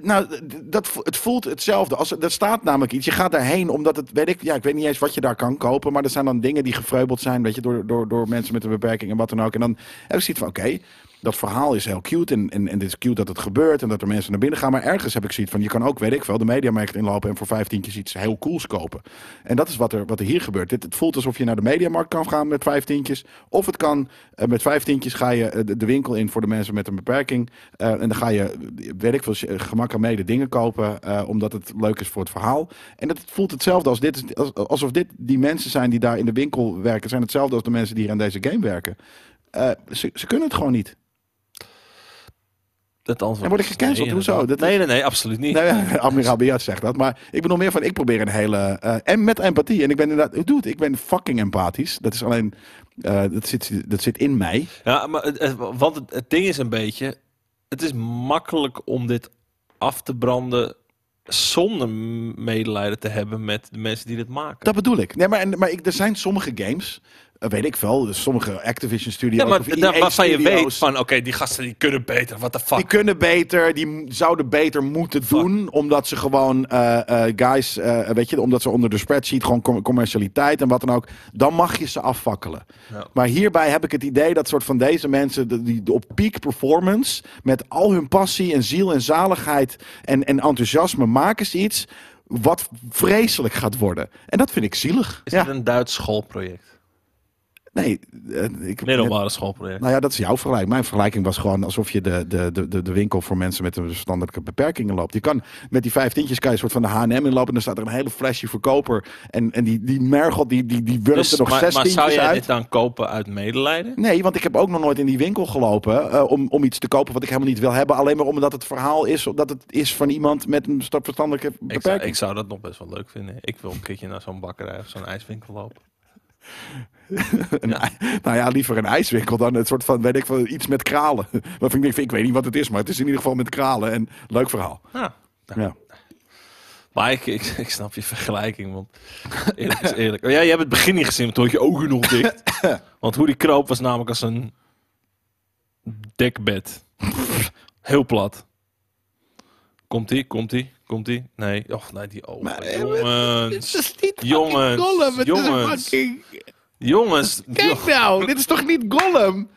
Speaker 2: nou, d- dat, vo- het voelt hetzelfde. Als, er er staat namelijk iets. Je gaat daarheen omdat het... Weet ik, ja, ik weet niet eens wat je daar kan kopen. Maar er zijn dan dingen die gevreubeld zijn weet je, door, door, door mensen met een beperking en wat dan ook. En dan heb ik zoiets van, oké, dat verhaal is heel cute. En, en, en het is cute dat het gebeurt en dat er mensen naar binnen gaan. Maar ergens heb ik zoiets van, je kan ook, weet ik veel, de mediamarkt inlopen... en voor vijftientjes iets heel cools kopen. En dat is wat er, wat er hier gebeurt. Dit, het voelt alsof je naar de mediamarkt kan gaan met vijftientjes. Of het kan, eh, met vijftientjes ga je eh, de, de winkel in voor de mensen met een beperking. Eh, en dan ga je, eh, weet ik veel, s- eh, gemak aan mede dingen kopen. eh, omdat het leuk is voor het verhaal. En dat voelt hetzelfde als dit. is- Als, alsof dit die mensen zijn die daar in de winkel werken. Zijn hetzelfde als de mensen die hier aan deze game werken. Eh, ze, ze kunnen het gewoon niet.
Speaker 1: het antwoord
Speaker 2: En word ik
Speaker 1: is
Speaker 2: gecanceld?
Speaker 1: nee,
Speaker 2: Hoezo?
Speaker 1: inderdaad.
Speaker 2: Dat is-
Speaker 1: Nee, nee, nee, absoluut niet.
Speaker 2: Nou ja, Admiraal Beat zegt dat. Maar ik bedoel meer van, ik probeer een hele... eh, en met empathie. En ik ben inderdaad... Dude, ik ben fucking empathisch. Dat is alleen... eh, dat, zit, dat zit in mij.
Speaker 1: Ja, maar het, het- want het, het ding is een beetje... Het is makkelijk om dit af te branden zonder m- medelijden te hebben met de mensen die dit maken.
Speaker 2: Dat bedoel ik. Nee, maar en, maar ik, er zijn sommige games... eh, weet ik wel. dus Sommige Activision Studios.
Speaker 1: ja, maar
Speaker 2: of
Speaker 1: da-
Speaker 2: EA
Speaker 1: waarvan je
Speaker 2: Studios,
Speaker 1: weet van... Oké, die gasten die kunnen beter. What the fuck?
Speaker 2: Die kunnen beter, die m- zouden beter moeten doen. Omdat ze gewoon, eh, eh, guys, eh, weet je, omdat ze onder de spreadsheet gewoon com- commercialiteit en wat dan ook. Dan mag je ze afvakkelen.
Speaker 1: Ja.
Speaker 2: Maar hierbij heb ik het idee dat soort van deze mensen, de- die op peak performance, met al hun passie en ziel en zaligheid en, en enthousiasme, maken ze iets wat vreselijk gaat worden. En dat vind ik zielig.
Speaker 1: Is
Speaker 2: ja.
Speaker 1: dit een Duits schoolproject?
Speaker 2: Nee, eh, ik,
Speaker 1: Middelbare schoolproject.
Speaker 2: nou ja, dat is jouw vergelijking. Mijn vergelijking was gewoon alsof je de, de, de, de- de winkel voor mensen met een verstandelijke beperkingen loopt. Je kan met die vijftientjes kan je een soort van de H&M inlopen en dan staat er een hele flesje verkoper. En, en die, die mergelt, die, die, die wurmt
Speaker 1: Dus,
Speaker 2: er nog
Speaker 1: maar,
Speaker 2: zes
Speaker 1: maar zou
Speaker 2: tientjes
Speaker 1: jij
Speaker 2: uit.
Speaker 1: dit dan kopen uit medelijden?
Speaker 2: Nee, want ik heb ook nog nooit in die winkel gelopen eh, om, om iets te kopen wat ik helemaal niet wil hebben. Alleen maar omdat het verhaal is dat het is van iemand met een sta- verstandelijke
Speaker 1: Ik zou,
Speaker 2: beperking.
Speaker 1: ik zou dat nog best wel leuk vinden. Ik wil een keertje naar zo'n bakkerij of zo'n ijswinkel lopen.
Speaker 2: Een ij- nou ja, liever een ijswinkel dan het soort van, weet ik wel, iets met kralen. Waarvan ik denk, van, ik weet niet wat het is, maar het is in ieder geval met kralen. En leuk verhaal.
Speaker 1: Ja.
Speaker 2: Ja.
Speaker 1: Nou, Maar ik, ik, ik snap je vergelijking, want eerlijk is eerlijk. Ja, je hebt het begin niet gezien, want toen had je ogen nog dicht. Want hoe die kroop was namelijk als een dekbed. Heel plat. Komt ie, komt ie, komt ie. Nee, och, nee, die ogen. jongens,
Speaker 2: eh, is niet
Speaker 1: Jongens,
Speaker 2: Gollum. Het
Speaker 1: jongens.
Speaker 2: Is een fucking...
Speaker 1: jongens.
Speaker 2: Kijk eh, nou, dit is toch niet Gollum?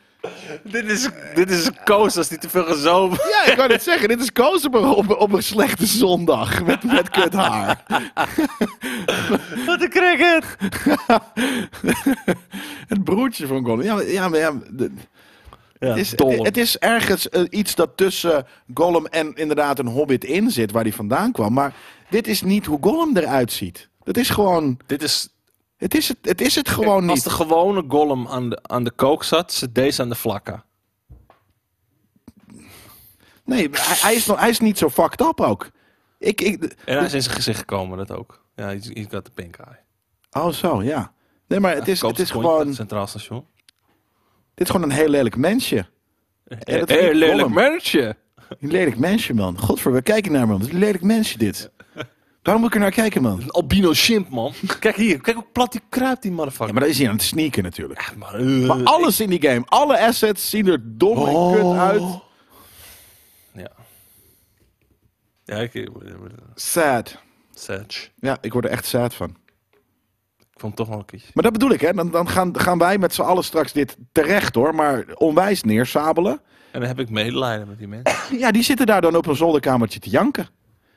Speaker 1: dit, is, dit is een koos als die te veel gezopen.
Speaker 2: Ja, ik kan het zeggen. Dit is Kozenberg op, op een slechte zondag met, met kut haar.
Speaker 1: Wat een cricket.
Speaker 2: Het broertje van Gollum. Ja, maar- ja, maar ja, de-
Speaker 1: Ja,
Speaker 2: het, is, het, het is ergens eh, iets dat tussen Gollum en inderdaad een hobbit in zit, waar hij vandaan kwam. Maar dit is niet hoe Gollum eruit ziet. Dat is gewoon...
Speaker 1: dit is
Speaker 2: Het is het, het, is het gewoon
Speaker 1: Als
Speaker 2: niet.
Speaker 1: de gewone golem aan de, aan de kook zat, zit deze aan de vlakken.
Speaker 2: Nee, hij, hij is, nog- hij is niet zo fucked up ook. Ik, ik,
Speaker 1: En hij is in zijn gezicht gekomen, dat ook. Ja, he's, he's got the pink eye.
Speaker 2: oh, zo, ja. Nee, maar het is,
Speaker 1: Koopt
Speaker 2: Dus het is
Speaker 1: een hondje aan
Speaker 2: gewoon...
Speaker 1: het Centraal Station.
Speaker 2: Dit is gewoon een heel lelijk mensje. Ja, dat is niet Gollum.
Speaker 1: mensje.
Speaker 2: Een lelijk mensje, man. Godver, we kijken naar man. Wat is een lelijk mensje dit. Waarom moet ik er naar kijken, man?
Speaker 1: Een albino shimp, man. Kijk hier, kijk hoe plat die kruipt, die
Speaker 2: Ja,
Speaker 1: motherfucker.
Speaker 2: maar dat is hij aan het sneaken natuurlijk.
Speaker 1: Ja, maar, eh,
Speaker 2: Maar alles in die game, alle assets zien er dom en kut uit.
Speaker 1: Ja. Ja, ik...
Speaker 2: Sad.
Speaker 1: Sedge.
Speaker 2: Ja, ik word er echt sad van.
Speaker 1: Ik vond het toch wel een keertje.
Speaker 2: Maar dat bedoel ik, hè. Dan, dan gaan, gaan wij met z'n allen straks dit terecht, hoor. Maar onwijs neersabelen.
Speaker 1: En dan heb ik medelijden met die mensen.
Speaker 2: Ja, die zitten daar dan op een zolderkamertje te janken.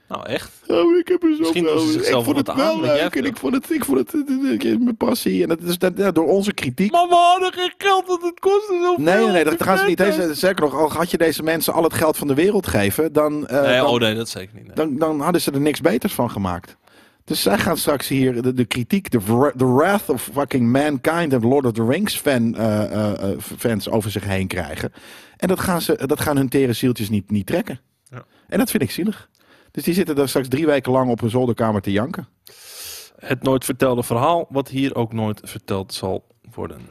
Speaker 1: Nou, echt.
Speaker 2: Oh, ik heb er zo
Speaker 1: Misschien
Speaker 2: veel-
Speaker 1: doen ze zichzelf
Speaker 2: Ik
Speaker 1: wat
Speaker 2: vond het
Speaker 1: aan,
Speaker 2: wel
Speaker 1: weet jij
Speaker 2: leuk. En
Speaker 1: veel.
Speaker 2: ik vond het, ik vond het, eh, eh, mijn passie. En dat is dat, ja, door onze kritiek.
Speaker 1: Maar we hadden geen geld, want het kostte zo
Speaker 2: Nee, nee, nee, dat gaan ze niet. Deze, zeker nog, al had je deze mensen al het geld van de wereld geven, dan, eh,
Speaker 1: Nee,
Speaker 2: dan,
Speaker 1: oh nee, dat zeker niet. nee.
Speaker 2: dan, dan hadden ze er niks beters van gemaakt. Dus zij gaan straks hier de, de kritiek, de, wra- de wrath of fucking mankind en Lord of the Rings fan, eh, eh, eh, fans over zich heen krijgen. En dat gaan, ze, dat gaan hun tere zieltjes niet, niet trekken.
Speaker 1: Ja.
Speaker 2: En dat vind ik zielig. Dus die zitten daar straks drie weken lang op hun zolderkamer te janken.
Speaker 1: Het nooit vertelde verhaal, wat hier ook nooit verteld zal worden.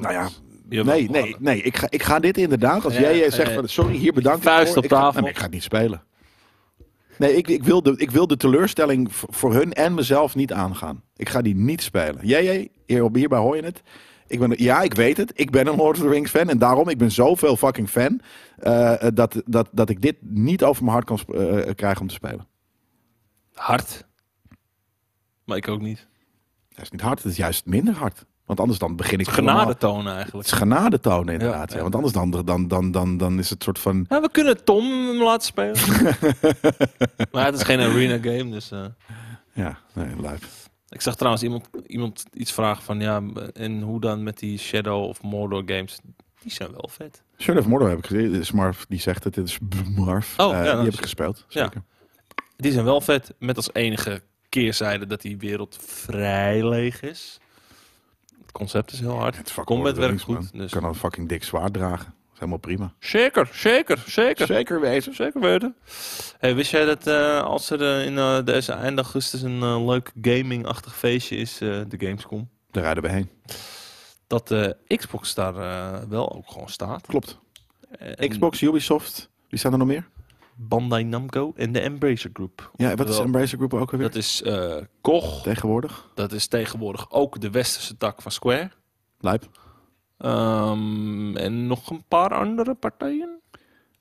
Speaker 2: Nou ja,
Speaker 1: Jawel,
Speaker 2: nee,
Speaker 1: laten.
Speaker 2: nee, nee. Ik ga, ik ga dit inderdaad. Als
Speaker 1: Ja,
Speaker 2: jij eh,
Speaker 1: ja,
Speaker 2: zegt
Speaker 1: ja.
Speaker 2: van sorry, hier bedankt. ik
Speaker 1: Vuist
Speaker 2: voor,
Speaker 1: op
Speaker 2: ik ga-
Speaker 1: tafel.
Speaker 2: nee, ik ga het niet spelen. Nee, ik, ik, wil de, ik wil de teleurstelling v- voor hun en mezelf niet aangaan. Ik ga die niet spelen. Jij, jij hier, op- hierbij hoor je het. Ik ben, ja, ik weet het. Ik ben een Lord of the Rings fan. En daarom, ik ben zoveel fucking fan. eh, dat, dat, dat ik dit niet over mijn hart kan sp- eh, krijgen om te spelen.
Speaker 1: Hard. Maar ik ook niet.
Speaker 2: Dat is niet hard, het is juist minder hard. Want anders dan begin ik...
Speaker 1: Genade
Speaker 2: helemaal-
Speaker 1: tonen
Speaker 2: Het
Speaker 1: eigenlijk.
Speaker 2: is genade tonen inderdaad.
Speaker 1: Ja,
Speaker 2: ja.
Speaker 1: ja.
Speaker 2: Want anders dan, dan, dan, dan, dan is het soort van...
Speaker 1: Ja, we kunnen Tom hem laten spelen. maar het is geen arena game, dus... eh.
Speaker 2: Ja, nee, lijp.
Speaker 1: Ik zag trouwens iemand, iemand iets vragen van... Ja, en hoe dan met die Shadow of Mordor games? Die zijn wel vet.
Speaker 2: Shadow of Mordor heb ik gezien. Smurf die zegt het. Dit is B- Marf.
Speaker 1: Oh,
Speaker 2: Eh,
Speaker 1: ja,
Speaker 2: die
Speaker 1: dat
Speaker 2: heb
Speaker 1: is-
Speaker 2: ik gespeeld.
Speaker 1: ja.
Speaker 2: Zeker.
Speaker 1: Die zijn wel vet, met als enige keerzijde dat die wereld vrij leeg is. Het concept is heel hard.
Speaker 2: Het vak
Speaker 1: Combat
Speaker 2: Lord of the
Speaker 1: werkt
Speaker 2: Rings,
Speaker 1: goed,
Speaker 2: man.
Speaker 1: dus-
Speaker 2: Kan dan fucking dik zwaard dragen. is helemaal prima.
Speaker 1: Zeker, zeker, zeker.
Speaker 2: Zeker weten.
Speaker 1: Zeker weten. Hey, wist jij dat eh, als er eh, in eh, deze eind augustus een eh, leuk gaming-achtig feestje is, eh, de Gamescom,
Speaker 2: Daar rijden we heen.
Speaker 1: dat de Xbox daar eh, wel ook gewoon staat? Eh,
Speaker 2: Klopt.
Speaker 1: En
Speaker 2: Xbox, Ubisoft. Wie staan er nog meer?
Speaker 1: Bandai Namco en de Embracer Group.
Speaker 2: Ja, wat is
Speaker 1: Wel,
Speaker 2: Embracer Group ook alweer?
Speaker 1: Dat is eh Koch,
Speaker 2: Tegenwoordig.
Speaker 1: dat is tegenwoordig ook de westerse tak van Square.
Speaker 2: Lijp.
Speaker 1: Ehm, en nog een paar andere partijen.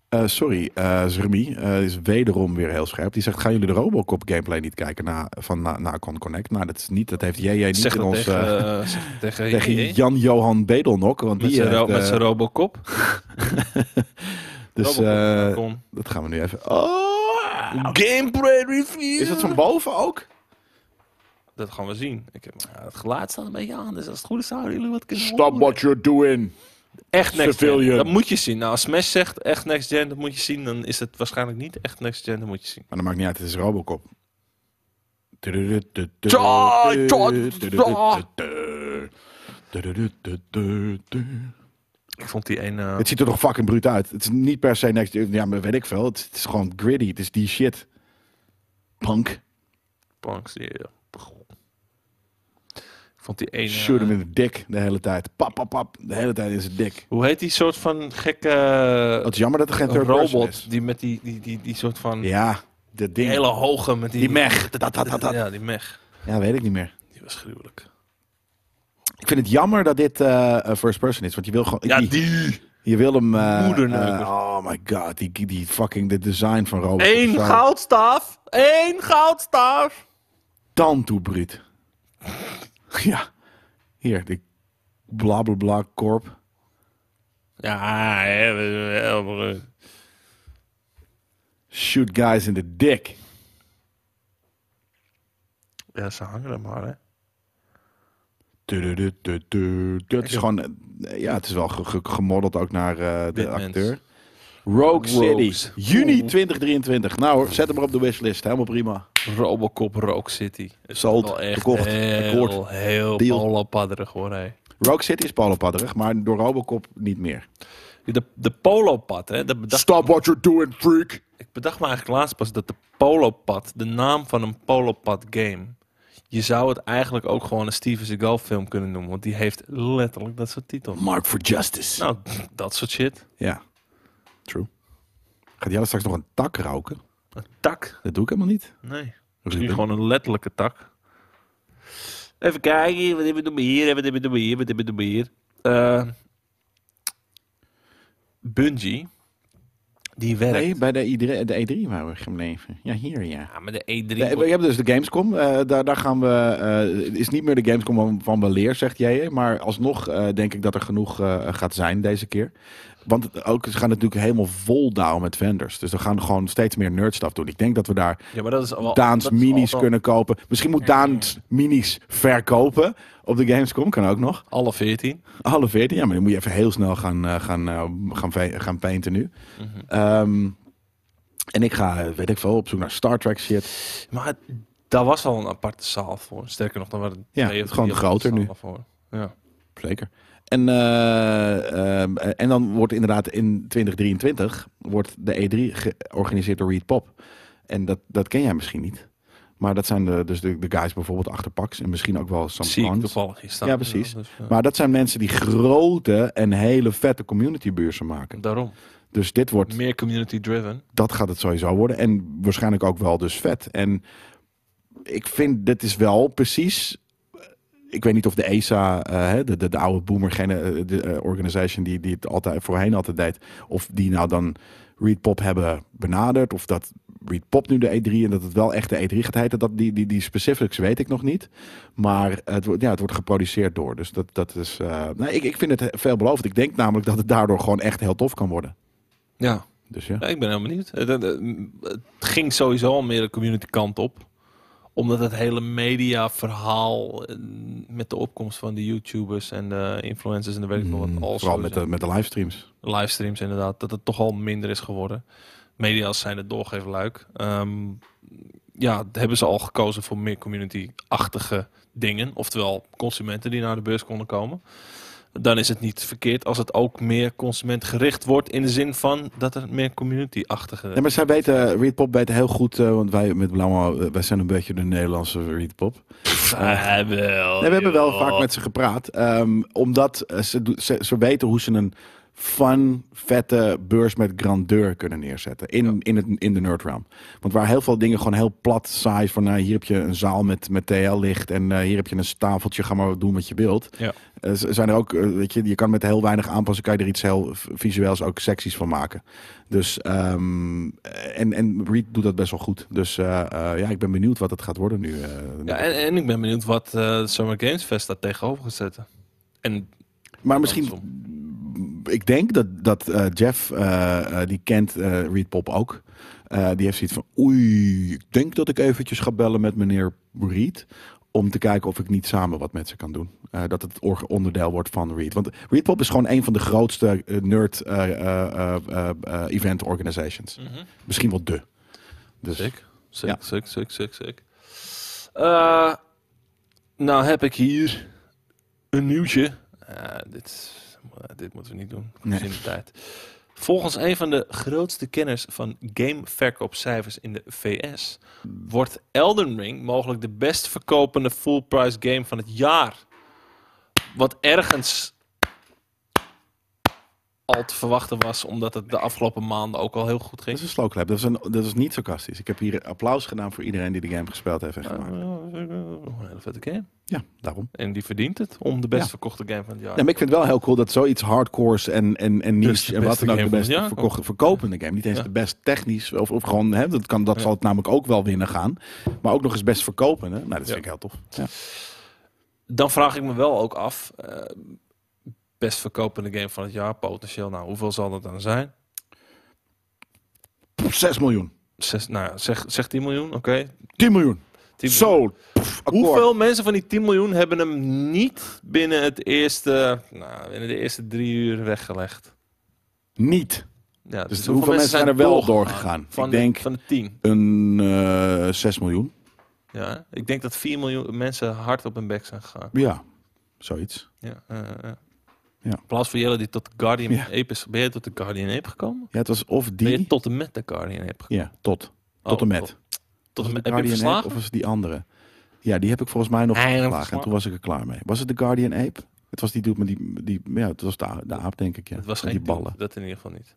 Speaker 2: Eh, sorry, eh Zermi eh, is wederom weer heel scherp. Die zegt, gaan jullie de Robocop gameplay niet kijken na, van na, na Con Connect? Nou, dat is niet, dat heeft JJ niet
Speaker 1: Zeg
Speaker 2: in
Speaker 1: dat
Speaker 2: ons...
Speaker 1: tegen,
Speaker 2: eh,
Speaker 1: eh, zeg dat tegen,
Speaker 2: tegen Jan-Johan Bedelnok. Want
Speaker 1: met
Speaker 2: die
Speaker 1: zijn ro-
Speaker 2: heeft, eh,
Speaker 1: met zijn robocop.
Speaker 2: Dus
Speaker 1: Robocop,
Speaker 2: eh,
Speaker 1: Con.
Speaker 2: dat gaan we nu even... Oh!
Speaker 1: Gameplay review.
Speaker 2: Is dat van boven ook?
Speaker 1: Dat gaan we zien. Ik heb, maar het geluid staat een beetje aan, dus als het goed is zouden jullie wat kunnen
Speaker 4: Stop
Speaker 1: horen.
Speaker 4: what you're doing.
Speaker 1: Echt next gen.
Speaker 4: civilian.
Speaker 1: Dat moet je zien. Nou, als Smash zegt echt next gen, dat moet je zien. Dan is het waarschijnlijk niet echt next gen, dat moet je zien.
Speaker 2: Maar dat maakt niet uit, het is Robocop.
Speaker 1: Ja, ja, ja. Ik vond die ene...
Speaker 2: Het ziet er toch fucking bruut uit. Het is niet per se next... Ja, maar weet ik veel. Het is, het is gewoon gritty. Het is die shit. Punk.
Speaker 1: Punks, die, eh, Ik vond die ene...
Speaker 2: Shoot hem in de dik de hele tijd. Pap, pap, pap. De hele tijd in zijn dik.
Speaker 1: eh, Hoe heet die soort van gekke eh,
Speaker 2: Het is jammer dat er geen third person
Speaker 1: robot?
Speaker 2: is.
Speaker 1: Die met die, die, die, die soort van
Speaker 2: Ja, dat ding.
Speaker 1: hele hoge... Met die,
Speaker 2: Die mech. Dat, dat, dat, dat.
Speaker 1: Ja, die mech.
Speaker 2: Ja, weet ik niet meer.
Speaker 1: Die was gruwelijk.
Speaker 2: Ik vind het jammer dat dit eh, eh, first person is. Want je wil gewoon...
Speaker 1: Ja,
Speaker 2: die-
Speaker 1: die...
Speaker 2: Je wil hem... eh,
Speaker 1: Moederneuker.
Speaker 2: eh, oh my god, die, die fucking de design van Robocop.
Speaker 1: Eén
Speaker 2: Sorry.
Speaker 1: goudstaaf! Eén goudstaaf!
Speaker 2: Tand toe, bruut. ja. Hier, de blablabla korp.
Speaker 1: Ja, hè, we- we- we-
Speaker 2: Shoot guys in the dick.
Speaker 1: we- ja, ze hangen er maar, hè.
Speaker 2: Tududududu. Dat is gewoon... eh, Ja, het is wel ge- ge- gemodeld ook naar eh, de
Speaker 1: Bitmans.
Speaker 2: acteur. Rogue
Speaker 1: Rogues.
Speaker 2: City. Juni 2023. Nou hoor, zet hem maar op de wishlist. Helemaal prima.
Speaker 1: Robocop Rock City. Het
Speaker 2: Sold,
Speaker 1: wel echt
Speaker 2: verkocht,
Speaker 1: heel,
Speaker 2: akkoord.
Speaker 1: heel
Speaker 2: Deal.
Speaker 1: polopadderig, hoor, hè.
Speaker 2: Rogue City is polopadderig, maar door Robocop niet meer.
Speaker 1: De, de polopad, hè. Dat bedacht
Speaker 4: Stop what you're doing, freak.
Speaker 1: Ik bedacht me eigenlijk laatst pas dat de Polopad, de naam van een Polopad game. Je zou het eigenlijk ook gewoon een Steven Seagal film kunnen noemen. Want die heeft letterlijk dat soort titel.
Speaker 3: Mark for Justice.
Speaker 1: Nou, dat soort shit.
Speaker 2: Ja. True. Gaat Jelle straks nog een tak roken?
Speaker 1: Een tak?
Speaker 2: Dat doe ik helemaal niet.
Speaker 1: Nee. Misschien
Speaker 2: Ruben.
Speaker 1: gewoon een letterlijke tak. Even kijken, wat hebben we nog hier? Wat hebben we nog hier? Wat hebben we nog hier? Eh, Bungie, die werkt.
Speaker 2: Nee, bij de, I3 de E E3 waren we gebleven. Ja, hier ja.
Speaker 1: Ja, maar de E E3.
Speaker 2: Nee, we hebben dus de Gamescom. eh, daar, daar gaan we. eh, het is niet meer de Gamescom van, van weleer, zegt jij. Maar alsnog eh, denk ik dat er genoeg eh, gaat zijn deze keer. Want het- ook, ze gaan natuurlijk helemaal vol down met vendors. Dus we gaan gewoon steeds meer nerdstuff doen. Ik denk dat we daar
Speaker 1: ja, maar dat is al.
Speaker 2: Daans
Speaker 1: Oh, dat is al-
Speaker 2: minis kunnen kopen. Misschien moet Daans minis verkopen op de Gamescom. Kan ook nog.
Speaker 1: Alle 14.
Speaker 2: Half 14, ja, maar dan moet je even heel snel gaan, eh, gaan, eh, gaan, ve- gaan painten nu.
Speaker 1: Mhm.
Speaker 2: Ehm, en ik ga, eh, weet ik veel, op zoek naar Star Trek shit.
Speaker 1: Maar daar was al een aparte zaal voor. Sterker nog, dan waren er twee
Speaker 2: Ja,
Speaker 1: of
Speaker 2: het is gewoon
Speaker 1: drie aparte
Speaker 2: groter nu.
Speaker 1: zalen Voor. Ja.
Speaker 2: Zeker. En, eh, ehm, en dan wordt inderdaad in 2023 wordt de E3 georganiseerd door Reed Pop. En dat, dat ken jij misschien niet. Maar dat zijn de, dus de, de guys bijvoorbeeld achter Pax en misschien ook wel Sam
Speaker 1: Zie ik
Speaker 2: Pons.
Speaker 1: toevallig hier staan.
Speaker 2: Ja, precies.
Speaker 1: dus, ja,
Speaker 2: Maar dat zijn mensen die grote en hele vette community beurzen maken.
Speaker 1: Daarom.
Speaker 2: Dus dit wordt
Speaker 1: Meer community driven.
Speaker 2: dat gaat het sowieso worden. En waarschijnlijk ook wel dus vet. En ik vind, dit is wel precies... eh, Ik weet niet of de ESA, eh, hè, de, de, de oude boomer gene- de, eh, organization die, die het altijd voorheen altijd deed, of die nou dan Reed Pop hebben benaderd, of dat Reed Pop nu de E3 en dat het wel echt de E3 gaat heten. Dat, die, die, die specifics weet ik nog niet. Maar het, wordt- ja, het wordt geproduceerd door. Dus dat, dat is. eh, nou, ik, ik vind het veelbelovend. Ik denk namelijk dat het daardoor gewoon echt heel tof kan worden.
Speaker 1: Ja.
Speaker 2: Dus ja.
Speaker 1: ja, ik ben heel benieuwd. Het, het- het ging sowieso al meer de community kant op. Omdat het hele media verhaal eh, met de opkomst van de YouTubers en de influencers en de weet ik veel wat.
Speaker 2: Mm,
Speaker 1: al
Speaker 2: Vooral
Speaker 1: sowieso-
Speaker 2: met de, met de livestreams.
Speaker 1: livestreams inderdaad, dat het toch al minder is geworden. Media's zijn het doorgeven luik. Ehm, ja, hebben ze al gekozen voor meer community-achtige dingen. Oftewel consumenten die naar de beurs konden komen. dan is het niet verkeerd als het ook meer consumentgericht wordt. In de zin van dat er meer community-achtige...
Speaker 2: Nee, maar zij weten, eh, Reed Pop weten heel goed, eh, want wij met Blauw, wij zijn een beetje de Nederlandse Reed Pop.
Speaker 1: Ah, wel,
Speaker 2: Nee, we hebben wel
Speaker 1: joh.
Speaker 2: vaak met ze gepraat. ehm, omdat eh, ze, do- ze, ze weten hoe ze een fun, vette beurs met grandeur kunnen neerzetten. In, in, het, in de nerd realm. Want waar heel veel dingen gewoon heel plat, saai. Van nou, hier heb je een zaal met, met TL-licht. En eh, hier heb je een tafeltje. Ga maar doen wat je wilt.
Speaker 1: Ja.
Speaker 2: Eh, z- zijn er ook, eh, weet je, je kan met heel weinig aanpassen. Kan je er iets heel v- visueels ook seksies van maken. Dus, ehm, en, en Reed doet dat best wel goed. Dus eh, eh, ja, ik ben benieuwd wat het gaat worden nu. eh,
Speaker 1: Ja, en, en ik ben benieuwd wat eh, Summer Games Fest daar tegenover gaat zetten. En
Speaker 2: Maar misschien,
Speaker 1: Andersom.
Speaker 2: ik denk dat, dat eh, Jeff, eh, eh, die kent eh Reed Pop ook. Eh, die heeft zoiets van, oei, ik denk dat ik eventjes ga bellen met meneer Reed. Om te kijken of ik niet samen wat met ze kan doen. Eh, dat het or- onderdeel wordt van Reed. Want Reed Pop is gewoon een van de grootste eh, nerd eh, eh, eh, eh, eh, event organizations.
Speaker 1: Mhm.
Speaker 2: Misschien wel de. Dus
Speaker 1: Sick. Sick,
Speaker 2: Ja.
Speaker 1: sick, sick, sick, sick. Eh, nou heb ik hier een nieuwtje. Eh, dit, dit moeten we niet doen.
Speaker 2: Nee.
Speaker 1: Nee. In de tijd. Volgens een van de grootste kenners van gameverkoopcijfers in de VS... wordt Elden Ring mogelijk de best verkopende full-price game van het jaar. Wat ergens al te verwachten was... omdat het de afgelopen maanden ook al heel goed ging.
Speaker 2: dat is een slow clap. Dat is, een, dat is niet sarcastisch. Ik heb hier applaus gedaan voor iedereen die de game gespeeld heeft. en gemaakt.
Speaker 1: eh, Een hele vette game.
Speaker 2: Ja, daarom.
Speaker 1: En die verdient het om de best
Speaker 2: Ja.
Speaker 1: verkochte game van het jaar.
Speaker 2: Ja, maar ik vind het wel heel cool dat zoiets hardcores en, en, en niche
Speaker 1: Dus de
Speaker 2: en wat
Speaker 1: beste
Speaker 2: dan ook de
Speaker 1: game van
Speaker 2: best
Speaker 1: het jaar
Speaker 2: verkocht- verkopende game. Niet eens
Speaker 1: Ja.
Speaker 2: de best technisch of, of gewoon, hè, dat, kan, dat
Speaker 1: Ja.
Speaker 2: zal het namelijk ook wel winnen gaan. Maar ook nog eens best verkopen. Hè? Nou, dat
Speaker 1: Ja.
Speaker 2: vind ik heel tof. Ja.
Speaker 1: Dan vraag ik me wel ook af, eh, best verkopende game van het jaar, potentieel, nou hoeveel zal dat dan zijn?
Speaker 2: Pff, 6 miljoen.
Speaker 1: Zes, nou ja, zeg, zeg 10 miljoen, oké.
Speaker 2: 10 miljoen.
Speaker 1: 10 miljoen.
Speaker 2: Zo. pff, akkoord.
Speaker 1: Hoeveel mensen van die 10 miljoen hebben hem niet binnen, het eerste, nou, binnen de eerste drie uur weggelegd?
Speaker 2: Niet.
Speaker 1: Ja,
Speaker 2: Dus hoeveel mensen zijn er wel doorgegaan?
Speaker 1: Van
Speaker 2: ik
Speaker 1: de-
Speaker 2: denk
Speaker 1: Van de 10.
Speaker 2: een eh 6 miljoen.
Speaker 1: Ja, ik denk dat 4 miljoen mensen hard op hun bek zijn gegaan.
Speaker 2: Ja, zoiets.
Speaker 1: Ja, eh, eh.
Speaker 2: Ja.
Speaker 1: Applaus voor Jelle die tot de Guardian
Speaker 2: Ja.
Speaker 1: Ape is. Ben je tot de Guardian Ape gekomen?
Speaker 2: Ja, het was of
Speaker 1: Ben je
Speaker 2: die.
Speaker 1: tot en met de Guardian Ape gekomen?
Speaker 2: Ja, tot. Tot
Speaker 1: Oh,
Speaker 2: en met.
Speaker 1: Tot, tot
Speaker 2: Was
Speaker 1: en
Speaker 2: het
Speaker 1: met.
Speaker 2: de
Speaker 1: Heb je hem
Speaker 2: Guardian Ape
Speaker 1: verslagen?
Speaker 2: of was het die andere? Ja, die heb ik volgens mij nog
Speaker 1: Hij heeft hem
Speaker 2: geslagen. En
Speaker 1: verslagen.
Speaker 2: toen was ik er klaar mee. Was het de Guardian Ape? Het was die dude met die... die ja, het was de, a- de aap, denk ik. Ja.
Speaker 1: Het was
Speaker 2: Met
Speaker 1: geen
Speaker 2: die ballen. Hm.
Speaker 1: ballen. Dat in ieder geval niet.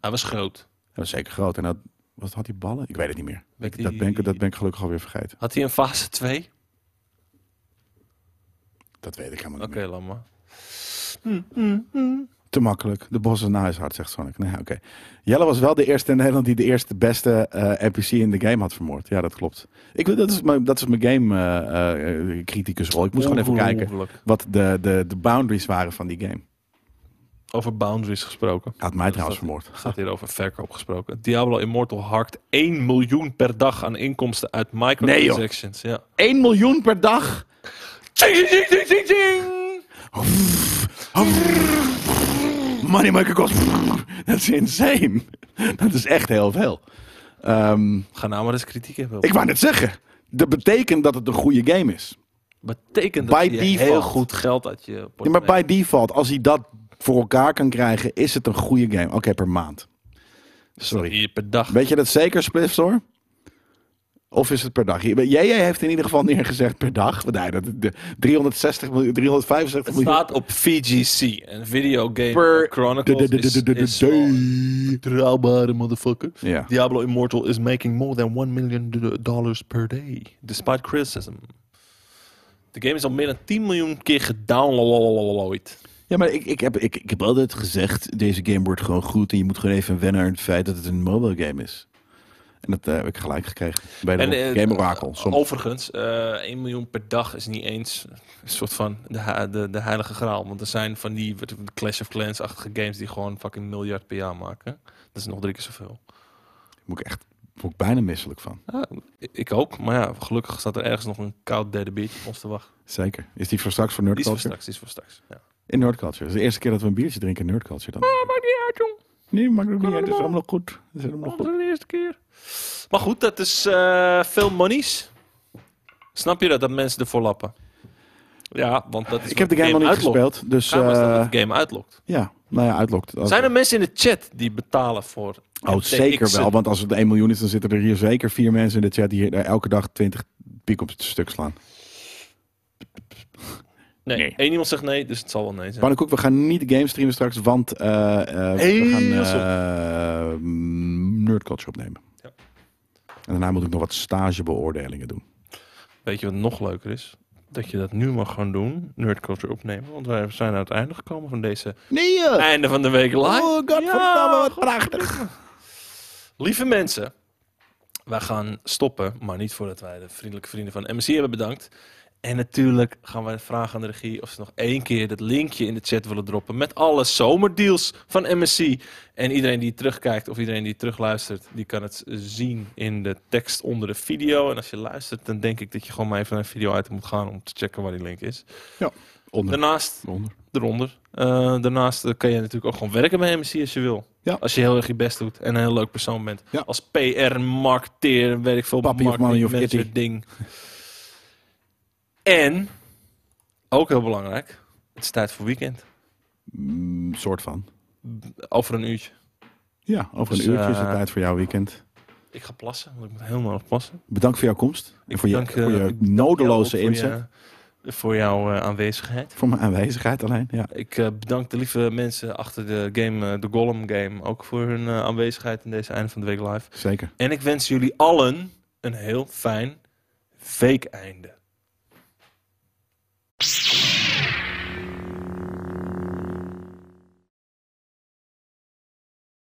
Speaker 1: Hij was groot.
Speaker 2: Hij was zeker groot. En dat, was, had hij ballen? Ik weet het niet meer.
Speaker 1: Met
Speaker 2: Dat,
Speaker 1: die-
Speaker 2: ben ik, dat ben ik gelukkig alweer vergeten.
Speaker 1: Had hij een fase 2? Oké,
Speaker 2: Dat weet ik helemaal niet
Speaker 1: laat maar.
Speaker 2: meer. Te makkelijk. De bos is na is hard, zegt Sonic. Nee, oké. Jelle was wel de eerste in Nederland die de eerste beste eh, NPC in de game had vermoord. Ja, dat klopt. Ik, wil- dat, is mijn, dat is mijn game eh, eh, criticusrol. Ik moest gewoon even kijken
Speaker 1: Ongelooflijk.
Speaker 2: wat de, de, de boundaries waren van die game.
Speaker 1: Over boundaries gesproken.
Speaker 2: Had mij trouwens
Speaker 1: staat-
Speaker 2: vermoord.
Speaker 1: Gaat hier over verkoop gesproken. Diablo Immortal harkt 1 miljoen per dag aan inkomsten uit microtransactions. ja.
Speaker 2: 1 miljoen per dag.
Speaker 1: Zing, zing, zing, zing, zing, zing!
Speaker 2: Oh. Money maker kost. Dat is insane. Dat is echt heel veel. Ehm,
Speaker 1: Ga nou maar eens kritiek hebben. op-
Speaker 2: ik wou net zeggen. Dat betekent dat het een goede game is.
Speaker 1: betekent dat
Speaker 2: By
Speaker 1: je heel
Speaker 2: default.
Speaker 1: goed geld uit je
Speaker 2: Ja, maar
Speaker 1: portemonnee.
Speaker 2: bij default, als hij dat voor elkaar kan krijgen, is het een goede game. Oké, per maand. Sorry.
Speaker 1: Hier per dag.
Speaker 2: Weet je dat zeker, Spliffs hoor? Of is het per dag? Jij jij heeft in ieder geval neergezegd per dag. Want Nee, dat, de 360 miljoen, 365
Speaker 1: Het
Speaker 2: miljoen
Speaker 1: staat op VGC, een videogame
Speaker 2: per...
Speaker 1: chronicles
Speaker 2: de- de- de- de- de- de-
Speaker 1: is, is
Speaker 2: de-
Speaker 1: gewoon
Speaker 2: de-
Speaker 1: betrouwbare motherfucker.
Speaker 2: Ja.
Speaker 1: Diablo Immortal is making more than 1 million do- dollars per day, despite criticism. De game is al meer dan 10 miljoen keer gedownload.
Speaker 2: Ja, maar ik, ik, heb, ik, ik heb altijd gezegd, deze game wordt gewoon goed en je moet gewoon even wennen aan het feit dat het een mobile game is. En dat eh, heb ik gelijk gekregen bij de
Speaker 1: eh,
Speaker 2: Game Oracle. soms.
Speaker 1: Overigens, eh 1 miljoen per dag is niet eens een soort van de, ha- de, de heilige graal. Want er zijn van die wat- Clash of Clans-achtige games die gewoon fucking miljard per jaar maken. Dat is nog drie keer zoveel.
Speaker 2: Moet ik echt word ik bijna misselijk van.
Speaker 1: Ja, Ah, ik ook, maar ja, gelukkig staat er ergens nog een koud derde biertje op ons te wachten.
Speaker 2: Zeker. Is die voor straks voor Nerd
Speaker 1: Die is voor
Speaker 2: Culture?
Speaker 1: straks, die is voor straks. Ja.
Speaker 2: In Nerd Culture. Dat is de eerste keer dat we een biertje drinken in Nerd Culture dan.
Speaker 1: Oh,
Speaker 2: Nee, maakt ook niet uit. Het is allemaal goed. Het is allemaal
Speaker 1: Dat
Speaker 2: goed.
Speaker 1: is de eerste keer. Maar goed, dat is eh, veel monies. Snap je dat, dat mensen ervoor lappen? Ja, want dat is
Speaker 2: Ik heb de
Speaker 1: wat
Speaker 2: game nog niet
Speaker 1: uitlokt.
Speaker 2: gespeeld, dus
Speaker 1: Daarom is dat
Speaker 2: eh,
Speaker 1: wat de game uitlokt.
Speaker 2: ja, nou ja, uitlokt.
Speaker 1: Zijn er mensen in de chat die betalen voor
Speaker 2: Oh,
Speaker 1: RTX 'en?
Speaker 2: zeker wel, want als het 1 miljoen is, dan zitten er hier zeker vier mensen in de chat die hier eh, elke dag 20 piek op het stuk slaan.
Speaker 1: Nee, één iemand zegt nee, dus het zal wel nee zijn.
Speaker 2: Pannenkoek, we gaan niet game streamen straks, want eh, eh, we
Speaker 1: Heel
Speaker 2: gaan
Speaker 1: stom.
Speaker 2: eh nerdculture opnemen.
Speaker 1: Ja.
Speaker 2: En daarna moet ik nog wat stagebeoordelingen doen.
Speaker 1: Weet je wat nog leuker is? Dat je dat nu mag gaan doen, nerdculture opnemen. Want wij zijn aan het einde gekomen van deze
Speaker 2: Nee! eh,
Speaker 1: einde van de week live.
Speaker 2: Oh, godverdamme,
Speaker 1: Ja,
Speaker 2: wat prachtig.
Speaker 1: Lieve mensen, wij gaan stoppen, maar niet voordat wij de vriendelijke vrienden van MSC hebben bedankt. En natuurlijk gaan wij vragen aan de regie of ze nog één keer dat linkje in de chat willen droppen met alle zomerdeals van MSC. En iedereen die terugkijkt of iedereen die terugluistert, die kan het zien in de tekst onder de video. En als je luistert, dan denk ik dat je gewoon maar even naar een video item moet gaan om te checken waar die link is.
Speaker 2: Onder.
Speaker 1: Daarnaast
Speaker 2: Onder.
Speaker 1: eronder. Eh, daarnaast eh, kan je natuurlijk ook gewoon werken bij MC als je wil.
Speaker 2: Ja.
Speaker 1: Als je heel erg je best doet en een heel leuk persoon bent.
Speaker 2: Ja.
Speaker 1: Als PR, marketeer, weet ik veel.
Speaker 2: Papi of
Speaker 1: marketing
Speaker 2: mommy of
Speaker 1: manager
Speaker 2: kitty.
Speaker 1: ding. En, ook heel belangrijk, het is tijd voor weekend.
Speaker 2: Mm, soort van.
Speaker 1: Over een uurtje.
Speaker 2: Ja, over een
Speaker 1: Dus,
Speaker 2: uurtje is het
Speaker 1: eh,
Speaker 2: tijd voor jouw weekend.
Speaker 1: Ik ga plassen, want ik moet heel nodig plassen.
Speaker 2: Bedankt voor jouw komst. En
Speaker 1: Ik
Speaker 2: voor je,
Speaker 1: dank, eh,
Speaker 2: voor
Speaker 1: ik
Speaker 2: je
Speaker 1: dank
Speaker 2: nodeloze
Speaker 1: Jou ook
Speaker 2: inzet.
Speaker 1: Voor, je- voor jouw eh, aanwezigheid.
Speaker 2: Voor mijn aanwezigheid alleen, ja.
Speaker 1: Ik eh, bedank de lieve mensen achter de game, eh, de Golem Game, ook voor hun eh, aanwezigheid in deze einde van de week live.
Speaker 2: Zeker.
Speaker 1: En ik wens jullie allen een heel fijn weekeinde.